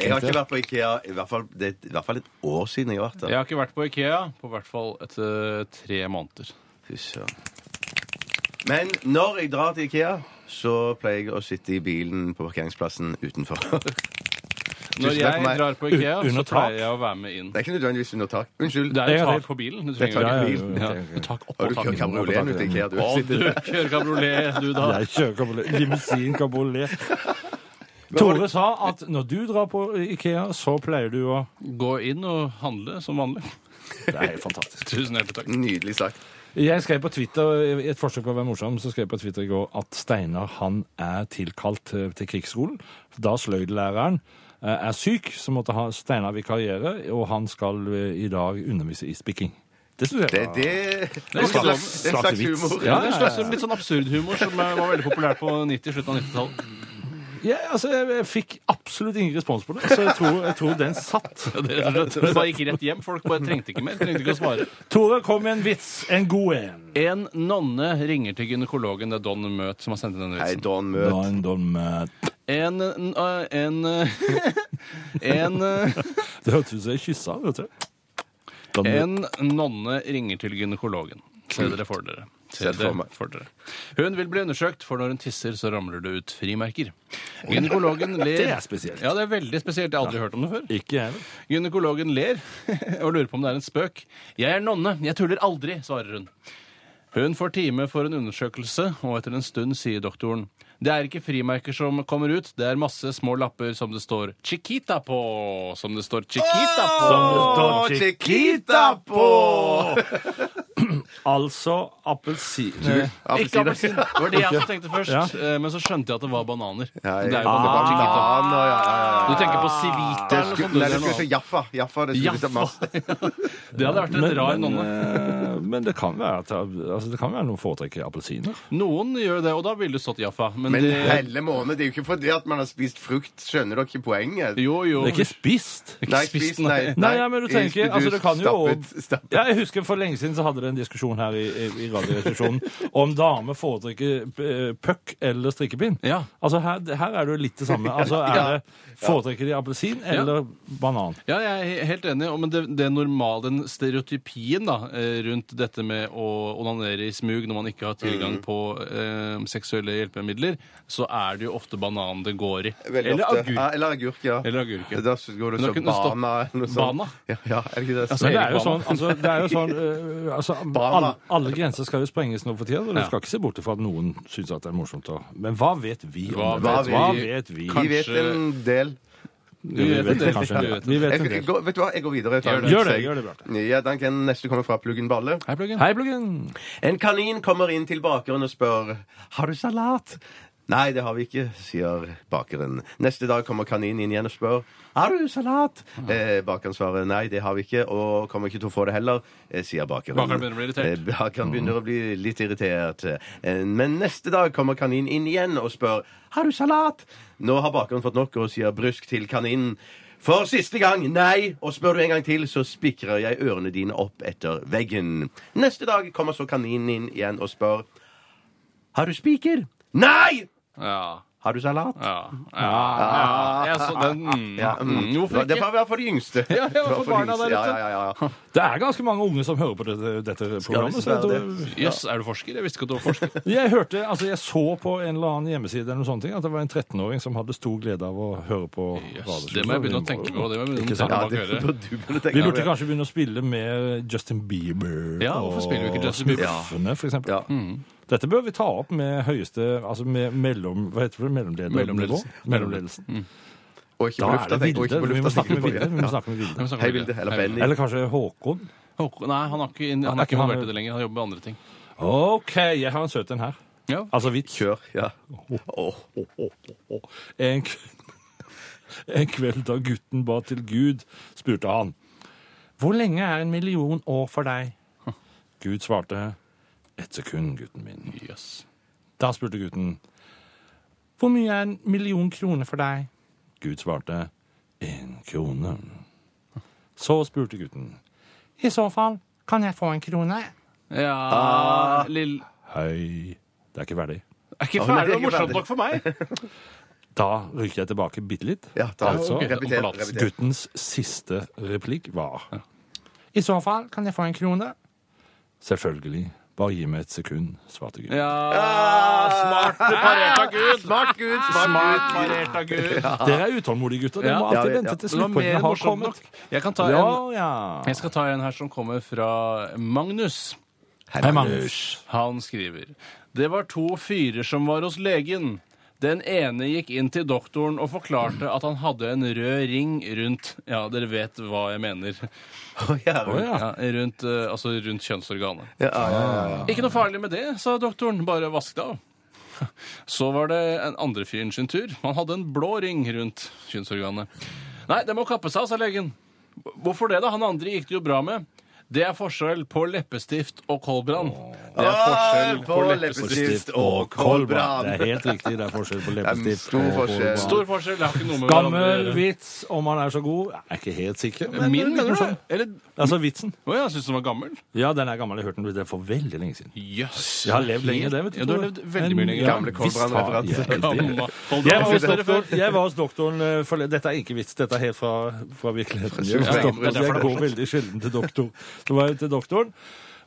[SPEAKER 4] Jeg har ikke vært på Ikea i hvert fall, det er i hvert fall et år siden jeg har vært der.
[SPEAKER 5] Jeg har ikke vært på Ikea på hvert fall etter tre måneder.
[SPEAKER 4] Fy søren. Men når jeg drar til Ikea, så pleier jeg å sitte i bilen på parkeringsplassen utenfor. [laughs] Det
[SPEAKER 5] Når
[SPEAKER 4] takk for
[SPEAKER 5] jeg
[SPEAKER 4] meg.
[SPEAKER 5] drar på
[SPEAKER 3] U-
[SPEAKER 5] Ikea,
[SPEAKER 3] under
[SPEAKER 5] så
[SPEAKER 3] tak.
[SPEAKER 5] pleier jeg å være med inn.
[SPEAKER 4] er ikke nødvendigvis under tak. Unnskyld.
[SPEAKER 5] Det er
[SPEAKER 3] Jeg
[SPEAKER 5] jo
[SPEAKER 3] har
[SPEAKER 5] tak
[SPEAKER 3] det.
[SPEAKER 5] på bilen. Du
[SPEAKER 4] Det er
[SPEAKER 5] trenger
[SPEAKER 4] tak i
[SPEAKER 5] ikke-
[SPEAKER 4] bilen.
[SPEAKER 5] Ja, tak oppå
[SPEAKER 4] Har du kjørt
[SPEAKER 5] taket.
[SPEAKER 4] kabrioleten ut til Ikea? Du
[SPEAKER 5] Å, du
[SPEAKER 4] sitter
[SPEAKER 5] kjører kabriolet, du da.
[SPEAKER 3] Jeg kjører kabriolet. Limousin kabriolet. Tore sa at når du drar på Ikea, så pleier du å
[SPEAKER 5] Gå inn og handle som vanlig.
[SPEAKER 3] Det er helt fantastisk.
[SPEAKER 5] Tusen hjertelig takk.
[SPEAKER 4] Nydelig sagt.
[SPEAKER 3] Jeg skrev på Twitter i et forsøk på å være morsom, så skrev jeg på Twitter i går at Steinar han er tilkalt eh, til krigsskolen. Da sløydlæreren eh, er syk, så måtte han- Steinar vikariere, og han skal eh, i dag undervise i spikking. Det syns jeg
[SPEAKER 4] Det,
[SPEAKER 3] var-
[SPEAKER 4] det, det er en slags, en slags humor.
[SPEAKER 5] Ja, det er en slags litt sånn absurd humor som eh, var veldig populært på 90, slutten av 90-tallet.
[SPEAKER 3] Ja, altså, jeg, jeg fikk absolutt ingen respons på det, så jeg tror, jeg tror den satt.
[SPEAKER 5] [laughs] Ja, det er rett og slett. Det bare gikk rett hjem. Folk bare trengte ikke mer. Trengte ikke å svare.
[SPEAKER 3] Tore, kom med en vits. En god en.
[SPEAKER 5] En nonne ringer til gynekologen. Det er Don Møt som har sendt inn denne
[SPEAKER 4] Hei,
[SPEAKER 5] vitsen.
[SPEAKER 4] Don Møt.
[SPEAKER 3] eh,
[SPEAKER 5] En En, en, eh, [laughs] en,
[SPEAKER 3] Det hørtes ut som jeg kyssa, vet du. Da-
[SPEAKER 5] en nonne ringer til gynekologen. Se dere for dere. Se
[SPEAKER 4] Ser det for meg.
[SPEAKER 5] for dere. Hun vil bli undersøkt, for når hun tisser, så ramler det ut frimerker. Gynekologen ler
[SPEAKER 3] Det er spesielt.
[SPEAKER 5] Ja, det er veldig spesielt. Jeg har aldri hørt om det før.
[SPEAKER 3] Ikke jeg heller.
[SPEAKER 5] Gynekologen ler og lurer på om det er en spøk. 'Jeg er nonne, jeg tuller aldri', svarer hun. Hun får time for en undersøkelse, og etter en stund sier doktoren det er ikke frimerker som kommer ut, det er masse små lapper som det står 'Chiquita' på. Som det står 'Chiquita' på.
[SPEAKER 4] Å, Chiquita på!
[SPEAKER 3] [clears throat] Altså appelsin...
[SPEAKER 5] Ikke
[SPEAKER 4] Appelsiner.
[SPEAKER 5] appelsin. Det var det jeg også tenkte først.
[SPEAKER 3] Ja.
[SPEAKER 5] eh, Men så skjønte jeg at det var bananer.
[SPEAKER 4] Ja,
[SPEAKER 5] Det er jo
[SPEAKER 4] ja,
[SPEAKER 5] bare chiquita.
[SPEAKER 4] bananer, ja, ja, ja,
[SPEAKER 5] Du
[SPEAKER 4] ja.
[SPEAKER 5] tenker på Civita
[SPEAKER 4] Det
[SPEAKER 5] eller noe
[SPEAKER 4] skulle-
[SPEAKER 5] sånt. du,
[SPEAKER 4] Nei, det
[SPEAKER 5] det er noe
[SPEAKER 4] skulle
[SPEAKER 5] annet.
[SPEAKER 4] si Jaffa. Jaffa, det skulle
[SPEAKER 5] Jaffa.
[SPEAKER 4] bli masse.
[SPEAKER 5] [laughs] Det hadde vært en rar nonne.
[SPEAKER 3] eh, men det kan være at altså, det kan være noen foretrekker appelsiner.
[SPEAKER 5] Noen gjør det, og da ville det stått Jaffa. Men,
[SPEAKER 4] Men
[SPEAKER 5] det,
[SPEAKER 4] helle måned, det er jo ikke fordi at man har spist frukt. Skjønner dere ikke poenget?
[SPEAKER 5] jo, jo.
[SPEAKER 3] Det er ikke spist.
[SPEAKER 4] Nei,
[SPEAKER 5] spist,
[SPEAKER 4] spist, nei.
[SPEAKER 3] Nei, ja, men du tenker,
[SPEAKER 4] Du
[SPEAKER 3] altså det kan jo
[SPEAKER 4] stappet- stappet.
[SPEAKER 3] ja, Jeg husker for lenge siden så hadde det en diskusjon her i, i, i radioresepsjonen om damer foretrekker eh, puck eller strikkepinn.
[SPEAKER 5] Ja.
[SPEAKER 3] Altså her, her er det jo litt det samme. Altså er det Foretrekker de appelsin eller banan?
[SPEAKER 5] Ja, jeg er he- helt enig. og- Men det, det normale, den stereotypien da, eh, rundt dette med å onanere i smug når man ikke har tilgang
[SPEAKER 4] Mm.
[SPEAKER 5] på eh, seksuelle hjelpemidler, så er det jo ofte bananen det går i.
[SPEAKER 4] Veldig
[SPEAKER 5] Eller
[SPEAKER 4] ofte.
[SPEAKER 5] agurk.
[SPEAKER 4] Ja, eller agurk, ja.
[SPEAKER 5] Eller agurk, ja.
[SPEAKER 4] Da går det
[SPEAKER 5] Men da
[SPEAKER 4] så
[SPEAKER 5] kunne det stått
[SPEAKER 4] bana eller noe sånt.
[SPEAKER 5] bana.
[SPEAKER 4] Ja, ja, er det ikke det?
[SPEAKER 5] Ja, så
[SPEAKER 3] Men det er jo
[SPEAKER 5] Erik
[SPEAKER 3] sånn,
[SPEAKER 5] Banan.
[SPEAKER 3] altså, det er jo sånn eh, altså, alle, alle grenser skal jo sprenges nå for tida, og du
[SPEAKER 5] Ja.
[SPEAKER 3] skal ikke se bort ifra at noen syns at det er morsomt. å- Men hva vet vi om
[SPEAKER 5] Hva
[SPEAKER 3] det?
[SPEAKER 5] vet
[SPEAKER 3] Hva
[SPEAKER 5] vi?
[SPEAKER 3] vet vi?
[SPEAKER 4] Vi vet
[SPEAKER 5] kanskje-
[SPEAKER 4] en del.
[SPEAKER 3] Vi
[SPEAKER 5] vet en del.
[SPEAKER 3] kanskje en del.
[SPEAKER 5] Vi vet en
[SPEAKER 3] Vi vet
[SPEAKER 4] Jeg,
[SPEAKER 3] en
[SPEAKER 4] jeg
[SPEAKER 3] del.
[SPEAKER 4] går, vet du hva, jeg går videre. Jeg tar en
[SPEAKER 5] Gjør det.
[SPEAKER 3] Gjør det,
[SPEAKER 4] seg.
[SPEAKER 3] gjør det, Bjarte.
[SPEAKER 4] Ja, den kan neste kommer fra Pluggen Balle.
[SPEAKER 5] Hei, Pluggen.
[SPEAKER 3] Hei, Bluggen.
[SPEAKER 4] En kanin kommer inn til bakeren og spør Har du salat? Nei, det har vi ikke, sier bakeren. Neste dag kommer kaninen inn igjen og spør Har du salat.
[SPEAKER 5] Mm.
[SPEAKER 4] Eh, bakeren svarer nei, det har vi ikke, og kommer ikke til å få det heller, eh, sier bakeren.
[SPEAKER 5] Bakeren begynner å bli
[SPEAKER 4] [laughs]
[SPEAKER 5] irritert.
[SPEAKER 4] Eh, bakeren begynner å bli litt irritert. Eh, men neste dag kommer kaninen inn igjen og spør Har du salat. Nå har bakeren fått nok og sier brysk til kaninen. For siste gang, nei! Og spør du en gang til, så spikrer jeg ørene dine opp etter veggen. Neste dag kommer så kaninen inn igjen og spør Har du spiker? Nei!
[SPEAKER 5] Ja,
[SPEAKER 4] Har du salat?
[SPEAKER 5] ja, ja,
[SPEAKER 4] Ah.
[SPEAKER 5] ja. Jeg så den. Mm.
[SPEAKER 4] Ja, mm.
[SPEAKER 5] Hvorfor
[SPEAKER 4] Det
[SPEAKER 5] ikke?
[SPEAKER 4] var i hvert fall de yngste.
[SPEAKER 5] ja,
[SPEAKER 4] Det var
[SPEAKER 5] for
[SPEAKER 4] de
[SPEAKER 5] barna
[SPEAKER 4] yngste.
[SPEAKER 5] der ute.
[SPEAKER 4] Ja, ja, ja, ja.
[SPEAKER 3] Det er ganske mange unge som hører på dette, dette programmet. Så jeg,
[SPEAKER 4] være
[SPEAKER 3] tror-
[SPEAKER 5] Jøss, er du forsker? Jeg visste ikke at du var forsker.
[SPEAKER 3] jeg hørte, altså jeg så på en eller annen hjemmeside eller noe sånt, at det var en 13-åring som hadde stor glede av å høre på
[SPEAKER 5] Jøss,
[SPEAKER 3] radioprogrammet.
[SPEAKER 5] det må jeg begynne å tenke på. Det må jeg begynne
[SPEAKER 3] Ikke
[SPEAKER 5] å
[SPEAKER 3] sant?
[SPEAKER 5] ta
[SPEAKER 4] Ja,
[SPEAKER 5] bak
[SPEAKER 4] det
[SPEAKER 5] øret.
[SPEAKER 4] burde [laughs] du begynne å tenke
[SPEAKER 3] Vi burde
[SPEAKER 4] på.
[SPEAKER 3] kanskje begynne å spille med Justin Bieber
[SPEAKER 5] Ja, hvorfor spiller vi ikke Justin Bieber? Mm.
[SPEAKER 3] Smurfene, for eksempel.
[SPEAKER 4] Ja.
[SPEAKER 3] Dette bør vi ta opp med høyeste Altså med mellom... Hva heter det? Mellomleder-
[SPEAKER 5] Mellomledelse.
[SPEAKER 3] nivå? Mellomledelsen.
[SPEAKER 5] Mm.
[SPEAKER 4] Og ikke
[SPEAKER 3] Da er
[SPEAKER 4] på
[SPEAKER 3] det
[SPEAKER 4] lufta, tenk. Og
[SPEAKER 3] Vilde.
[SPEAKER 4] ikke på
[SPEAKER 3] Vi må
[SPEAKER 4] lufta.
[SPEAKER 3] snakke med
[SPEAKER 4] tenk.
[SPEAKER 3] Vilde. Vi må
[SPEAKER 4] Ja.
[SPEAKER 3] snakke med
[SPEAKER 5] Jeg må
[SPEAKER 3] Vilde.
[SPEAKER 5] snakke
[SPEAKER 4] Hei,
[SPEAKER 5] med
[SPEAKER 4] Vilde.
[SPEAKER 5] Vilde.
[SPEAKER 4] Eller
[SPEAKER 5] Hei,
[SPEAKER 4] Benny.
[SPEAKER 3] Eller kanskje Håkon?
[SPEAKER 5] Håkon- Nei, han er ikke, inn- han
[SPEAKER 3] Nei,
[SPEAKER 5] er ikke
[SPEAKER 3] han
[SPEAKER 5] involvert
[SPEAKER 3] er-
[SPEAKER 5] i det lenger. Han jobber med andre ting.
[SPEAKER 3] OK, jeg har en søt en her.
[SPEAKER 5] Ja.
[SPEAKER 4] Ah.
[SPEAKER 3] Altså vits.
[SPEAKER 4] Kjør. Ja. Åh.
[SPEAKER 3] En, k- [laughs] en kveld da gutten ba til Gud, spurte han Hvor lenge er en million år for [laughs] deg? Gud svarte Ett sekund, gutten min.
[SPEAKER 5] Jøss.
[SPEAKER 3] Da spurte gutten Hvor mye er en million kroner for deg? Gud svarte En [laughs] krone. Så spurte gutten I så fall kan jeg få en krone?
[SPEAKER 5] Ja Lill...
[SPEAKER 3] Hei. Det er ikke verdig.
[SPEAKER 5] Er ikke
[SPEAKER 4] Ja, men det
[SPEAKER 5] ferdig
[SPEAKER 4] er
[SPEAKER 5] og
[SPEAKER 4] ikke
[SPEAKER 5] morsomt
[SPEAKER 4] ferdig.
[SPEAKER 5] nok for meg!
[SPEAKER 3] Da rykker jeg tilbake bitte litt.
[SPEAKER 4] ja da.
[SPEAKER 3] Altså,
[SPEAKER 4] Repeter,
[SPEAKER 5] omforlatelse.
[SPEAKER 4] repeter.
[SPEAKER 3] Guttens siste replikk var I så fall kan jeg få en krone? Selvfølgelig. Bare gi meg et sekund, svarte gutten.
[SPEAKER 5] Ja, Ah,
[SPEAKER 3] [laughs]
[SPEAKER 5] smart parert av Gud!
[SPEAKER 4] Smart Gud,
[SPEAKER 5] Smart
[SPEAKER 4] smart Gud.
[SPEAKER 5] parert av Gud.
[SPEAKER 3] Dere er utålmodige gutter. Dere
[SPEAKER 5] Ja.
[SPEAKER 3] må alltid
[SPEAKER 4] Ja, ja.
[SPEAKER 3] vente til
[SPEAKER 5] Det var mer
[SPEAKER 3] sluttpoengene har
[SPEAKER 5] morsomt nok.
[SPEAKER 3] kommet.
[SPEAKER 5] Jeg kan ta
[SPEAKER 3] Ja,
[SPEAKER 5] en
[SPEAKER 3] ja.
[SPEAKER 5] Jeg skal ta en her som kommer fra Magnus.
[SPEAKER 3] Hei, Magnus.
[SPEAKER 5] Han skriver Det var to fyrer som var hos legen. Den ene gikk inn til doktoren og forklarte at han hadde en rød ring rundt Ja, dere vet hva jeg mener.
[SPEAKER 4] Å, jævlig.
[SPEAKER 3] Ja.
[SPEAKER 5] Ja, rundt, eh, altså rundt kjønnsorganet.
[SPEAKER 4] Ja, ja, ja, ja.
[SPEAKER 5] Ikke noe farlig med det, sa doktoren. Bare vask det av. Så var det en andre fyren sin tur. Han hadde en blå ring rundt kjønnsorganet. Nei, det må kappe seg av, sa legen. Hvorfor det, da? Han andre gikk det jo bra med. Det er forskjell på leppestift og koldbrann. Det er forskjell på leppestift.
[SPEAKER 4] Leppestift og Kolbrand.
[SPEAKER 3] Det er helt riktig. Det er forskjell på
[SPEAKER 4] Det er en
[SPEAKER 3] leppestift
[SPEAKER 4] stor
[SPEAKER 3] og
[SPEAKER 4] forskjell.
[SPEAKER 3] kolbrand.
[SPEAKER 5] Stor forskjell. Det har ikke noe med
[SPEAKER 3] Gammel
[SPEAKER 5] hverandre å gjøre.
[SPEAKER 3] vits, om han er så god. Jeg er ikke helt sikker. men
[SPEAKER 5] Min,
[SPEAKER 3] det er
[SPEAKER 5] mener du?
[SPEAKER 3] morsom.
[SPEAKER 5] Eller
[SPEAKER 3] Altså vitsen.
[SPEAKER 5] Å ja, syns du den var gammel?
[SPEAKER 3] Ja, den er gammel. Jeg hørte den det for veldig lenge siden.
[SPEAKER 5] Jøss.
[SPEAKER 3] Jeg har levd lenge, det, vet du.
[SPEAKER 5] Ja, du har
[SPEAKER 3] Tore.
[SPEAKER 5] levd veldig mye
[SPEAKER 3] Men-
[SPEAKER 5] lenger.
[SPEAKER 3] ja,
[SPEAKER 4] Gamle
[SPEAKER 3] visst har
[SPEAKER 4] Kolbrand-referanse.
[SPEAKER 3] jeg det.
[SPEAKER 5] Gamle
[SPEAKER 3] [laughs] Jeg var hos
[SPEAKER 5] koldbrann.
[SPEAKER 3] doktoren, jeg var hos doktoren eh, for, Dette er ikke vits, dette er helt fra, fra virkeligheten. Jeg, var
[SPEAKER 4] Ja,
[SPEAKER 3] hos
[SPEAKER 4] det er
[SPEAKER 3] doktoren, så jeg går veldig sjelden til doktor. Så var jeg til doktoren.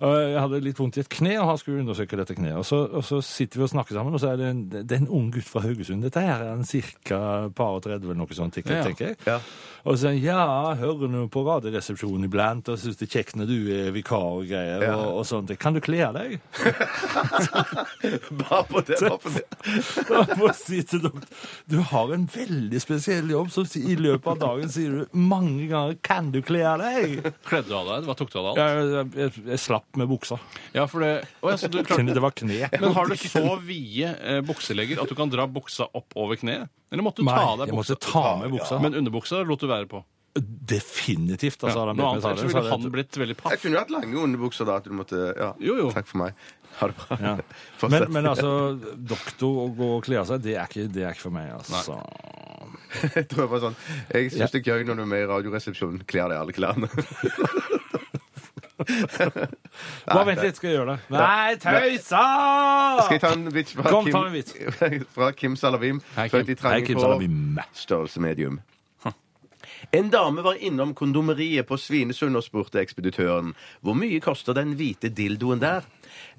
[SPEAKER 3] og Jeg hadde litt vondt i et kne, og han skulle undersøke dette kneet. Og så, og så sitter vi og snakker sammen, og så er det en, det er en ung gutt fra Haugesund. Dette her er en cirka par og 30 eller noe sånt, tenker,
[SPEAKER 5] Ja.
[SPEAKER 3] tenker jeg.
[SPEAKER 4] Ja.
[SPEAKER 3] Og så sier han ja, hører nå på Radioresepsjonen iblant, og syns det er kjekt når du er vikar og greier,
[SPEAKER 4] Ja.
[SPEAKER 3] og, og sånt. Kan du kle av deg?
[SPEAKER 4] Bare på det, bare på det.
[SPEAKER 3] [laughs] Jeg må si til doktor, du har en veldig spesiell jobb, så si- i løpet av dagen sier du mange ganger 'kan du kle av deg'?
[SPEAKER 5] Kledde du av deg? Hva tok du av deg?
[SPEAKER 3] Jeg, jeg, jeg, jeg slapp med buksa.
[SPEAKER 5] Ja, for det Å ja, så du klarte
[SPEAKER 3] Siden det var kne.
[SPEAKER 5] Men har du så vide eh, bukselegger at du kan dra buksa opp over kneet? Eller måtte du
[SPEAKER 3] Nei,
[SPEAKER 5] ta av deg
[SPEAKER 3] jeg måtte
[SPEAKER 5] buksa?
[SPEAKER 3] ta med buksa.
[SPEAKER 5] Men underbuksa lot du være på.
[SPEAKER 3] Definitivt. Altså, hadde han
[SPEAKER 5] Noe
[SPEAKER 3] bedt meg
[SPEAKER 5] annet
[SPEAKER 3] ta det,
[SPEAKER 5] ellers
[SPEAKER 3] så
[SPEAKER 5] ville
[SPEAKER 3] hadde
[SPEAKER 5] han
[SPEAKER 3] jeg-
[SPEAKER 5] blitt veldig
[SPEAKER 4] Jeg
[SPEAKER 5] paff.
[SPEAKER 4] kunne jo hatt lange underbukser da, at du måtte ja.
[SPEAKER 5] Jo, jo.
[SPEAKER 4] Takk for meg. Ha det bra.
[SPEAKER 3] ja.
[SPEAKER 4] [laughs] Fortsett.
[SPEAKER 3] men, men altså, doktor å gå og kle av seg, det er ikke, det er ikke for meg, altså.
[SPEAKER 4] [laughs] Jeg tror jeg bare sånn Jeg syns det er gøy når du er med i Radioresepsjonen. Kler deg i alle klærne.
[SPEAKER 3] Bare vent litt, skal jeg gjøre det. Nei, tøysa!
[SPEAKER 4] Skal jeg ta en vits fra
[SPEAKER 3] Kom,
[SPEAKER 4] Kim,
[SPEAKER 3] ta en vits.
[SPEAKER 4] [laughs] fra Kim Salavim?
[SPEAKER 5] Hei, Kim.
[SPEAKER 4] Født i
[SPEAKER 3] Hei,
[SPEAKER 4] trange
[SPEAKER 3] Kim
[SPEAKER 4] kår,
[SPEAKER 3] Salabim.
[SPEAKER 4] størrelse medium. En dame var innom kondomeriet på Svinesund og spurte ekspeditøren hvor mye koster den hvite dildoen der.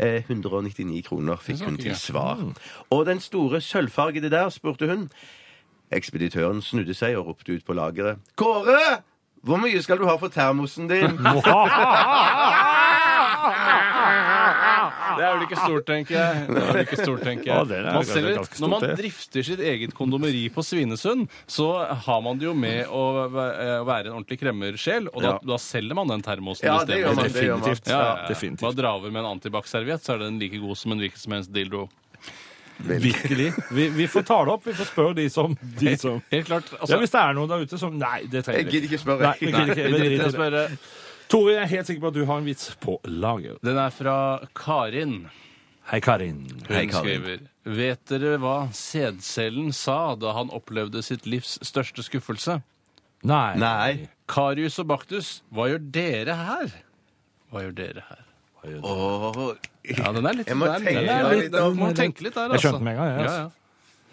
[SPEAKER 4] Eh, 199 kroner fikk hun til svar. Og den store sølvfargede der, spurte hun. Ekspeditøren snudde seg og ropte ut på lageret.
[SPEAKER 3] [laughs]
[SPEAKER 4] Kåre! Hvor mye skal du ha for termosen din?
[SPEAKER 3] [laughs]
[SPEAKER 5] Det er vel ikke stort, tenker jeg. Det er vel ikke stort, tenker
[SPEAKER 3] Ja,
[SPEAKER 5] jeg.
[SPEAKER 3] det er
[SPEAKER 5] man
[SPEAKER 3] ganske-
[SPEAKER 5] selger,
[SPEAKER 3] ganske stort,
[SPEAKER 5] når man
[SPEAKER 3] det.
[SPEAKER 5] drifter sitt eget kondomeri på Svinesund, så har man det jo med å væ- eh, være en ordentlig kremmersjel, og da,
[SPEAKER 3] Ja.
[SPEAKER 5] da selger man den termosen.
[SPEAKER 4] Ja,
[SPEAKER 5] hvis
[SPEAKER 4] det
[SPEAKER 5] er
[SPEAKER 4] gjør man,
[SPEAKER 5] mulig.
[SPEAKER 4] det gjør man.
[SPEAKER 3] Definitivt.
[SPEAKER 5] Ja, ja, ja.
[SPEAKER 3] definitivt.
[SPEAKER 5] Bare dra over med en antibac-serviett, så er den like god som en hvilken som helst dildo.
[SPEAKER 3] Virkelig. Vi, vi får ta det opp. Vi får spørre de som, [laughs] de som
[SPEAKER 5] Helt klart.
[SPEAKER 3] ja,
[SPEAKER 5] Altså,
[SPEAKER 3] Hvis det er noen der ute som Nei, det trenger
[SPEAKER 4] Jeg gidder ikke spørre.
[SPEAKER 3] Nei, vi gidder ikke. Vi
[SPEAKER 5] jeg
[SPEAKER 3] driter i det.
[SPEAKER 5] spørre.
[SPEAKER 3] Tore, jeg er helt sikker på at du har en vits på lager.
[SPEAKER 5] Den er fra Karin.
[SPEAKER 3] Hei, Karin.
[SPEAKER 5] Hun skriver Vet dere hva sædcellen sa da han opplevde sitt livs største skuffelse?
[SPEAKER 3] Nei.
[SPEAKER 4] Nei.
[SPEAKER 5] Karius og Baktus, hva gjør dere her? Hva gjør dere her?
[SPEAKER 4] Åh,
[SPEAKER 5] Ja, den er litt
[SPEAKER 4] Jeg må
[SPEAKER 5] den er-
[SPEAKER 4] tenke
[SPEAKER 5] den er
[SPEAKER 4] litt
[SPEAKER 5] litt-
[SPEAKER 4] da.
[SPEAKER 5] Du må tenke litt der, altså.
[SPEAKER 3] Jeg skjønte den med en gang, jeg,
[SPEAKER 5] Ja, ja.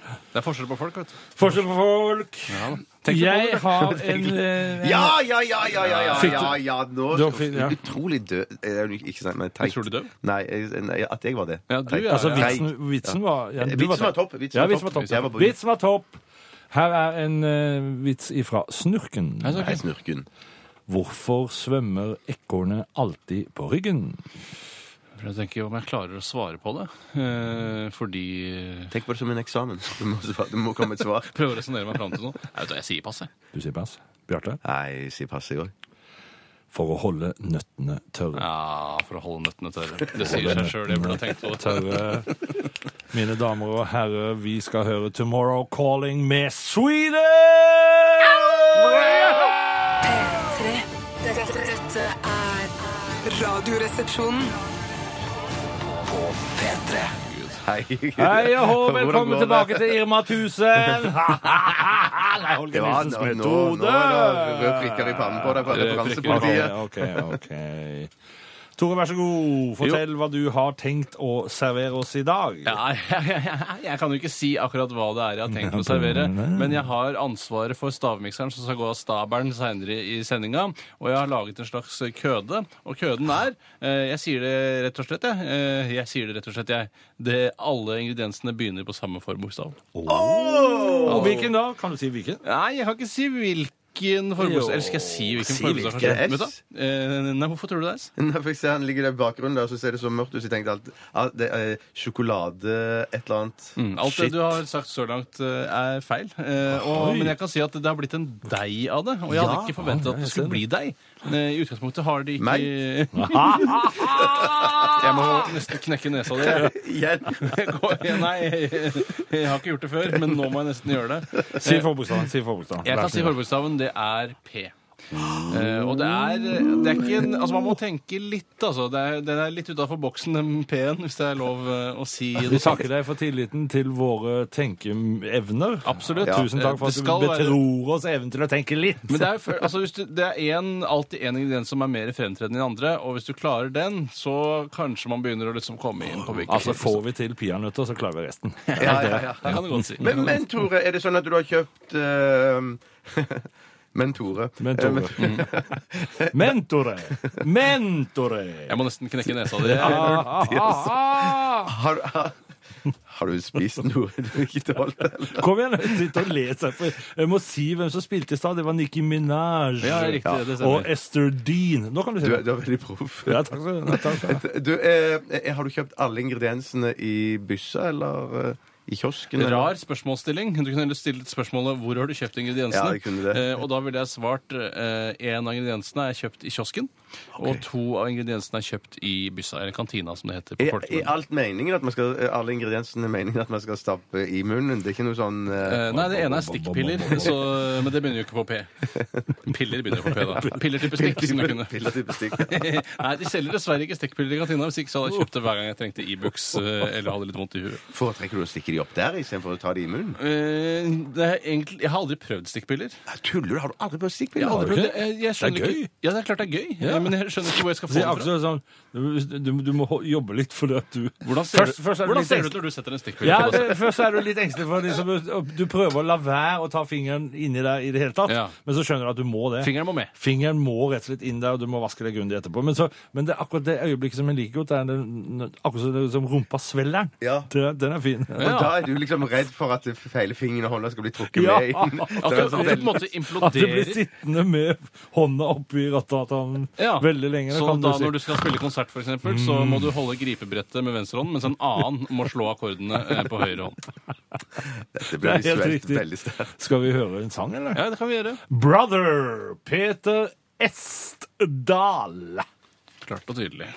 [SPEAKER 5] Det er forskjell på folk, vet du.
[SPEAKER 3] Forskjell på folk.
[SPEAKER 5] Tenk litt på
[SPEAKER 3] Jeg
[SPEAKER 5] det.
[SPEAKER 3] har en eh,
[SPEAKER 4] Ja, ja, ja, ja, ja, ja,
[SPEAKER 3] Fikk du-
[SPEAKER 4] ja, ja, nå
[SPEAKER 3] Du har fin- ja.
[SPEAKER 4] Utrolig død Eh, Er du ikke sant, men teit.
[SPEAKER 5] Utrolig død?
[SPEAKER 4] Nei, jeg- nei, at jeg var det.
[SPEAKER 5] Ja, du
[SPEAKER 4] Teit.
[SPEAKER 5] er-
[SPEAKER 3] Altså,
[SPEAKER 5] ja.
[SPEAKER 3] vitsen, vitsen var ja, du
[SPEAKER 4] Eh, Vitsen var topp, vitsen
[SPEAKER 3] Ja,
[SPEAKER 4] var
[SPEAKER 3] vitsen var
[SPEAKER 4] topp.
[SPEAKER 3] topp.
[SPEAKER 4] Jeg var på-
[SPEAKER 3] Vitsen var topp. Her er en eh, vits ifra Snurken.
[SPEAKER 4] Nei, snurken.
[SPEAKER 3] Hvorfor svømmer ekornet alltid på ryggen?
[SPEAKER 5] Jeg tenker om jeg klarer å svare på det. Eh, fordi
[SPEAKER 4] Tenk på det som en eksamen. Du må, svare- det må komme et svar.
[SPEAKER 5] Prøver å resonnere meg fram til noe. Jeg, vet, hva, jeg sier pass, jeg.
[SPEAKER 3] Du sier pass. Bjarte?
[SPEAKER 4] Nei, si pass i går.
[SPEAKER 3] For å holde nøttene tørre.
[SPEAKER 5] Ja, for å holde nøttene tørre. Det sier seg sjøl. Jeg burde ha tenkt på det.
[SPEAKER 3] Tørre. Mine damer og herrer, vi skal høre Tomorrow Calling med Sweden!
[SPEAKER 7] P3. Dette, dette er Radioresepsjonen.
[SPEAKER 4] Hei.
[SPEAKER 3] Hei og hå,
[SPEAKER 4] [laughs] Hvordan
[SPEAKER 3] velkommen
[SPEAKER 4] går det?
[SPEAKER 3] tilbake til Irma
[SPEAKER 4] [laughs]
[SPEAKER 3] 1000! Nei, Holger
[SPEAKER 4] Ja,
[SPEAKER 3] Nilsens
[SPEAKER 4] nå, nå, nå
[SPEAKER 3] metode!
[SPEAKER 4] er det røde prikker i pannen på deg fra
[SPEAKER 5] Røde prikker i
[SPEAKER 4] referansepartiet.
[SPEAKER 3] Ok, ok, ok. Tore, vær så god. Fortell hva du har tenkt å servere oss i dag.
[SPEAKER 5] Ja, jeg, jeg kan jo ikke si akkurat hva det er jeg har tenkt å servere, men jeg har ansvaret for stavmikseren som skal gå av stabelen seinere i sendinga, og jeg har laget en slags køde, og køden er eh, Jeg sier det rett og slett, jeg. Eh, Jeg sier det rett og slett, jeg. Det, alle ingrediensene begynner på samme forbokstav.
[SPEAKER 3] Og hvilken da? Kan du si hvilken?
[SPEAKER 5] Nei, jeg kan ikke si hvilken forbokstav. Eller skal jeg si hvilken
[SPEAKER 4] Si
[SPEAKER 5] forbokstav?
[SPEAKER 4] hvilken S.
[SPEAKER 5] kanskje? Vet du hva? Eh, Nei, hvorfor tror du det er S?
[SPEAKER 4] Nei, for jeg ser Han ligger der i bakgrunnen, der, og så ser det så mørkt ut. Så jeg tenkte alt, alt det er Sjokolade, et eller annet.
[SPEAKER 5] Mm, Alt det du har sagt så langt, eh, er feil. Eh, og, men jeg kan si at det har blitt en deig av det. Og jeg hadde
[SPEAKER 4] Ja.
[SPEAKER 5] ikke forventa at det skulle bli deig. Eh, I utgangspunktet har de ikke [laughs]
[SPEAKER 4] Meg?
[SPEAKER 5] Jeg må nesten knekke nesa di.
[SPEAKER 4] [laughs]
[SPEAKER 3] [laughs]
[SPEAKER 4] Igjen.
[SPEAKER 5] Jeg går- Nei, jeg har ikke gjort det før, men nå må jeg nesten gjøre det.
[SPEAKER 3] Si forbokstaven. Si forbokstaven.
[SPEAKER 5] Eh, Jeg
[SPEAKER 3] Vær
[SPEAKER 5] kan
[SPEAKER 3] så
[SPEAKER 5] si
[SPEAKER 3] god.
[SPEAKER 5] forbokstaven. Det er P. Eh, og det er, det er ikke en, altså Man må tenke litt, altså. Det er, den er litt utafor boksen, den P-en, hvis det er lov eh, å si
[SPEAKER 3] Vi
[SPEAKER 5] noe sånt.
[SPEAKER 3] takker deg for tilliten til våre tenkeevner.
[SPEAKER 5] Absolutt.
[SPEAKER 3] Tusen takk for
[SPEAKER 5] Det
[SPEAKER 3] at du
[SPEAKER 5] skal være-
[SPEAKER 3] betror oss evnen til å tenke litt.
[SPEAKER 5] Men det er, jo før- altså, hvis du, det er en, alltid én ingrediens som er mer fremtredende enn andre, og hvis du klarer den, så kanskje man begynner å liksom komme inn på hvilken
[SPEAKER 3] Altså, får vi til peanøtter, så klarer vi resten.
[SPEAKER 4] Ja, ja, ja.
[SPEAKER 5] Det kan du godt si.
[SPEAKER 4] Men, men Tore, er det sånn at du har kjøpt eh, [laughs] Men Tore.
[SPEAKER 3] Men Tore. Mm. Mentore! Mentore!
[SPEAKER 5] Jeg må nesten knekke nesa
[SPEAKER 4] [laughs]
[SPEAKER 5] di.
[SPEAKER 4] Har, du- har, har du spist noe du ikke tålte? eller?
[SPEAKER 3] Kom igjen, sitt og les her. for Jeg må si hvem som spilte i stad. Det var Nicki Minaj
[SPEAKER 5] Ja, riktig, det stemmer.
[SPEAKER 3] og Esther Dean. Nå kan du si
[SPEAKER 4] Du,
[SPEAKER 3] det.
[SPEAKER 4] er- du er veldig proff.
[SPEAKER 3] Ja, takk skal du- takk skal du ha.
[SPEAKER 4] Du, eh, eh, har du kjøpt alle ingrediensene i byssa eller eh, i kiosken? eller?
[SPEAKER 5] Rar spørsmålsstilling. Du kunne heller stilt spørsmålet hvor har du kjøpt ingrediensene.
[SPEAKER 4] Ja, jeg kunne det.
[SPEAKER 5] Eh, og da ville jeg svart eh, en av ingrediensene er kjøpt i kiosken, og to av ingrediensene er kjøpt i byssa, eller kantina, som det heter. på
[SPEAKER 4] Er, er
[SPEAKER 5] folkemunne.
[SPEAKER 4] alt meningen at man skal, er alle ingrediensene meningen at man skal stappe i munnen? Det er ikke noe sånn eh,
[SPEAKER 5] Eh, Nei, det ene er stikkpiller, så, men det begynner jo ikke på P. Piller begynner på P, da. Piller type stikk, som jeg kunne.
[SPEAKER 4] piller til bestikk.
[SPEAKER 5] [laughs] Nei, de selger dessverre ikke stekkpiller i kantina. Hvis ikke så hadde jeg kjøpt det hver gang jeg trengte Ibux e eller hadde litt vondt i huet.
[SPEAKER 4] Foretrekker du å stikke de opp der istedenfor å ta de i munnen?
[SPEAKER 5] Eh, det er egentlig, jeg har aldri prøvd stikkpiller.
[SPEAKER 4] Nei, Tuller du? Har du aldri prøvd
[SPEAKER 5] Jeg har
[SPEAKER 4] stikkpiller?
[SPEAKER 5] aldri
[SPEAKER 3] du
[SPEAKER 5] prøvd det. Eh,
[SPEAKER 3] ikke?
[SPEAKER 5] Jeg, jeg skjønner
[SPEAKER 3] Det er gøy.
[SPEAKER 5] Ikke, ja, det er klart det er gøy,
[SPEAKER 3] Ja.
[SPEAKER 5] eh, men jeg skjønner ikke hvor jeg skal
[SPEAKER 3] Det
[SPEAKER 5] få
[SPEAKER 3] er
[SPEAKER 5] det fra.
[SPEAKER 3] akkurat sånn Du, du må ho- jobbe litt fordi at du
[SPEAKER 5] Hvordan ser,
[SPEAKER 3] Først- først er
[SPEAKER 5] du,
[SPEAKER 3] det
[SPEAKER 5] hvordan
[SPEAKER 3] litt
[SPEAKER 5] ser det
[SPEAKER 3] engst-
[SPEAKER 5] ut når du setter en stikkpille?
[SPEAKER 3] ja,
[SPEAKER 5] på
[SPEAKER 3] det, Først er du litt engstelig for liksom, Du prøver å la være å ta fingeren inni der i det hele tatt,
[SPEAKER 5] Ja.
[SPEAKER 3] men så skjønner du at du må det.
[SPEAKER 5] Fingeren må med.
[SPEAKER 3] Fingeren må rett og slett inn der, og du må vaske deg grundig etterpå. Men, så, men det er akkurat det øyeblikket som jeg liker godt, det er den- akkurat som- som rumpa svelger den.
[SPEAKER 4] Ja.
[SPEAKER 3] Det- Den er fin.
[SPEAKER 5] Ja,
[SPEAKER 4] da er du liksom redd for at hele fingeren og hånda skal bli trukket
[SPEAKER 3] Ja.
[SPEAKER 4] med inn. Så
[SPEAKER 5] At det,
[SPEAKER 4] det
[SPEAKER 5] at
[SPEAKER 4] er sånn
[SPEAKER 5] Altså, det på en
[SPEAKER 4] veldig-
[SPEAKER 5] måte
[SPEAKER 3] At du blir
[SPEAKER 5] imploderer.
[SPEAKER 3] sittende med hånda oppi rattatanen
[SPEAKER 5] Ja.
[SPEAKER 3] veldig lenge. det
[SPEAKER 5] Så
[SPEAKER 3] kan
[SPEAKER 5] da
[SPEAKER 3] du si.
[SPEAKER 5] når du skal spille konsert, for eksempel, så må du holde gripebrettet med venstre hånd, mens en annen må slå akkordene eh, på høyre hånd.
[SPEAKER 4] Dette
[SPEAKER 3] Det
[SPEAKER 4] ble
[SPEAKER 3] er helt
[SPEAKER 4] visuelt
[SPEAKER 3] riktig.
[SPEAKER 4] veldig sterkt.
[SPEAKER 3] Skal vi høre en sang, eller?
[SPEAKER 5] Ja, det kan vi gjøre.
[SPEAKER 3] Brother Peter Estdal.
[SPEAKER 5] Klart og tydelig.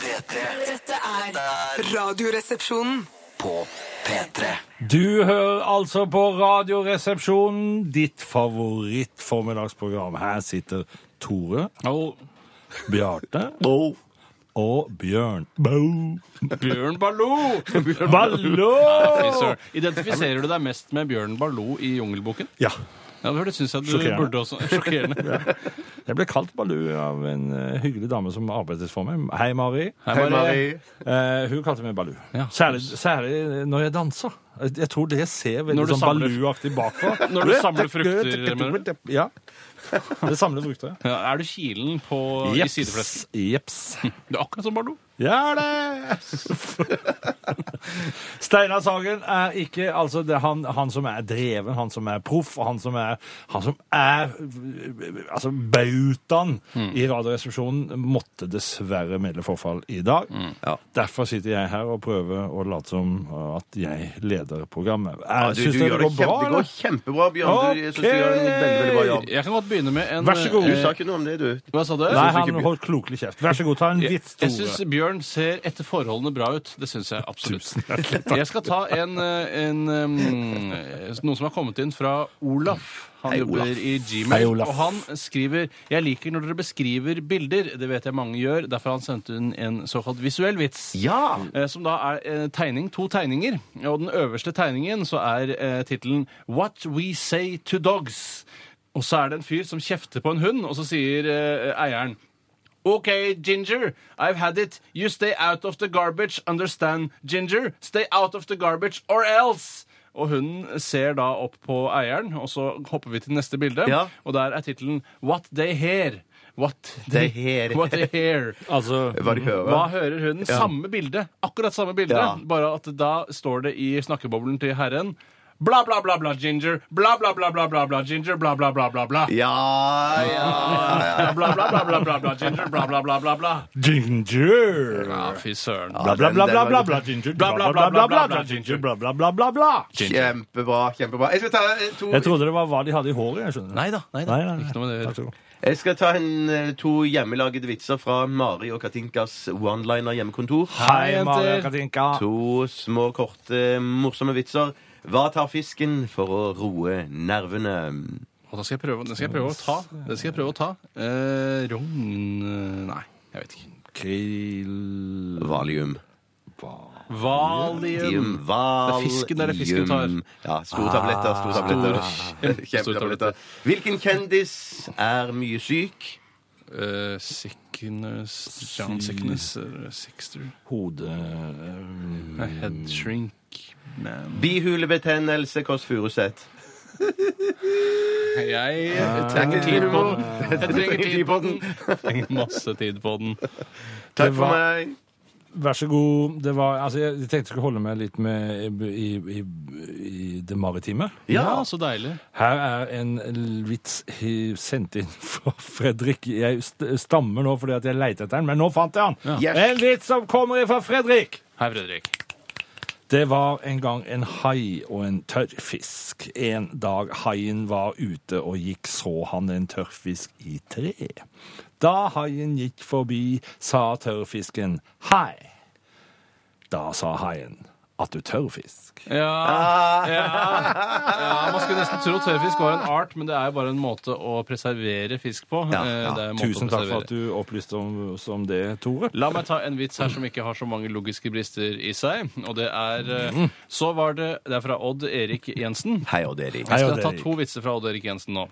[SPEAKER 2] P3
[SPEAKER 7] Dette er Radioresepsjonen.
[SPEAKER 2] på P3
[SPEAKER 3] Du hører altså på Radioresepsjonen, ditt favorittformiddagsprogram. Her sitter Tore,
[SPEAKER 5] Og
[SPEAKER 3] Bjarte og Bjørn.
[SPEAKER 5] Bjørn
[SPEAKER 3] [laughs]
[SPEAKER 5] Baloo!
[SPEAKER 3] Ballo!
[SPEAKER 5] Fy søren. Identifiserer du deg mest med Bjørn Baloo i Jungelboken?
[SPEAKER 3] Ja.
[SPEAKER 5] Ja, for det synes jeg du
[SPEAKER 3] Sjokkerende.
[SPEAKER 5] burde også.
[SPEAKER 3] [laughs]
[SPEAKER 5] Sjokkerende.
[SPEAKER 3] Jeg ble kalt Baloo av en eh, hyggelig dame som arbeidet for meg. Hei, Mari.
[SPEAKER 4] Hei, Marie.
[SPEAKER 3] Eh, hun kalte meg Baloo.
[SPEAKER 5] Ja.
[SPEAKER 3] Særlig, særlig når jeg danser. Jeg tror det ser veldig
[SPEAKER 5] Når du
[SPEAKER 3] sånn
[SPEAKER 5] samler-
[SPEAKER 3] Baloo-aktig bakfra.
[SPEAKER 5] [laughs] Når du samler frukter, mener du?
[SPEAKER 3] Ja. Det samler frukter.
[SPEAKER 5] Ja, er du kilen på, i sideflesken?
[SPEAKER 3] Jeps.
[SPEAKER 5] Du er akkurat som Baloo.
[SPEAKER 3] Ja, det! Steinar Sagen er ikke altså det er han, han som er dreven, han som er proff, og han som er, han som er altså bautaen i Radioresepsjonen, måtte dessverre melde forfall i dag. Derfor sitter jeg her og prøver å late som at jeg leder programmet. Jeg
[SPEAKER 4] Du,
[SPEAKER 3] syns
[SPEAKER 4] du
[SPEAKER 3] det,
[SPEAKER 4] gjør det,
[SPEAKER 3] går
[SPEAKER 4] kjempe,
[SPEAKER 3] bra,
[SPEAKER 4] det går
[SPEAKER 3] eller?
[SPEAKER 4] kjempebra, Bjørn. Du, jeg synes du gjør en veldig, veldig bra jobb.
[SPEAKER 5] Jeg kan godt begynne med en eh,
[SPEAKER 3] Vær så god.
[SPEAKER 4] Du sa ikke noe om det, du.
[SPEAKER 5] Hva sa du?
[SPEAKER 3] Nei,
[SPEAKER 4] synes ikke
[SPEAKER 3] han
[SPEAKER 4] Bjørn-
[SPEAKER 3] holdt klokelig kjeft. Vær så god, ta en vits,
[SPEAKER 5] Jeg syns
[SPEAKER 3] Tore.
[SPEAKER 5] Bjørn ser etter forholdene bra ut. Det syns jeg absolutt. Jeg skal ta en, eh, en eh, noe som har kommet inn fra Olaf. Han
[SPEAKER 4] Hei,
[SPEAKER 5] jobber
[SPEAKER 4] Olaf.
[SPEAKER 5] i
[SPEAKER 3] Hei,
[SPEAKER 5] Gmail,
[SPEAKER 3] Olaf.
[SPEAKER 5] og han skriver Jeg liker når dere beskriver bilder. Det vet jeg mange gjør. Derfor har han sendt inn en såkalt visuell vits.
[SPEAKER 4] Ja!
[SPEAKER 5] Eh, Som da er eh, tegning, to tegninger. Og den øverste tegningen så er eh, tittelen What We Say to Dogs. Og så er det en fyr som kjefter på en hund, og så sier eh, eieren OK, Ginger, I've had it. You stay out of the garbage, understand, Ginger? Stay out of the garbage or else! Og hunden ser da opp på eieren, og så hopper vi til neste bilde.
[SPEAKER 4] Ja.
[SPEAKER 5] Og der er tittelen What They Hear. What [laughs]
[SPEAKER 4] They Hear.
[SPEAKER 5] What they hear.
[SPEAKER 3] Altså,
[SPEAKER 4] Hva de hører.
[SPEAKER 5] Hva hører hunden? Samme bilde. Akkurat samme bilde,
[SPEAKER 4] Ja.
[SPEAKER 5] bare at da står det i snakkeboblen til herren Bla, bla, bla, bla, Ginger. Bla, bla, bla, bla, bla, bla, Ginger. Bla, bla, bla, bla, bla.
[SPEAKER 4] Ja, ja, ja.
[SPEAKER 5] Bla, bla, bla, bla, bla, bla, Ginger. Bla, bla, bla, bla, bla.
[SPEAKER 3] Ginger!
[SPEAKER 5] Ja, fy søren.
[SPEAKER 3] Bla, bla, bla, bla, bla, bla, ginger. Bla, bla, bla, bla, bla, bla, ginger. Bla, bla, bla, bla, bla.
[SPEAKER 4] Kjempebra. kjempebra Jeg skal ta eh, to,
[SPEAKER 3] Jeg trodde det var hva de hadde i håret. jeg skjønner.
[SPEAKER 5] Nei da. Nei da.
[SPEAKER 3] Nei, nei, nei.
[SPEAKER 5] Ikke noe med det. å
[SPEAKER 3] Takk skal du
[SPEAKER 5] gjøre.
[SPEAKER 3] ha.
[SPEAKER 4] jeg skal ta en, eh, to hjemmelagede vitser fra Mari og Katinkas one-liner hjemmekontor.
[SPEAKER 3] Hei,
[SPEAKER 5] jenter.
[SPEAKER 3] Maria Katinka.
[SPEAKER 4] To små, korte, morsomme vitser. Hva tar fisken for å roe nervene?
[SPEAKER 5] Og da skal jeg prøve, den skal jeg prøve å ta. Den skal jeg prøve å ta. Eh, rogn eh, Nei, jeg vet ikke.
[SPEAKER 3] Krill...
[SPEAKER 4] Valium.
[SPEAKER 5] Valium.
[SPEAKER 4] Valium. Valium.
[SPEAKER 5] Det er fisken der det fisken tar. Ah.
[SPEAKER 4] Ja, store tabletter, store [laughs] tabletter.
[SPEAKER 5] Store tabletter.
[SPEAKER 4] Kjempetabletter. Hvilken kjendis er mye syk?
[SPEAKER 5] Eh, sickness John Sickness. eh, Sixter.
[SPEAKER 3] Hode... eh, Mm.
[SPEAKER 5] Head shrink.
[SPEAKER 3] [laughs]
[SPEAKER 5] Man.
[SPEAKER 4] Bihulebetennelse, Kåss Furuseth.
[SPEAKER 5] Jeg
[SPEAKER 4] Eh,
[SPEAKER 5] trenger tid på
[SPEAKER 4] [laughs]
[SPEAKER 5] den. Jeg trenger tid på den. Jeg trenger masse tid på den.
[SPEAKER 4] Takk for
[SPEAKER 3] var-
[SPEAKER 4] meg.
[SPEAKER 3] Vær så god. Det var, altså, jeg jeg tenkte jeg skulle holde meg litt med i, i, i det maritime.
[SPEAKER 5] Ja, så deilig.
[SPEAKER 3] Her er en vits he- sendt inn fra Fredrik. Jeg st- stammer nå fordi at jeg leter etter den, men nå fant jeg den.
[SPEAKER 4] Yes.
[SPEAKER 3] En vits som kommer fra Fredrik.
[SPEAKER 5] Hei, Fredrik.
[SPEAKER 3] Det var en gang en hai og en tørrfisk. En dag haien var ute og gikk, så han en tørrfisk i tre. Da haien gikk forbi, sa tørrfisken hei. Da sa haien at du tørrfisk.
[SPEAKER 5] Ja,
[SPEAKER 3] Ah.
[SPEAKER 5] ja, ja, Man skulle nesten tro tørrfisk var en art, men det er jo bare en måte å preservere fisk på.
[SPEAKER 4] Ja,
[SPEAKER 5] Eh, det er en måte å
[SPEAKER 3] Tusen takk for
[SPEAKER 5] preservere.
[SPEAKER 3] at du opplyste om, om det, Tore.
[SPEAKER 5] La meg ta en vits her som ikke har så mange logiske brister i seg. Og det er eh, Så var det Det er fra Odd Erik Jensen.
[SPEAKER 4] Mm. Hei, Odd Erik.
[SPEAKER 3] Hei,
[SPEAKER 5] Jeg skal
[SPEAKER 3] Odd
[SPEAKER 5] ta
[SPEAKER 3] Erik.
[SPEAKER 5] to vitser fra Odd-Erik Jensen nå.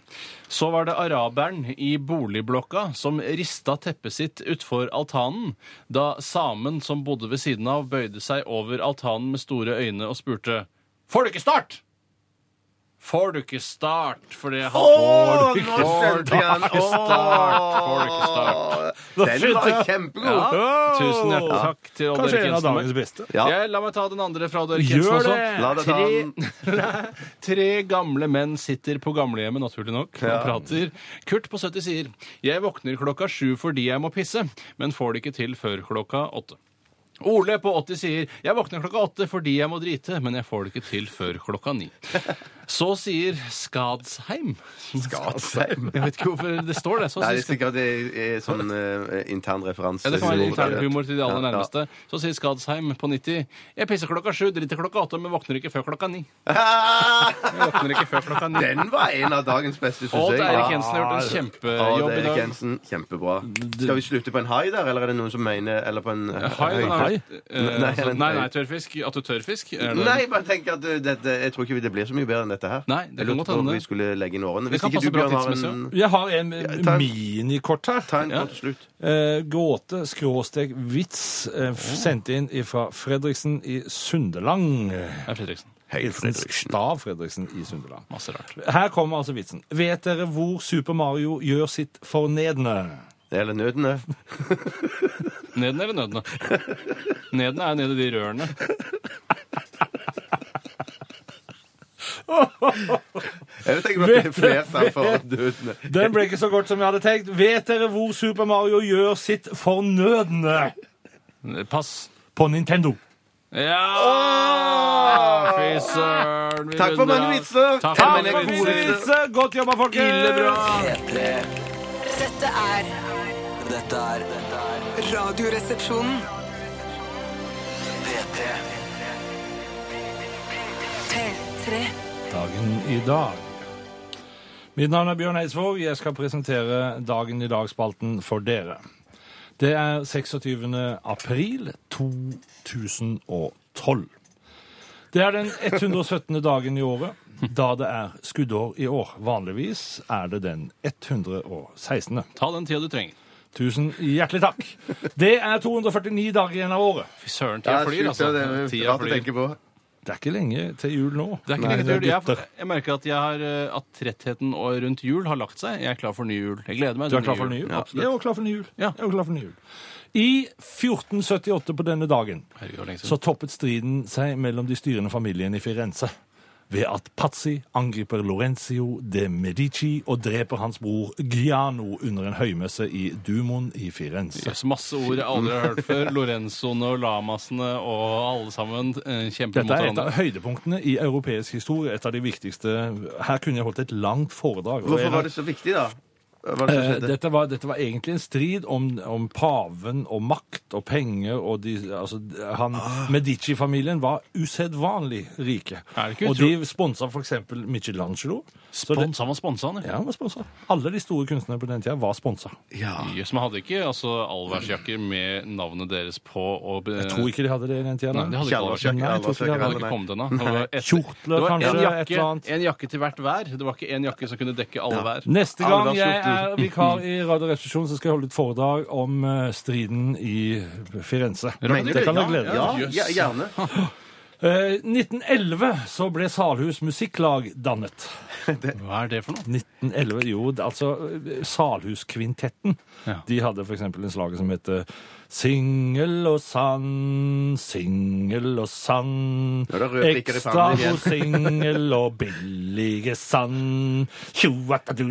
[SPEAKER 5] Så var det araberen i boligblokka som rista teppet sitt utfor altanen. Da samen som bodde ved siden av, bøyde seg over altanen med store øyne og spurte Får du ikke start? Får du ikke start? Fordi han
[SPEAKER 4] Åh,
[SPEAKER 5] får du
[SPEAKER 4] nå
[SPEAKER 5] ikke
[SPEAKER 4] skjønte jeg den!
[SPEAKER 5] start. Får du ikke start?
[SPEAKER 4] Åh, Den var jo kjempegod!
[SPEAKER 5] Ja, tusen hjertelig takk til Odd
[SPEAKER 3] Kanskje
[SPEAKER 5] Erik
[SPEAKER 3] en av dagens
[SPEAKER 5] Jensen.
[SPEAKER 3] beste.
[SPEAKER 4] Ja.
[SPEAKER 5] Jeg, la meg ta den andre fra Odd Erik Jensen
[SPEAKER 3] Gjør
[SPEAKER 5] også.
[SPEAKER 3] det!
[SPEAKER 4] La deg ta den.
[SPEAKER 5] [laughs] Tre gamle menn sitter på gamlehjemmet, naturlig nok, og prater. Kurt på 70 sier Jeg våkner klokka sju fordi jeg må pisse, men får det ikke til før klokka åtte. Ole på 80 sier Jeg våkner klokka åtte fordi jeg må drite, men jeg får det ikke til før klokka ni. Så sier Skadsheim
[SPEAKER 4] Skadsheim.
[SPEAKER 5] Jeg vet ikke hvorfor det står det. Så
[SPEAKER 4] Nei,
[SPEAKER 5] sier
[SPEAKER 4] det er sikkert det er sånn eh, intern referanse.
[SPEAKER 5] Ja, Det kan være internhumor til de
[SPEAKER 4] Ja,
[SPEAKER 5] aller
[SPEAKER 4] ja. [laughs]
[SPEAKER 5] nærmeste. Så sier Skadsheim på 90 Jeg pisser klokka sju, driter klokka åtte, men våkner ikke før klokka ni. Jeg våkner ikke før klokka ni.
[SPEAKER 4] Den var en av dagens beste,
[SPEAKER 5] Odd
[SPEAKER 4] syns jeg.
[SPEAKER 5] Eirik Jensen har
[SPEAKER 4] Ah, Odd
[SPEAKER 5] gjort en kjempejobb i
[SPEAKER 4] Erik
[SPEAKER 5] dag.
[SPEAKER 4] Jensen, kjempebra. Skal vi slutte på en hai der, eller er det noen som mener Eller på en
[SPEAKER 5] Hai,
[SPEAKER 4] høy-
[SPEAKER 5] men har- eh,
[SPEAKER 4] Nei, nei,
[SPEAKER 5] altså,
[SPEAKER 4] men-
[SPEAKER 5] Nei, nei, tørrfisk. At du tørrfisk? er det-
[SPEAKER 4] Nei, bare tenk at uh, dette, jeg tror ikke det blir så mye bedre enn dette her.
[SPEAKER 5] Nei, det
[SPEAKER 4] Jeg
[SPEAKER 5] kan
[SPEAKER 4] lurte
[SPEAKER 5] godt hende.
[SPEAKER 4] på om vi skulle legge inn årene.
[SPEAKER 5] kan
[SPEAKER 4] ikke
[SPEAKER 5] passe bra
[SPEAKER 4] Bjørn, har en,
[SPEAKER 5] tidsmessig
[SPEAKER 3] Jeg har en
[SPEAKER 4] ta en-
[SPEAKER 3] minikort her.
[SPEAKER 4] ta en
[SPEAKER 5] Ja.
[SPEAKER 4] kort slutt.
[SPEAKER 3] Eh, gåte, skråstrek, vits, eh, f- sendt inn fra Fredriksen i Sundeland.
[SPEAKER 5] Nei, Fredriksen.
[SPEAKER 3] Hilsen Stav Fredriksen i Sundeland.
[SPEAKER 5] Masse rart.
[SPEAKER 3] Her kommer altså vitsen. Vet dere hvor Super Mario gjør sitt fornedne?
[SPEAKER 4] Eller nødene.
[SPEAKER 5] Neden er ved
[SPEAKER 4] [laughs]
[SPEAKER 5] nødene. Neden er nede i de rørene.
[SPEAKER 4] Jeg tenker at det er flertall for nødene.
[SPEAKER 3] Den ble ikke så godt som jeg hadde tenkt. Vet dere hvor Super Mario gjør sitt fornødne
[SPEAKER 5] Pass.
[SPEAKER 3] på Nintendo?
[SPEAKER 5] Ja! Fy søren. vi
[SPEAKER 4] Takk for
[SPEAKER 5] runder
[SPEAKER 4] mange
[SPEAKER 5] av.
[SPEAKER 4] vitser.
[SPEAKER 5] Takk
[SPEAKER 4] Ja,
[SPEAKER 5] for
[SPEAKER 4] men jeg er
[SPEAKER 5] mange
[SPEAKER 4] god
[SPEAKER 5] vitser.
[SPEAKER 4] vitser.
[SPEAKER 3] Godt jobba, folkens!
[SPEAKER 5] Ille bra.
[SPEAKER 7] Dette er
[SPEAKER 2] Dette er dette er
[SPEAKER 7] Radioresepsjonen.
[SPEAKER 2] P3.
[SPEAKER 7] P3.
[SPEAKER 3] dagen i dag. Mitt navn er Bjørn Eidsvåg. Jeg skal presentere Dagen i dag-spalten for dere. Det er 26. april 2012. Det er den 117. dagen i året, da det er skuddår i år. Vanligvis er det den 116.
[SPEAKER 5] Ta den tida du trenger.
[SPEAKER 3] Tusen hjertelig takk. Det er 249 dager igjen av året.
[SPEAKER 5] Fy søren,
[SPEAKER 4] Ja,
[SPEAKER 5] tida flyr,
[SPEAKER 4] sjukt,
[SPEAKER 5] altså.
[SPEAKER 4] det er
[SPEAKER 5] Tida
[SPEAKER 4] rart å
[SPEAKER 5] flyr.
[SPEAKER 4] tenke på.
[SPEAKER 3] Det er ikke lenge til jul nå.
[SPEAKER 5] Det er ikke lenge til jul. Jeg, jeg merker at, jeg har, eh, at trettheten og rundt jul har lagt seg. Jeg er klar for ny jul. Jeg gleder meg
[SPEAKER 3] Du
[SPEAKER 5] til
[SPEAKER 3] er klar for ny jul?
[SPEAKER 5] Ja,
[SPEAKER 3] jeg er også klar for ny jul.
[SPEAKER 5] Ja.
[SPEAKER 3] Jeg er også klar for ny jul. I 1478 på denne dagen
[SPEAKER 5] Herregud, hvor lenge
[SPEAKER 3] så
[SPEAKER 5] siden.
[SPEAKER 3] toppet striden seg mellom de styrende familiene i Firenze ved at Pazzi angriper Lorenzio de Medici og dreper hans bror Giano under en høymesse i Dumon i Firenze.
[SPEAKER 5] Jøss, masse ord jeg aldri har hørt
[SPEAKER 3] [laughs]
[SPEAKER 5] før. Lorenzoene og Lamasene og alle sammen eh,
[SPEAKER 3] Dette
[SPEAKER 5] kjemper mot
[SPEAKER 3] er et
[SPEAKER 5] hverandre.
[SPEAKER 3] av høydepunktene i europeisk historie. Et av de viktigste Her kunne jeg holdt et langt foredrag. og jeg-
[SPEAKER 4] Hvorfor var det så viktig, da? Hva var det som
[SPEAKER 3] Eh,
[SPEAKER 4] skjedde?
[SPEAKER 3] Dette var, dette var egentlig en strid om, om paven og makt og penger og de altså, han, Medici-familien var usedvanlig rike.
[SPEAKER 5] Er det ikke
[SPEAKER 3] og
[SPEAKER 5] utro-
[SPEAKER 3] de sponsa f.eks. Michelangelo. Så det,
[SPEAKER 5] Spons, han var sponsa, han.
[SPEAKER 3] ja, han var sponsa. Alle de store kunstnerne på den tida var sponsa.
[SPEAKER 5] Jøss, men hadde ikke altså, allværsjakker med navnet deres på og eh,
[SPEAKER 3] Jeg tror ikke de hadde det i den tida.
[SPEAKER 5] Nei,
[SPEAKER 3] da.
[SPEAKER 5] de hadde ikke allværsjakker.
[SPEAKER 3] Nei, jeg tror ikke det
[SPEAKER 5] Det
[SPEAKER 3] hadde
[SPEAKER 5] hadde
[SPEAKER 3] det.
[SPEAKER 5] ikke kommet ennå. Det var et-
[SPEAKER 3] Kjortler,
[SPEAKER 5] det var en
[SPEAKER 3] kanskje,
[SPEAKER 5] jakke-
[SPEAKER 3] et eller annet.
[SPEAKER 5] En jakke til hvert vær. Det var ikke én jakke som kunne dekke alle hver.
[SPEAKER 3] Neste gang jeg er
[SPEAKER 4] Alvdalskjorter.
[SPEAKER 3] vikar i Radioresepsjonen, så skal jeg holde et foredrag om eh, striden i Firenze.
[SPEAKER 4] Mener
[SPEAKER 3] det
[SPEAKER 4] du?
[SPEAKER 3] kan dere glede
[SPEAKER 4] ja,
[SPEAKER 3] dere til.
[SPEAKER 4] ja, ja, gjerne.
[SPEAKER 3] Eh, 1911 så ble Salhus musikklag dannet. [laughs]
[SPEAKER 5] Hva er det for noe?
[SPEAKER 3] 1911, jo, det- altså eh, Salhuskvintetten.
[SPEAKER 5] Ja.
[SPEAKER 3] De hadde for eksempel en slag som heter Singel og sann, singel og sann.
[SPEAKER 4] er det røde prikker i
[SPEAKER 3] Ekstra
[SPEAKER 4] sanden igjen.
[SPEAKER 3] god singel og billige sann.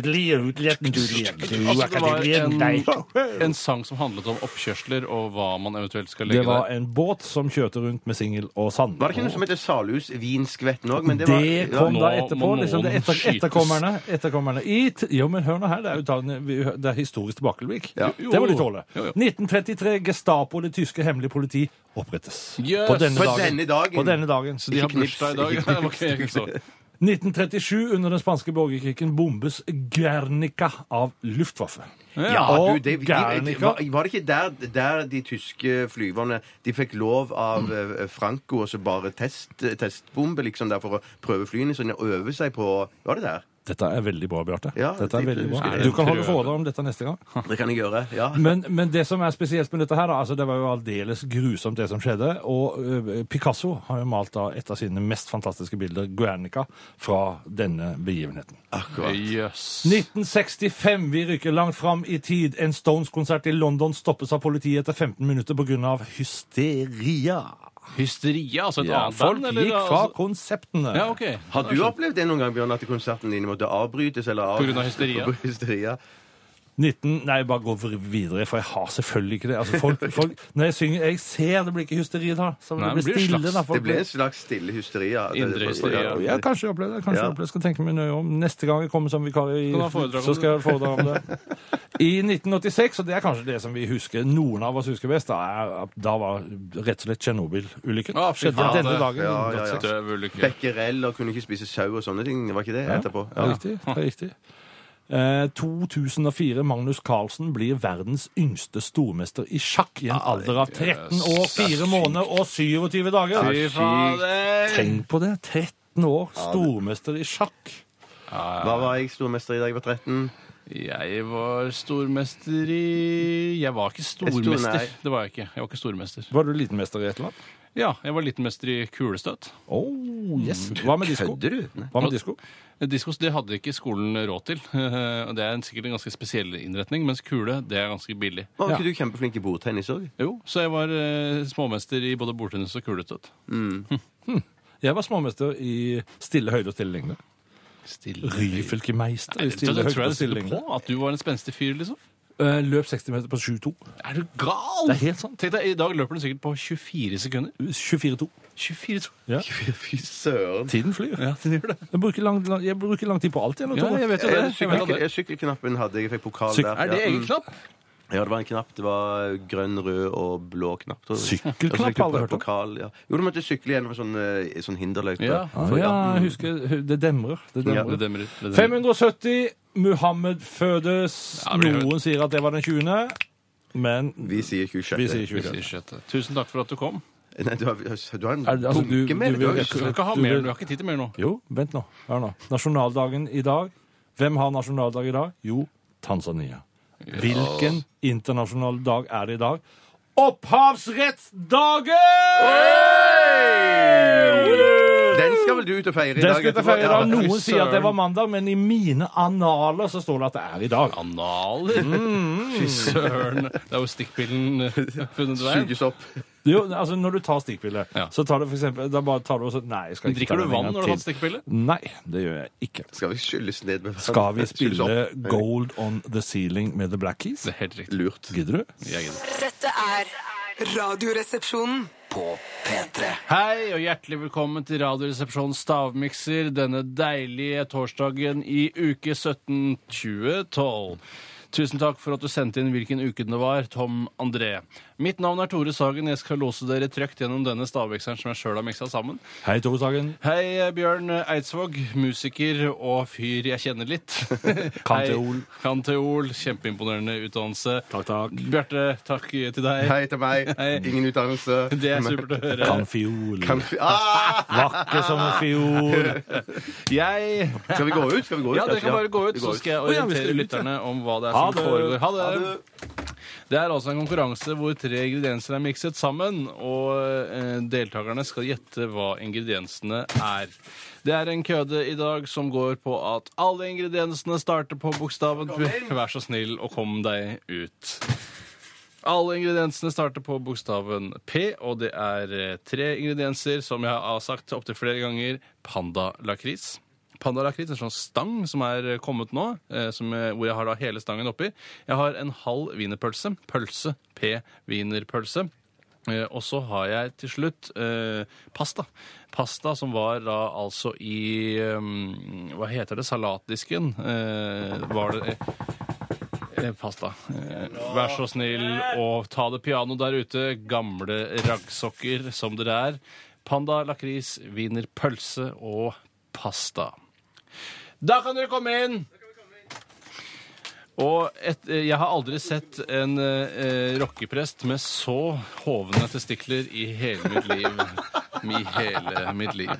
[SPEAKER 4] Altså,
[SPEAKER 5] det var
[SPEAKER 3] Tjoattadudelieutletten-dudelietten-dei.
[SPEAKER 5] en sang som handlet om oppkjørsler og hva man eventuelt skal
[SPEAKER 3] Det
[SPEAKER 5] legge
[SPEAKER 3] var
[SPEAKER 5] der.
[SPEAKER 3] en båt som kjørte rundt med singel og sann.
[SPEAKER 4] Var det ikke noe som heter Salhus vinskvetten òg?
[SPEAKER 3] Det,
[SPEAKER 4] ja,
[SPEAKER 3] kom
[SPEAKER 5] nå
[SPEAKER 3] da etterpå.
[SPEAKER 5] må noen
[SPEAKER 3] Liksom, det etter,
[SPEAKER 5] skytes.
[SPEAKER 3] etterkommerne. etterkommerne. I, t- jo, men hør nå her, det er jo da, vi, det er historisk tilbakeblikk. Det må de tåle.
[SPEAKER 5] Jo, jo.
[SPEAKER 3] 1933, Gestapo, det tyske hemmelige politi, opprettes.
[SPEAKER 5] Yes.
[SPEAKER 3] På denne
[SPEAKER 4] På
[SPEAKER 3] dagen.
[SPEAKER 4] denne dagen.
[SPEAKER 3] På denne dagen.
[SPEAKER 5] De har
[SPEAKER 4] Ikke knips,
[SPEAKER 5] bursdag i dag. [laughs]
[SPEAKER 4] ikke
[SPEAKER 5] Det var ikke- ikke så.
[SPEAKER 3] 1937, under den spanske borgerkrigen, bombes Guernica av Luftwaffe.
[SPEAKER 4] Ja,
[SPEAKER 3] Og
[SPEAKER 4] du, det, de,
[SPEAKER 3] Guernica.
[SPEAKER 4] var, var det ikke der, der de tyske flyverne De fikk lov av eh, Franco og så bare test, testbombe liksom der for å prøve flyene sine og øve seg på Var det der?
[SPEAKER 3] Dette er veldig bra, Bjarte.
[SPEAKER 4] Ja,
[SPEAKER 3] dette er
[SPEAKER 4] det-
[SPEAKER 3] veldig
[SPEAKER 4] det-
[SPEAKER 3] bra.
[SPEAKER 5] det-
[SPEAKER 3] Du kan holde
[SPEAKER 5] prøve.
[SPEAKER 3] foredrag om dette neste gang.
[SPEAKER 4] Det kan jeg gjøre. Ja.
[SPEAKER 3] Men, men det som er spesielt med dette her, da, altså det var jo aldeles grusomt det som skjedde. Og ø, Picasso har jo malt da et av sine mest fantastiske bilder, Guernica, fra denne begivenheten.
[SPEAKER 4] Akkurat.
[SPEAKER 5] Jøss.
[SPEAKER 3] 1965, vi rykker langt fram i tid. En Stones-konsert i London stoppes av politiet etter 15 minutter pga. hysteria.
[SPEAKER 5] Hysteria, altså et
[SPEAKER 3] Ja,
[SPEAKER 5] annet
[SPEAKER 3] folk
[SPEAKER 5] band? eller?
[SPEAKER 3] gikk fra
[SPEAKER 5] Altså-
[SPEAKER 3] konseptene.
[SPEAKER 5] Ja, ok.
[SPEAKER 4] Har du opplevd det noen gang, Bjørn, at konserten din måtte avbrytes? Eller av...
[SPEAKER 5] På grunn av hysteria?
[SPEAKER 4] På grunn av hysteria.
[SPEAKER 3] 19, nei, bare gå vr- videre, for jeg har selvfølgelig ikke det. Altså, folk, folk, når jeg synger, jeg ser det blir ikke hysteri da. Så
[SPEAKER 5] Nei,
[SPEAKER 3] det
[SPEAKER 5] det
[SPEAKER 3] blir
[SPEAKER 5] blir
[SPEAKER 3] stille
[SPEAKER 5] slags-
[SPEAKER 3] da. folk
[SPEAKER 4] Det ble
[SPEAKER 3] blir-
[SPEAKER 4] en slags stille hysteria.
[SPEAKER 5] Indre hysteria.
[SPEAKER 3] Ja, kanskje jeg opplevde det. Kanskje
[SPEAKER 4] Ja.
[SPEAKER 3] jeg opplevde. det. Skal tenke meg nøye om. Neste gang jeg kommer som vikar, i,
[SPEAKER 5] Kan du ha foredrag om
[SPEAKER 3] så skal jeg ha foredrag om [laughs] det. I 1986, og det er kanskje det som vi husker, noen av oss husker best, da, er, at da var rett og slett Tsjernobyl-ulykken.
[SPEAKER 5] Å, fy
[SPEAKER 3] Skjedde
[SPEAKER 5] faen,
[SPEAKER 3] denne
[SPEAKER 5] det-
[SPEAKER 3] dagen.
[SPEAKER 4] Ja, ja, ja.
[SPEAKER 5] Døv ulykke.
[SPEAKER 4] Becquerel og kunne ikke spise sau og sånne ting. Det var ikke det etterpå?
[SPEAKER 3] Det er riktig. Det er riktig. Eh, 2004. Magnus Carlsen blir verdens yngste stormester i sjakk i en alder av 13 år, 4 måneder og 27 dager.
[SPEAKER 5] Fy fader!
[SPEAKER 3] Tenk på det. 13 år, stormester i sjakk.
[SPEAKER 4] Hva var jeg stormester i da jeg var 13?
[SPEAKER 5] Jeg var stormester i Jeg var ikke
[SPEAKER 4] Stor-
[SPEAKER 5] stormester.
[SPEAKER 4] nei.
[SPEAKER 5] det var jeg ikke. Jeg var ikke stormester.
[SPEAKER 3] Var du liten mester i et eller annet?
[SPEAKER 5] Ja, jeg var liten mester i kulestøt. Mm.
[SPEAKER 3] Oh, yes. Hva med disko?
[SPEAKER 4] Kødder du?
[SPEAKER 3] Hva med disko?
[SPEAKER 5] Diskos det hadde ikke skolen råd til. [laughs] eh, og Det er en- sikkert en ganske spesiell innretning, mens kule det er ganske billig.
[SPEAKER 4] Var
[SPEAKER 3] Ja.
[SPEAKER 4] ikke du kjempeflink i bordtennis òg?
[SPEAKER 5] Jo, Så jeg var eh, småmester i både bordtennis og kulestøt.
[SPEAKER 3] Jeg var småmester i stille høyde og stille lengde.
[SPEAKER 5] Stille.
[SPEAKER 3] Ryfylke meister i
[SPEAKER 5] Det
[SPEAKER 3] stille
[SPEAKER 5] tror jeg
[SPEAKER 3] høyde
[SPEAKER 5] du
[SPEAKER 3] og stille
[SPEAKER 5] sitter
[SPEAKER 3] lengde.
[SPEAKER 5] på, at du var en spenstig fyr, liksom.
[SPEAKER 3] Eh, Løp 60 meter på 7-2.
[SPEAKER 5] Er du gal?!
[SPEAKER 3] Det er helt sant.
[SPEAKER 5] Tenk deg, I dag løper du sikkert på 24 sekunder.
[SPEAKER 3] 24-2.
[SPEAKER 5] 24 to.
[SPEAKER 4] Fy søren.
[SPEAKER 3] Tiden flyr.
[SPEAKER 5] Ja, det gjør det.
[SPEAKER 3] Jeg bruker lang, lang, jeg bruker lang tid på alt. Jeg, nå,
[SPEAKER 5] Ja,
[SPEAKER 3] Tore.
[SPEAKER 5] jeg vet jo det.
[SPEAKER 4] Eh,
[SPEAKER 5] Jeg vet
[SPEAKER 4] sykkel-
[SPEAKER 5] det.
[SPEAKER 4] eh, Sykkelknappen hadde jeg. Jeg fikk pokal
[SPEAKER 3] Syk-
[SPEAKER 4] der.
[SPEAKER 5] Er det
[SPEAKER 4] Ja,
[SPEAKER 5] egen
[SPEAKER 4] mm.
[SPEAKER 5] knapp?
[SPEAKER 4] Ja, det var en knapp. Det var grønn, rød og blå knapp. tror jeg.
[SPEAKER 3] Sykkelknapp
[SPEAKER 4] Og så fikk
[SPEAKER 3] har jeg aldri hørt
[SPEAKER 4] du
[SPEAKER 3] om.
[SPEAKER 4] pokal, ja. Jo, du måtte sykle gjennom sånn, eh, sånn hinderløype.
[SPEAKER 5] Ja.
[SPEAKER 3] Ah, ja,
[SPEAKER 4] mm.
[SPEAKER 3] jeg husker eh, Det demrer. Det
[SPEAKER 4] Ja.
[SPEAKER 5] Det
[SPEAKER 3] demrer.
[SPEAKER 5] demrer. Det demrer.
[SPEAKER 3] 570. Muhammed fødes.
[SPEAKER 5] Ja, det blir høyt.
[SPEAKER 3] Noen sier at det var den 20., men
[SPEAKER 4] Vi sier 26.
[SPEAKER 3] vi sier 20.
[SPEAKER 5] Vi sier sjette. Tusen takk for at du kom.
[SPEAKER 4] Nei, du har, du har en
[SPEAKER 3] Er det- altså, du-
[SPEAKER 4] bunke med
[SPEAKER 3] du
[SPEAKER 4] det.
[SPEAKER 3] vil-
[SPEAKER 5] Du skal ikke ha
[SPEAKER 3] Du
[SPEAKER 5] mer,
[SPEAKER 3] vil-
[SPEAKER 5] du har ikke tid til mer nå.
[SPEAKER 3] Jo, vent nå. Hør nå. Nasjonaldagen i dag. Hvem har nasjonaldag i dag? Jo, Tanzania. Hvilken internasjonal dag er det i dag? Opphavsrettsdagen!
[SPEAKER 4] Den skal vel du ut og feire i
[SPEAKER 3] Den
[SPEAKER 4] dag?
[SPEAKER 3] skal til
[SPEAKER 4] etterpå?
[SPEAKER 3] ferie i dag.
[SPEAKER 4] Ja.
[SPEAKER 3] Noen
[SPEAKER 5] fy
[SPEAKER 3] sier at det
[SPEAKER 5] søren.
[SPEAKER 3] var mandag, men i mine analer så står det at det er i dag.
[SPEAKER 5] Analer! [laughs] Fy søren. Det er jo stikkpillen eh, funnet veien.
[SPEAKER 4] Suges opp.
[SPEAKER 3] Jo, altså Når du tar stikkpille,
[SPEAKER 5] Ja.
[SPEAKER 3] så tar du for eksempel, da bare tar du også, Nei, jeg skal ikke
[SPEAKER 5] Drikker
[SPEAKER 3] ta
[SPEAKER 5] du
[SPEAKER 3] den
[SPEAKER 5] vann
[SPEAKER 3] en gang
[SPEAKER 5] når du har tatt
[SPEAKER 3] til.
[SPEAKER 5] stikkpille?
[SPEAKER 3] Nei, det gjør jeg ikke.
[SPEAKER 4] Skal vi skylles ned med vann?
[SPEAKER 3] Skal vi
[SPEAKER 4] Skylles
[SPEAKER 3] spille
[SPEAKER 4] opp.
[SPEAKER 3] Gold On The Ceiling med The Black Keys?
[SPEAKER 5] Det er helt riktig.
[SPEAKER 4] Lurt.
[SPEAKER 3] Gidder du?
[SPEAKER 5] Jeg gidder.
[SPEAKER 7] Dette er Radioresepsjonen.
[SPEAKER 5] Hei og hjertelig velkommen til Radioresepsjonens stavmikser denne deilige torsdagen i uke 17 2012. Tusen takk for at du sendte inn hvilken uke det var, Tom André. Mitt navn er Tore Sagen. Jeg skal lose dere trygt gjennom denne stavmikseren som jeg sjøl har miksa sammen.
[SPEAKER 3] Hei, Tore Sagen.
[SPEAKER 5] Hei, Bjørn Eidsvåg, musiker og fyr jeg kjenner
[SPEAKER 3] [laughs]
[SPEAKER 5] litt.
[SPEAKER 3] Kan
[SPEAKER 5] Hei.
[SPEAKER 3] teol.
[SPEAKER 5] Kan teol. Kjempeimponerende utdannelse.
[SPEAKER 3] Takk, takk.
[SPEAKER 5] Bjarte, takk til deg.
[SPEAKER 4] Hei til meg.
[SPEAKER 5] [laughs] Hei.
[SPEAKER 4] Ingen utdannelse.
[SPEAKER 5] Det er supert å høre.
[SPEAKER 3] Kan fiol.
[SPEAKER 4] [laughs] Kan vi... ah!
[SPEAKER 3] Vakker som en fiol.
[SPEAKER 5] Jeg
[SPEAKER 4] Skal vi gå ut? Skal vi gå ut?
[SPEAKER 5] Ja, dere kan bare gå ut,
[SPEAKER 4] Vi
[SPEAKER 5] så
[SPEAKER 4] går
[SPEAKER 5] skal jeg
[SPEAKER 3] Å, ja, vi skal
[SPEAKER 5] orientere
[SPEAKER 3] ut, ja.
[SPEAKER 5] lytterne om hva det er
[SPEAKER 3] Ha
[SPEAKER 5] som
[SPEAKER 3] det.
[SPEAKER 5] foregår. Ha det! Det er altså en konkurranse hvor tre ingredienser er mikset sammen, og eh, deltakerne skal gjette hva ingrediensene er. Det er en køde i dag som går på at alle ingrediensene starter på bokstaven P. Vær så snill og kom deg ut. Alle ingrediensene starter på bokstaven P, og det er eh, tre ingredienser som jeg har sagt opptil flere ganger. Pandalakris. Pandalakris er en sånn stang som er eh, kommet nå, eh, som, eh, hvor jeg har da hele stangen oppi. Jeg har en halv wienerpølse. Pølse. P. Wienerpølse. Eh, Og så har jeg til slutt eh, pasta. Pasta som var da altså i eh, Hva heter det? Salatdisken? Eh, var det Eh, Pasta. Eh, Vær så snill og ta det piano der ute, gamle raggsokker som dere er. Panda, lakris, wiener, pølse og pasta. Da kan dere komme inn! Og et, eh, jeg har aldri sett en eh, eh, rockeprest med så hovne testikler i hele mitt liv. i hele mitt liv.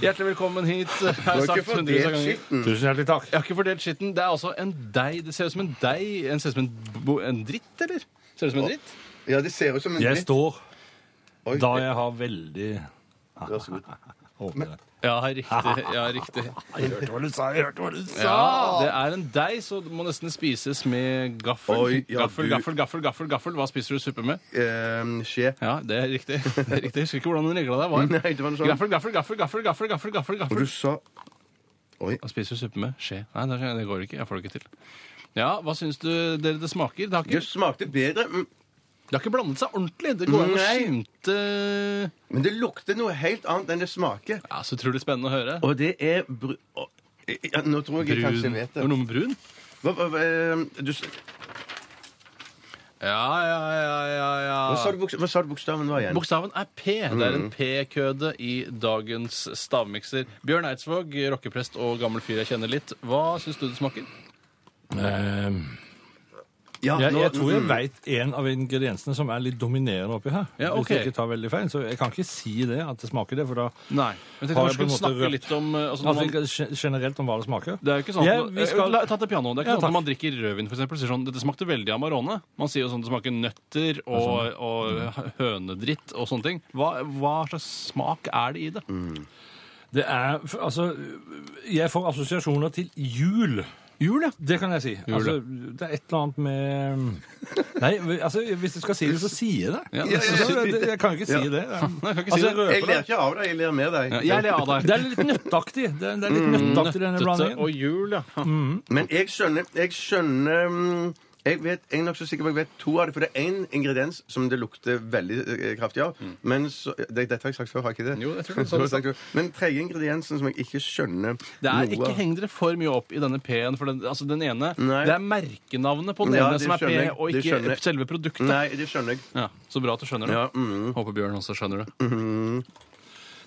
[SPEAKER 5] Hjertelig velkommen hit. Jeg har
[SPEAKER 4] Du har ikke
[SPEAKER 5] sagt hundrevis av
[SPEAKER 4] fordelt
[SPEAKER 5] ganger.
[SPEAKER 4] skitten.
[SPEAKER 3] Tusen hjertelig takk.
[SPEAKER 5] Jeg har ikke fordelt skitten. Det er altså en deig. Det ser ut som en deig. En ser ut som en, bo- en dritt, eller? Ser det ut som en dritt?
[SPEAKER 4] Ja, det ser ut som en
[SPEAKER 3] Jeg
[SPEAKER 4] dritt.
[SPEAKER 3] står
[SPEAKER 4] Oi,
[SPEAKER 3] da jeg har veldig
[SPEAKER 4] vær så god.
[SPEAKER 3] Håper det.
[SPEAKER 5] Ja, riktig. Ja, riktig.
[SPEAKER 3] Jeg hørte hva du sa! Jeg hørte hva du sa!
[SPEAKER 5] Ja, det er en deig, så det må nesten spises med gaffel.
[SPEAKER 4] Oi, ja,
[SPEAKER 5] gaffel,
[SPEAKER 4] du-
[SPEAKER 5] gaffel, gaffel, gaffel, gaffel. Hva spiser du suppe med?
[SPEAKER 4] Ehm, skje.
[SPEAKER 5] Ja, det er riktig. [laughs] Det er riktig. Jeg husker ikke hvordan den regla der var.
[SPEAKER 4] [laughs] Nei, det var noe sånt.
[SPEAKER 5] Gaffel, gaffel, gaffel, gaffel, gaffel, gaffel, gaffel,
[SPEAKER 4] Og du
[SPEAKER 5] gaffel.
[SPEAKER 4] sa Oi.
[SPEAKER 5] Hva spiser du suppe med? Skje. Nei, det det går ikke. Jeg får det ikke til. Ja, hva syns du dere det smaker? Det har
[SPEAKER 4] Det
[SPEAKER 5] ikke,
[SPEAKER 4] smakte bedre, mm,
[SPEAKER 5] det har ikke blandet seg ordentlig. Det går an å
[SPEAKER 4] Nei.
[SPEAKER 5] skimte
[SPEAKER 4] men det lukter noe helt annet enn det smaker.
[SPEAKER 5] Ja, Så utrolig spennende å høre.
[SPEAKER 4] Og det er bru... Å, ja, nå tror jeg jeg kanskje
[SPEAKER 5] Brun.
[SPEAKER 4] vet
[SPEAKER 5] Det var
[SPEAKER 4] det.
[SPEAKER 5] noe med brun?
[SPEAKER 4] Hva, hva, hva, ehm, du, s-
[SPEAKER 5] Ja, ja, ja, ja,
[SPEAKER 4] hva, sa
[SPEAKER 5] ja.
[SPEAKER 4] du, Mm. bokst- hva sa du bokstaven var igjen?
[SPEAKER 5] Bokstaven er P. Det er en P-køde i dagens stavmikser. Bjørn Eidsvåg, rockeprest og gammel fyr jeg kjenner litt. Hva syns du det smaker?
[SPEAKER 3] Ehm,
[SPEAKER 4] Ja,
[SPEAKER 3] Jeg,
[SPEAKER 4] nå-
[SPEAKER 3] jeg tror jeg
[SPEAKER 4] mm,
[SPEAKER 3] veit en av ingrediensene som er litt dominerende oppi her.
[SPEAKER 5] Ja, ok.
[SPEAKER 3] Hvis jeg ikke tar veldig feil. Så jeg kan ikke si det, at det smaker det, for da
[SPEAKER 5] Nei. Jeg tenkte
[SPEAKER 3] Har jeg på en
[SPEAKER 5] vi skulle
[SPEAKER 3] måte
[SPEAKER 5] snakke
[SPEAKER 3] røpt?
[SPEAKER 5] litt om eh, altså,
[SPEAKER 3] Altså
[SPEAKER 5] når man,
[SPEAKER 3] ikke gen- generelt om hva det smaker.
[SPEAKER 5] Det er jo ikke sånn
[SPEAKER 3] Ja,
[SPEAKER 5] at-
[SPEAKER 3] vi skal-
[SPEAKER 5] La, Ta til pianoet. Det er ikke
[SPEAKER 3] Ja,
[SPEAKER 5] sånn
[SPEAKER 3] takk.
[SPEAKER 5] at man drikker rødvin, for eksempel, og sier sånn Dette smakte veldig Amarone. Man sier jo sånn det smaker nøtter og, og hønedritt og sånne ting. Hva, hva slags smak er det i det?
[SPEAKER 4] Mm.
[SPEAKER 3] Det er f- Altså, jeg får assosiasjoner til jul. Jul, ja. Det kan jeg si. Altså, det er et eller annet
[SPEAKER 5] [laughs]
[SPEAKER 3] med Nei, altså, hvis du skal si det, så sier jeg det.
[SPEAKER 5] Ja,
[SPEAKER 3] Jeg,
[SPEAKER 5] det synes jeg.
[SPEAKER 3] jeg, jeg kan jo ikke si
[SPEAKER 4] Ja.
[SPEAKER 3] det. Ja.
[SPEAKER 5] [laughs] Nei, jeg kan ikke
[SPEAKER 3] Altså, jeg
[SPEAKER 5] si det.
[SPEAKER 4] Jeg
[SPEAKER 3] røper det.
[SPEAKER 4] ler ikke av deg, jeg ler med deg.
[SPEAKER 5] Ja, jeg ler av deg.
[SPEAKER 3] Det er litt nøttaktig. Det er, det er litt nøttaktig, denne
[SPEAKER 5] Mm. Nøttete og
[SPEAKER 3] blandingen.
[SPEAKER 5] jul, ja.
[SPEAKER 4] Men jeg skjønner Jeg skjønner mm, jeg, vet, jeg er nok så sikker på at jeg vet to av det, for det er én ingrediens som det lukter veldig eh, kraftig av. Men så, det, Dette har jeg sagt før, har jeg ikke [laughs] det?
[SPEAKER 5] Mm. Jo, jeg tror
[SPEAKER 4] Så
[SPEAKER 5] du sa det. sånn.
[SPEAKER 4] har jeg sagt før. Men tredje ingrediensen som jeg ikke skjønner
[SPEAKER 5] Det
[SPEAKER 4] noe
[SPEAKER 5] er Ikke
[SPEAKER 4] av.
[SPEAKER 5] heng dere for mye opp i denne P-en. For den, altså den ene,
[SPEAKER 4] Nei.
[SPEAKER 5] Det er merkenavnet på den
[SPEAKER 4] Ja,
[SPEAKER 5] ene
[SPEAKER 4] det
[SPEAKER 5] som er P,
[SPEAKER 4] skjønner jeg.
[SPEAKER 5] og
[SPEAKER 4] Det skjønner
[SPEAKER 5] ikke
[SPEAKER 4] jeg.
[SPEAKER 5] selve produktet.
[SPEAKER 4] Nei, det skjønner jeg.
[SPEAKER 5] Ja, så bra at du skjønner det.
[SPEAKER 4] Ja, mm.
[SPEAKER 5] Håper Bjørn også skjønner det.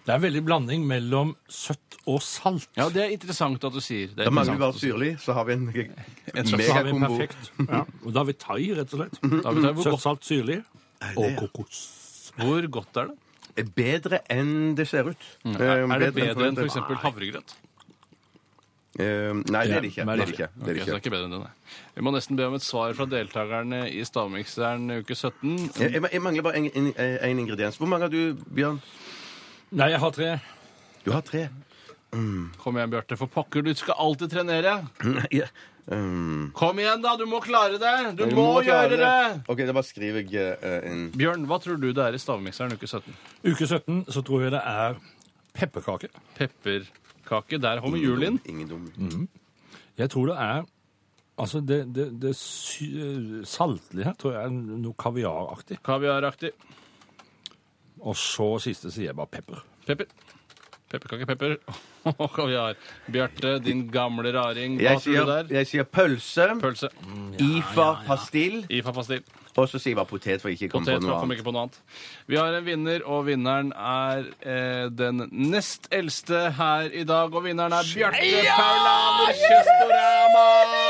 [SPEAKER 3] Det er veldig blanding mellom søtt og salt.
[SPEAKER 5] Ja, Det er interessant at du sier det. er
[SPEAKER 4] Da mangler vi
[SPEAKER 5] interessant
[SPEAKER 4] bare
[SPEAKER 5] at du sier.
[SPEAKER 4] syrlig, så har vi en
[SPEAKER 5] slags-
[SPEAKER 3] Så har vi en
[SPEAKER 4] megakombo.
[SPEAKER 5] [laughs]
[SPEAKER 3] perfekt. Ja. Og da har vi thai, rett og slett.
[SPEAKER 5] Da
[SPEAKER 4] Mm.
[SPEAKER 5] vet jeg Mhm. hvor,
[SPEAKER 3] Søtt,
[SPEAKER 5] godt,
[SPEAKER 3] salt, syrlig og kokos.
[SPEAKER 5] hvor godt er det?
[SPEAKER 4] Eh, Bedre enn det ser ut.
[SPEAKER 5] Mm. Er,
[SPEAKER 4] Eh,
[SPEAKER 5] er
[SPEAKER 4] enn
[SPEAKER 5] det bedre enn
[SPEAKER 4] forventet.
[SPEAKER 5] f.eks. havregrøt?
[SPEAKER 4] Eh, Nei, det er det ikke.
[SPEAKER 3] Nei,
[SPEAKER 4] Det er det ikke. Det er det
[SPEAKER 5] Ok, så det er
[SPEAKER 4] ikke.
[SPEAKER 5] ikke bedre enn det, nei. Vi må nesten be om et svar fra deltakerne i Stavmikseren uke 17.
[SPEAKER 4] Jeg, jeg- jeg mangler bare én ingrediens. Hvor mange har du, Bjørn?
[SPEAKER 3] Nei, jeg har tre.
[SPEAKER 4] Du har tre.
[SPEAKER 5] Kom igjen, Bjarte, for pokker, du skal alltid trenere.
[SPEAKER 4] Ja. Um,
[SPEAKER 5] Kom igjen, da! Du må klare det! Du,
[SPEAKER 4] du
[SPEAKER 5] må,
[SPEAKER 4] klare
[SPEAKER 5] gjøre det!
[SPEAKER 4] OK, da bare skriver jeg eh, en
[SPEAKER 5] Bjørn, hva tror du det er i Stavmikseren uke 17?
[SPEAKER 3] Uke 17 så tror jeg det er pepperkake.
[SPEAKER 5] Pepperkake. Der
[SPEAKER 4] Mm.
[SPEAKER 5] kommer julen inn.
[SPEAKER 4] Ingen dum.
[SPEAKER 3] Jeg tror det er Altså, det, det, det sy eh, saltlige her tror jeg er noe kaviaraktig.
[SPEAKER 5] Kaviaraktig.
[SPEAKER 3] Og så siste sier jeg bare pepper.
[SPEAKER 5] Pepper. Pepperkake, pepper [laughs] og kaviar. Bjarte, din gamle raring. Hva
[SPEAKER 4] Jeg
[SPEAKER 5] tror
[SPEAKER 4] sier, Mm.
[SPEAKER 5] du det er?
[SPEAKER 4] jeg sier pølse,
[SPEAKER 5] Pølse.
[SPEAKER 4] IFA, pastill,
[SPEAKER 5] IFA-pastill.
[SPEAKER 4] og så sier jeg bare potet, for jeg ikke kom på
[SPEAKER 5] Potet,
[SPEAKER 4] noe
[SPEAKER 5] jeg kom
[SPEAKER 4] annet.
[SPEAKER 5] ikke på noe annet. Vi har en vinner, og vinneren er eh, den nest eldste her i dag. Og vinneren er Bjarte Paulaner Kjøstorama!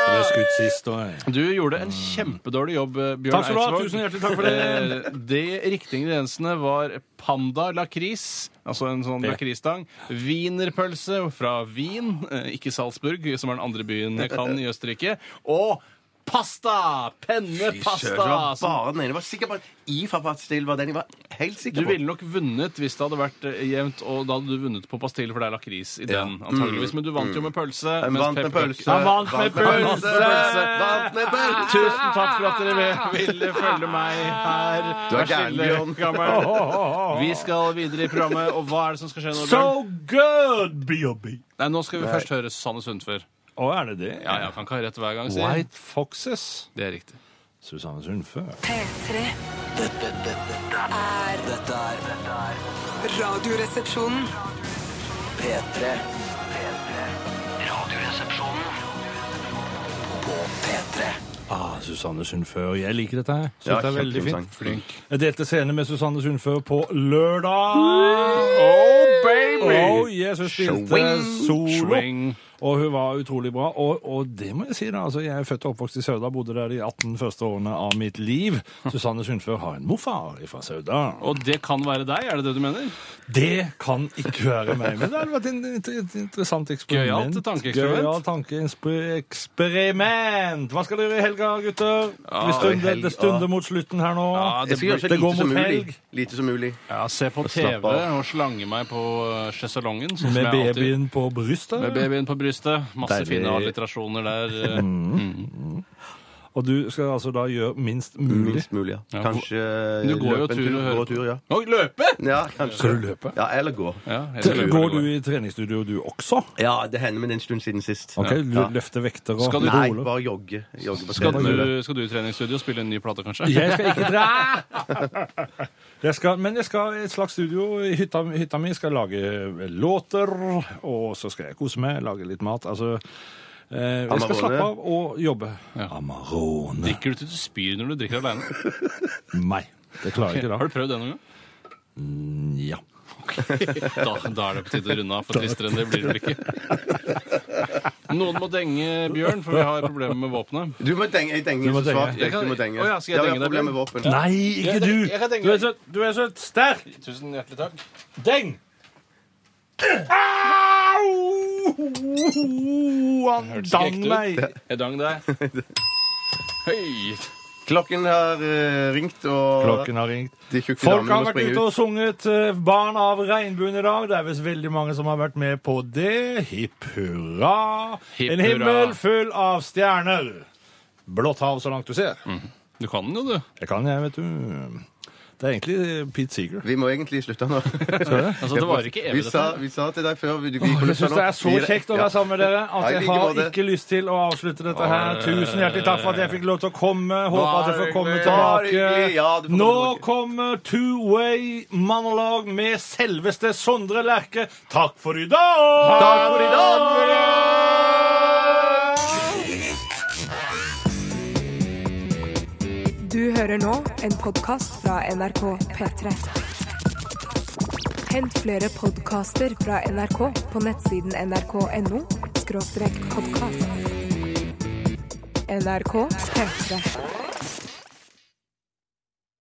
[SPEAKER 3] Det ble skutt sist, og jeg.
[SPEAKER 5] Du gjorde en kjempedårlig jobb, eh, Bjørn
[SPEAKER 3] Takk skal du ha. Tusen hjertelig takk for det.
[SPEAKER 5] Eh, De riktige ingrediensene var panda lakris, altså en sånn
[SPEAKER 3] Ja.
[SPEAKER 5] lakrisstang, wienerpølse fra Wien, eh, ikke Salzburg, som er den andre byen jeg kan i Østerrike, og pasta!
[SPEAKER 4] Søren, det var
[SPEAKER 5] Pennepasta! som-
[SPEAKER 4] bare den ene. Jeg var sikker på at IFA, pastill var den jeg var helt
[SPEAKER 5] Du
[SPEAKER 4] sikker på.
[SPEAKER 5] ville nok vunnet hvis det hadde vært eh, jevnt, og da hadde du vunnet på pastille, for det er lakris i den, antageligvis. Men du vant jo med pølse.
[SPEAKER 4] Han
[SPEAKER 5] mens
[SPEAKER 4] Mm. vant med
[SPEAKER 5] pepperkake-
[SPEAKER 4] pølse.
[SPEAKER 5] Han vant
[SPEAKER 3] med
[SPEAKER 4] vant
[SPEAKER 5] pølse.
[SPEAKER 4] Vant med pølse!
[SPEAKER 5] Tusen takk for at dere ville følge meg her.
[SPEAKER 4] Du er
[SPEAKER 5] Vær stille,
[SPEAKER 4] gæren, Bjørn. [laughs]
[SPEAKER 5] gammel. Vi skal videre i programmet, og hva er det som skal skje nå,
[SPEAKER 3] So
[SPEAKER 5] Bjørn?
[SPEAKER 3] good, B.O.B.
[SPEAKER 5] Nei, nå skal vi først høre Susanne Sundfør.
[SPEAKER 3] Å, er det det?
[SPEAKER 5] Ja, ja, kan ikke ha rett hver gang, sier jeg.
[SPEAKER 3] White Foxes.
[SPEAKER 5] Det er riktig.
[SPEAKER 3] Susanne Sundfør.
[SPEAKER 7] P3
[SPEAKER 2] Dette, dette, dette er Dette er dette er
[SPEAKER 7] Radioresepsjonen
[SPEAKER 2] P3. P3. Radioresepsjonen på P3.
[SPEAKER 3] Ah, Susanne Sundfør. Jeg liker dette her. Synes
[SPEAKER 4] Ja,
[SPEAKER 3] det er veldig
[SPEAKER 4] kjempefin
[SPEAKER 3] fint.
[SPEAKER 4] sang.
[SPEAKER 3] Jeg delte scene med Susanne Sundfør på lørdag. Oh,
[SPEAKER 5] baby!
[SPEAKER 3] Oh, yes, hun spilte solo.
[SPEAKER 5] Swing.
[SPEAKER 3] Og hun var utrolig bra. Og, og det må jeg si, da. Altså, jeg er født og oppvokst i Sauda, bodde der de 18 første årene av mitt liv. Susanne Sundfør har en morfar fra Sauda. Og
[SPEAKER 5] Og det kan være deg, er det det du mener?
[SPEAKER 3] det kan ikke være meg. Men det hadde vært en- et et interessant eksperiment.
[SPEAKER 5] Gøyalt tankeeksperiment.
[SPEAKER 3] Gøyalt tankeeksperiment. Hva skal dere gjøre i helga, gutter?
[SPEAKER 5] Ah,
[SPEAKER 3] Vi stunder,
[SPEAKER 4] helg,
[SPEAKER 3] det stunder
[SPEAKER 4] ja.
[SPEAKER 3] mot slutten her nå.
[SPEAKER 4] Jeg skal gjøre så
[SPEAKER 3] det går mot
[SPEAKER 4] lite som mulig.
[SPEAKER 3] helg.
[SPEAKER 4] Lite som mulig.
[SPEAKER 5] Ja, se på TV
[SPEAKER 4] slappe av.
[SPEAKER 5] og slange meg på eh, sjeselongen. sånn som
[SPEAKER 3] Med
[SPEAKER 5] jeg alltid-
[SPEAKER 3] babyen på brystet.
[SPEAKER 5] Med babyen på brystet. Masse
[SPEAKER 3] Deilig.
[SPEAKER 5] fine alliterasjoner der. eh.
[SPEAKER 3] Og du skal altså da gjøre minst mulig.
[SPEAKER 4] Minst mulig, ja.
[SPEAKER 5] Ja,
[SPEAKER 4] Kanskje
[SPEAKER 5] Du går jo
[SPEAKER 4] løpe en
[SPEAKER 5] tur og hører
[SPEAKER 4] gå tur, ja.
[SPEAKER 5] Oi, løpe!
[SPEAKER 4] ja kanskje.
[SPEAKER 3] Skal du løpe?
[SPEAKER 4] Ja, eller gå.
[SPEAKER 5] Ja, jeg skal løpe.
[SPEAKER 3] Går du i treningsstudio du også?
[SPEAKER 4] Ja, det hender, men det er en stund siden sist.
[SPEAKER 3] Ok, du
[SPEAKER 4] Ja.
[SPEAKER 3] Løfte vekter og
[SPEAKER 5] Skal du-
[SPEAKER 4] Nei,
[SPEAKER 3] roller.
[SPEAKER 4] bare jogge. jogge på
[SPEAKER 5] Skal
[SPEAKER 4] treningsstudio.
[SPEAKER 5] du, skal du i treningsstudio og spille en ny plate, kanskje?
[SPEAKER 3] Jeg skal ikke dra! [laughs] Jeg skal, men jeg skal i et slags studio i hytta, hytta mi. Skal lage eh, låter, og så skal jeg kose meg, lage litt mat. Altså eh, Jeg skal
[SPEAKER 4] Amarone.
[SPEAKER 3] slappe av og jobbe.
[SPEAKER 5] Ja.
[SPEAKER 3] Amarone.
[SPEAKER 5] Drikker du til du spyr når du drikker [laughs] alene?
[SPEAKER 3] Nei. Det klarer jeg
[SPEAKER 5] Har
[SPEAKER 3] ikke
[SPEAKER 5] du prøvd det noen gang?
[SPEAKER 3] da. Ja.
[SPEAKER 5] Da, da er det på tide å runde av, for tristere enn det blir det vel ikke. Noen må denge Bjørn, for vi har problemer med våpenet.
[SPEAKER 4] Du må denge. Jeg denger
[SPEAKER 3] Du må
[SPEAKER 4] så svart.
[SPEAKER 5] denge.
[SPEAKER 4] Jeg, du må denge.
[SPEAKER 5] Å ja, skal jeg
[SPEAKER 4] Ja,
[SPEAKER 5] denge deg,
[SPEAKER 4] problemer med våpen.
[SPEAKER 3] Nei, ikke
[SPEAKER 5] Jeg-
[SPEAKER 3] du!
[SPEAKER 5] jeg kan tenke
[SPEAKER 3] Du er
[SPEAKER 5] meg.
[SPEAKER 3] så, du er så sterk!
[SPEAKER 5] Tusen hjertelig takk.
[SPEAKER 3] Deng! Au! Han
[SPEAKER 5] Hørtes ikke
[SPEAKER 3] dang
[SPEAKER 5] ekte ut.
[SPEAKER 3] meg!
[SPEAKER 5] Jeg dang [laughs] deg. Høy!
[SPEAKER 4] Klokken har eh, ringt, og
[SPEAKER 3] Klokken har ringt.
[SPEAKER 4] de tjukke
[SPEAKER 3] Folk
[SPEAKER 4] damene
[SPEAKER 3] har
[SPEAKER 4] må
[SPEAKER 3] vært
[SPEAKER 4] springe
[SPEAKER 3] ute og
[SPEAKER 4] ut.
[SPEAKER 3] sunget eh, 'Barn av regnbuen' i dag. Det er visst veldig mange som har vært med på det. Hipp hurra.
[SPEAKER 5] Hipp
[SPEAKER 3] en
[SPEAKER 5] hurra.
[SPEAKER 3] himmel full av stjerner. Blått hav så langt du ser.
[SPEAKER 5] Mm. Du kan den jo, du.
[SPEAKER 3] Jeg kan, jeg, vet du. Det er egentlig eh, Pete Seeger.
[SPEAKER 4] Vi må egentlig slutte nå.
[SPEAKER 5] Altså, det varer ikke evig,
[SPEAKER 4] Vi sa,
[SPEAKER 5] dette.
[SPEAKER 4] vi sa til deg før vi, vi
[SPEAKER 3] Jeg syns det er så kjekt å være sammen med dere
[SPEAKER 4] Ja,
[SPEAKER 3] at
[SPEAKER 4] i
[SPEAKER 3] jeg
[SPEAKER 4] like
[SPEAKER 3] har
[SPEAKER 4] måte.
[SPEAKER 3] ikke lyst til å avslutte dette her. Tusen hjertelig takk for at jeg fikk lov til å komme. Håper at jeg får komme
[SPEAKER 4] hyggelig. Bare hyggelig.
[SPEAKER 3] tilbake.
[SPEAKER 4] Ja, du får komme
[SPEAKER 3] Nå
[SPEAKER 4] tilbake.
[SPEAKER 3] kommer Two Way Monolog med selveste Sondre Lerche. Takk for i dag! Takk for i dag!
[SPEAKER 1] Du hører nå en podkast fra NRK P3. Hent flere podkaster fra NRK på nettsiden nrk.no podkast. NRK P3.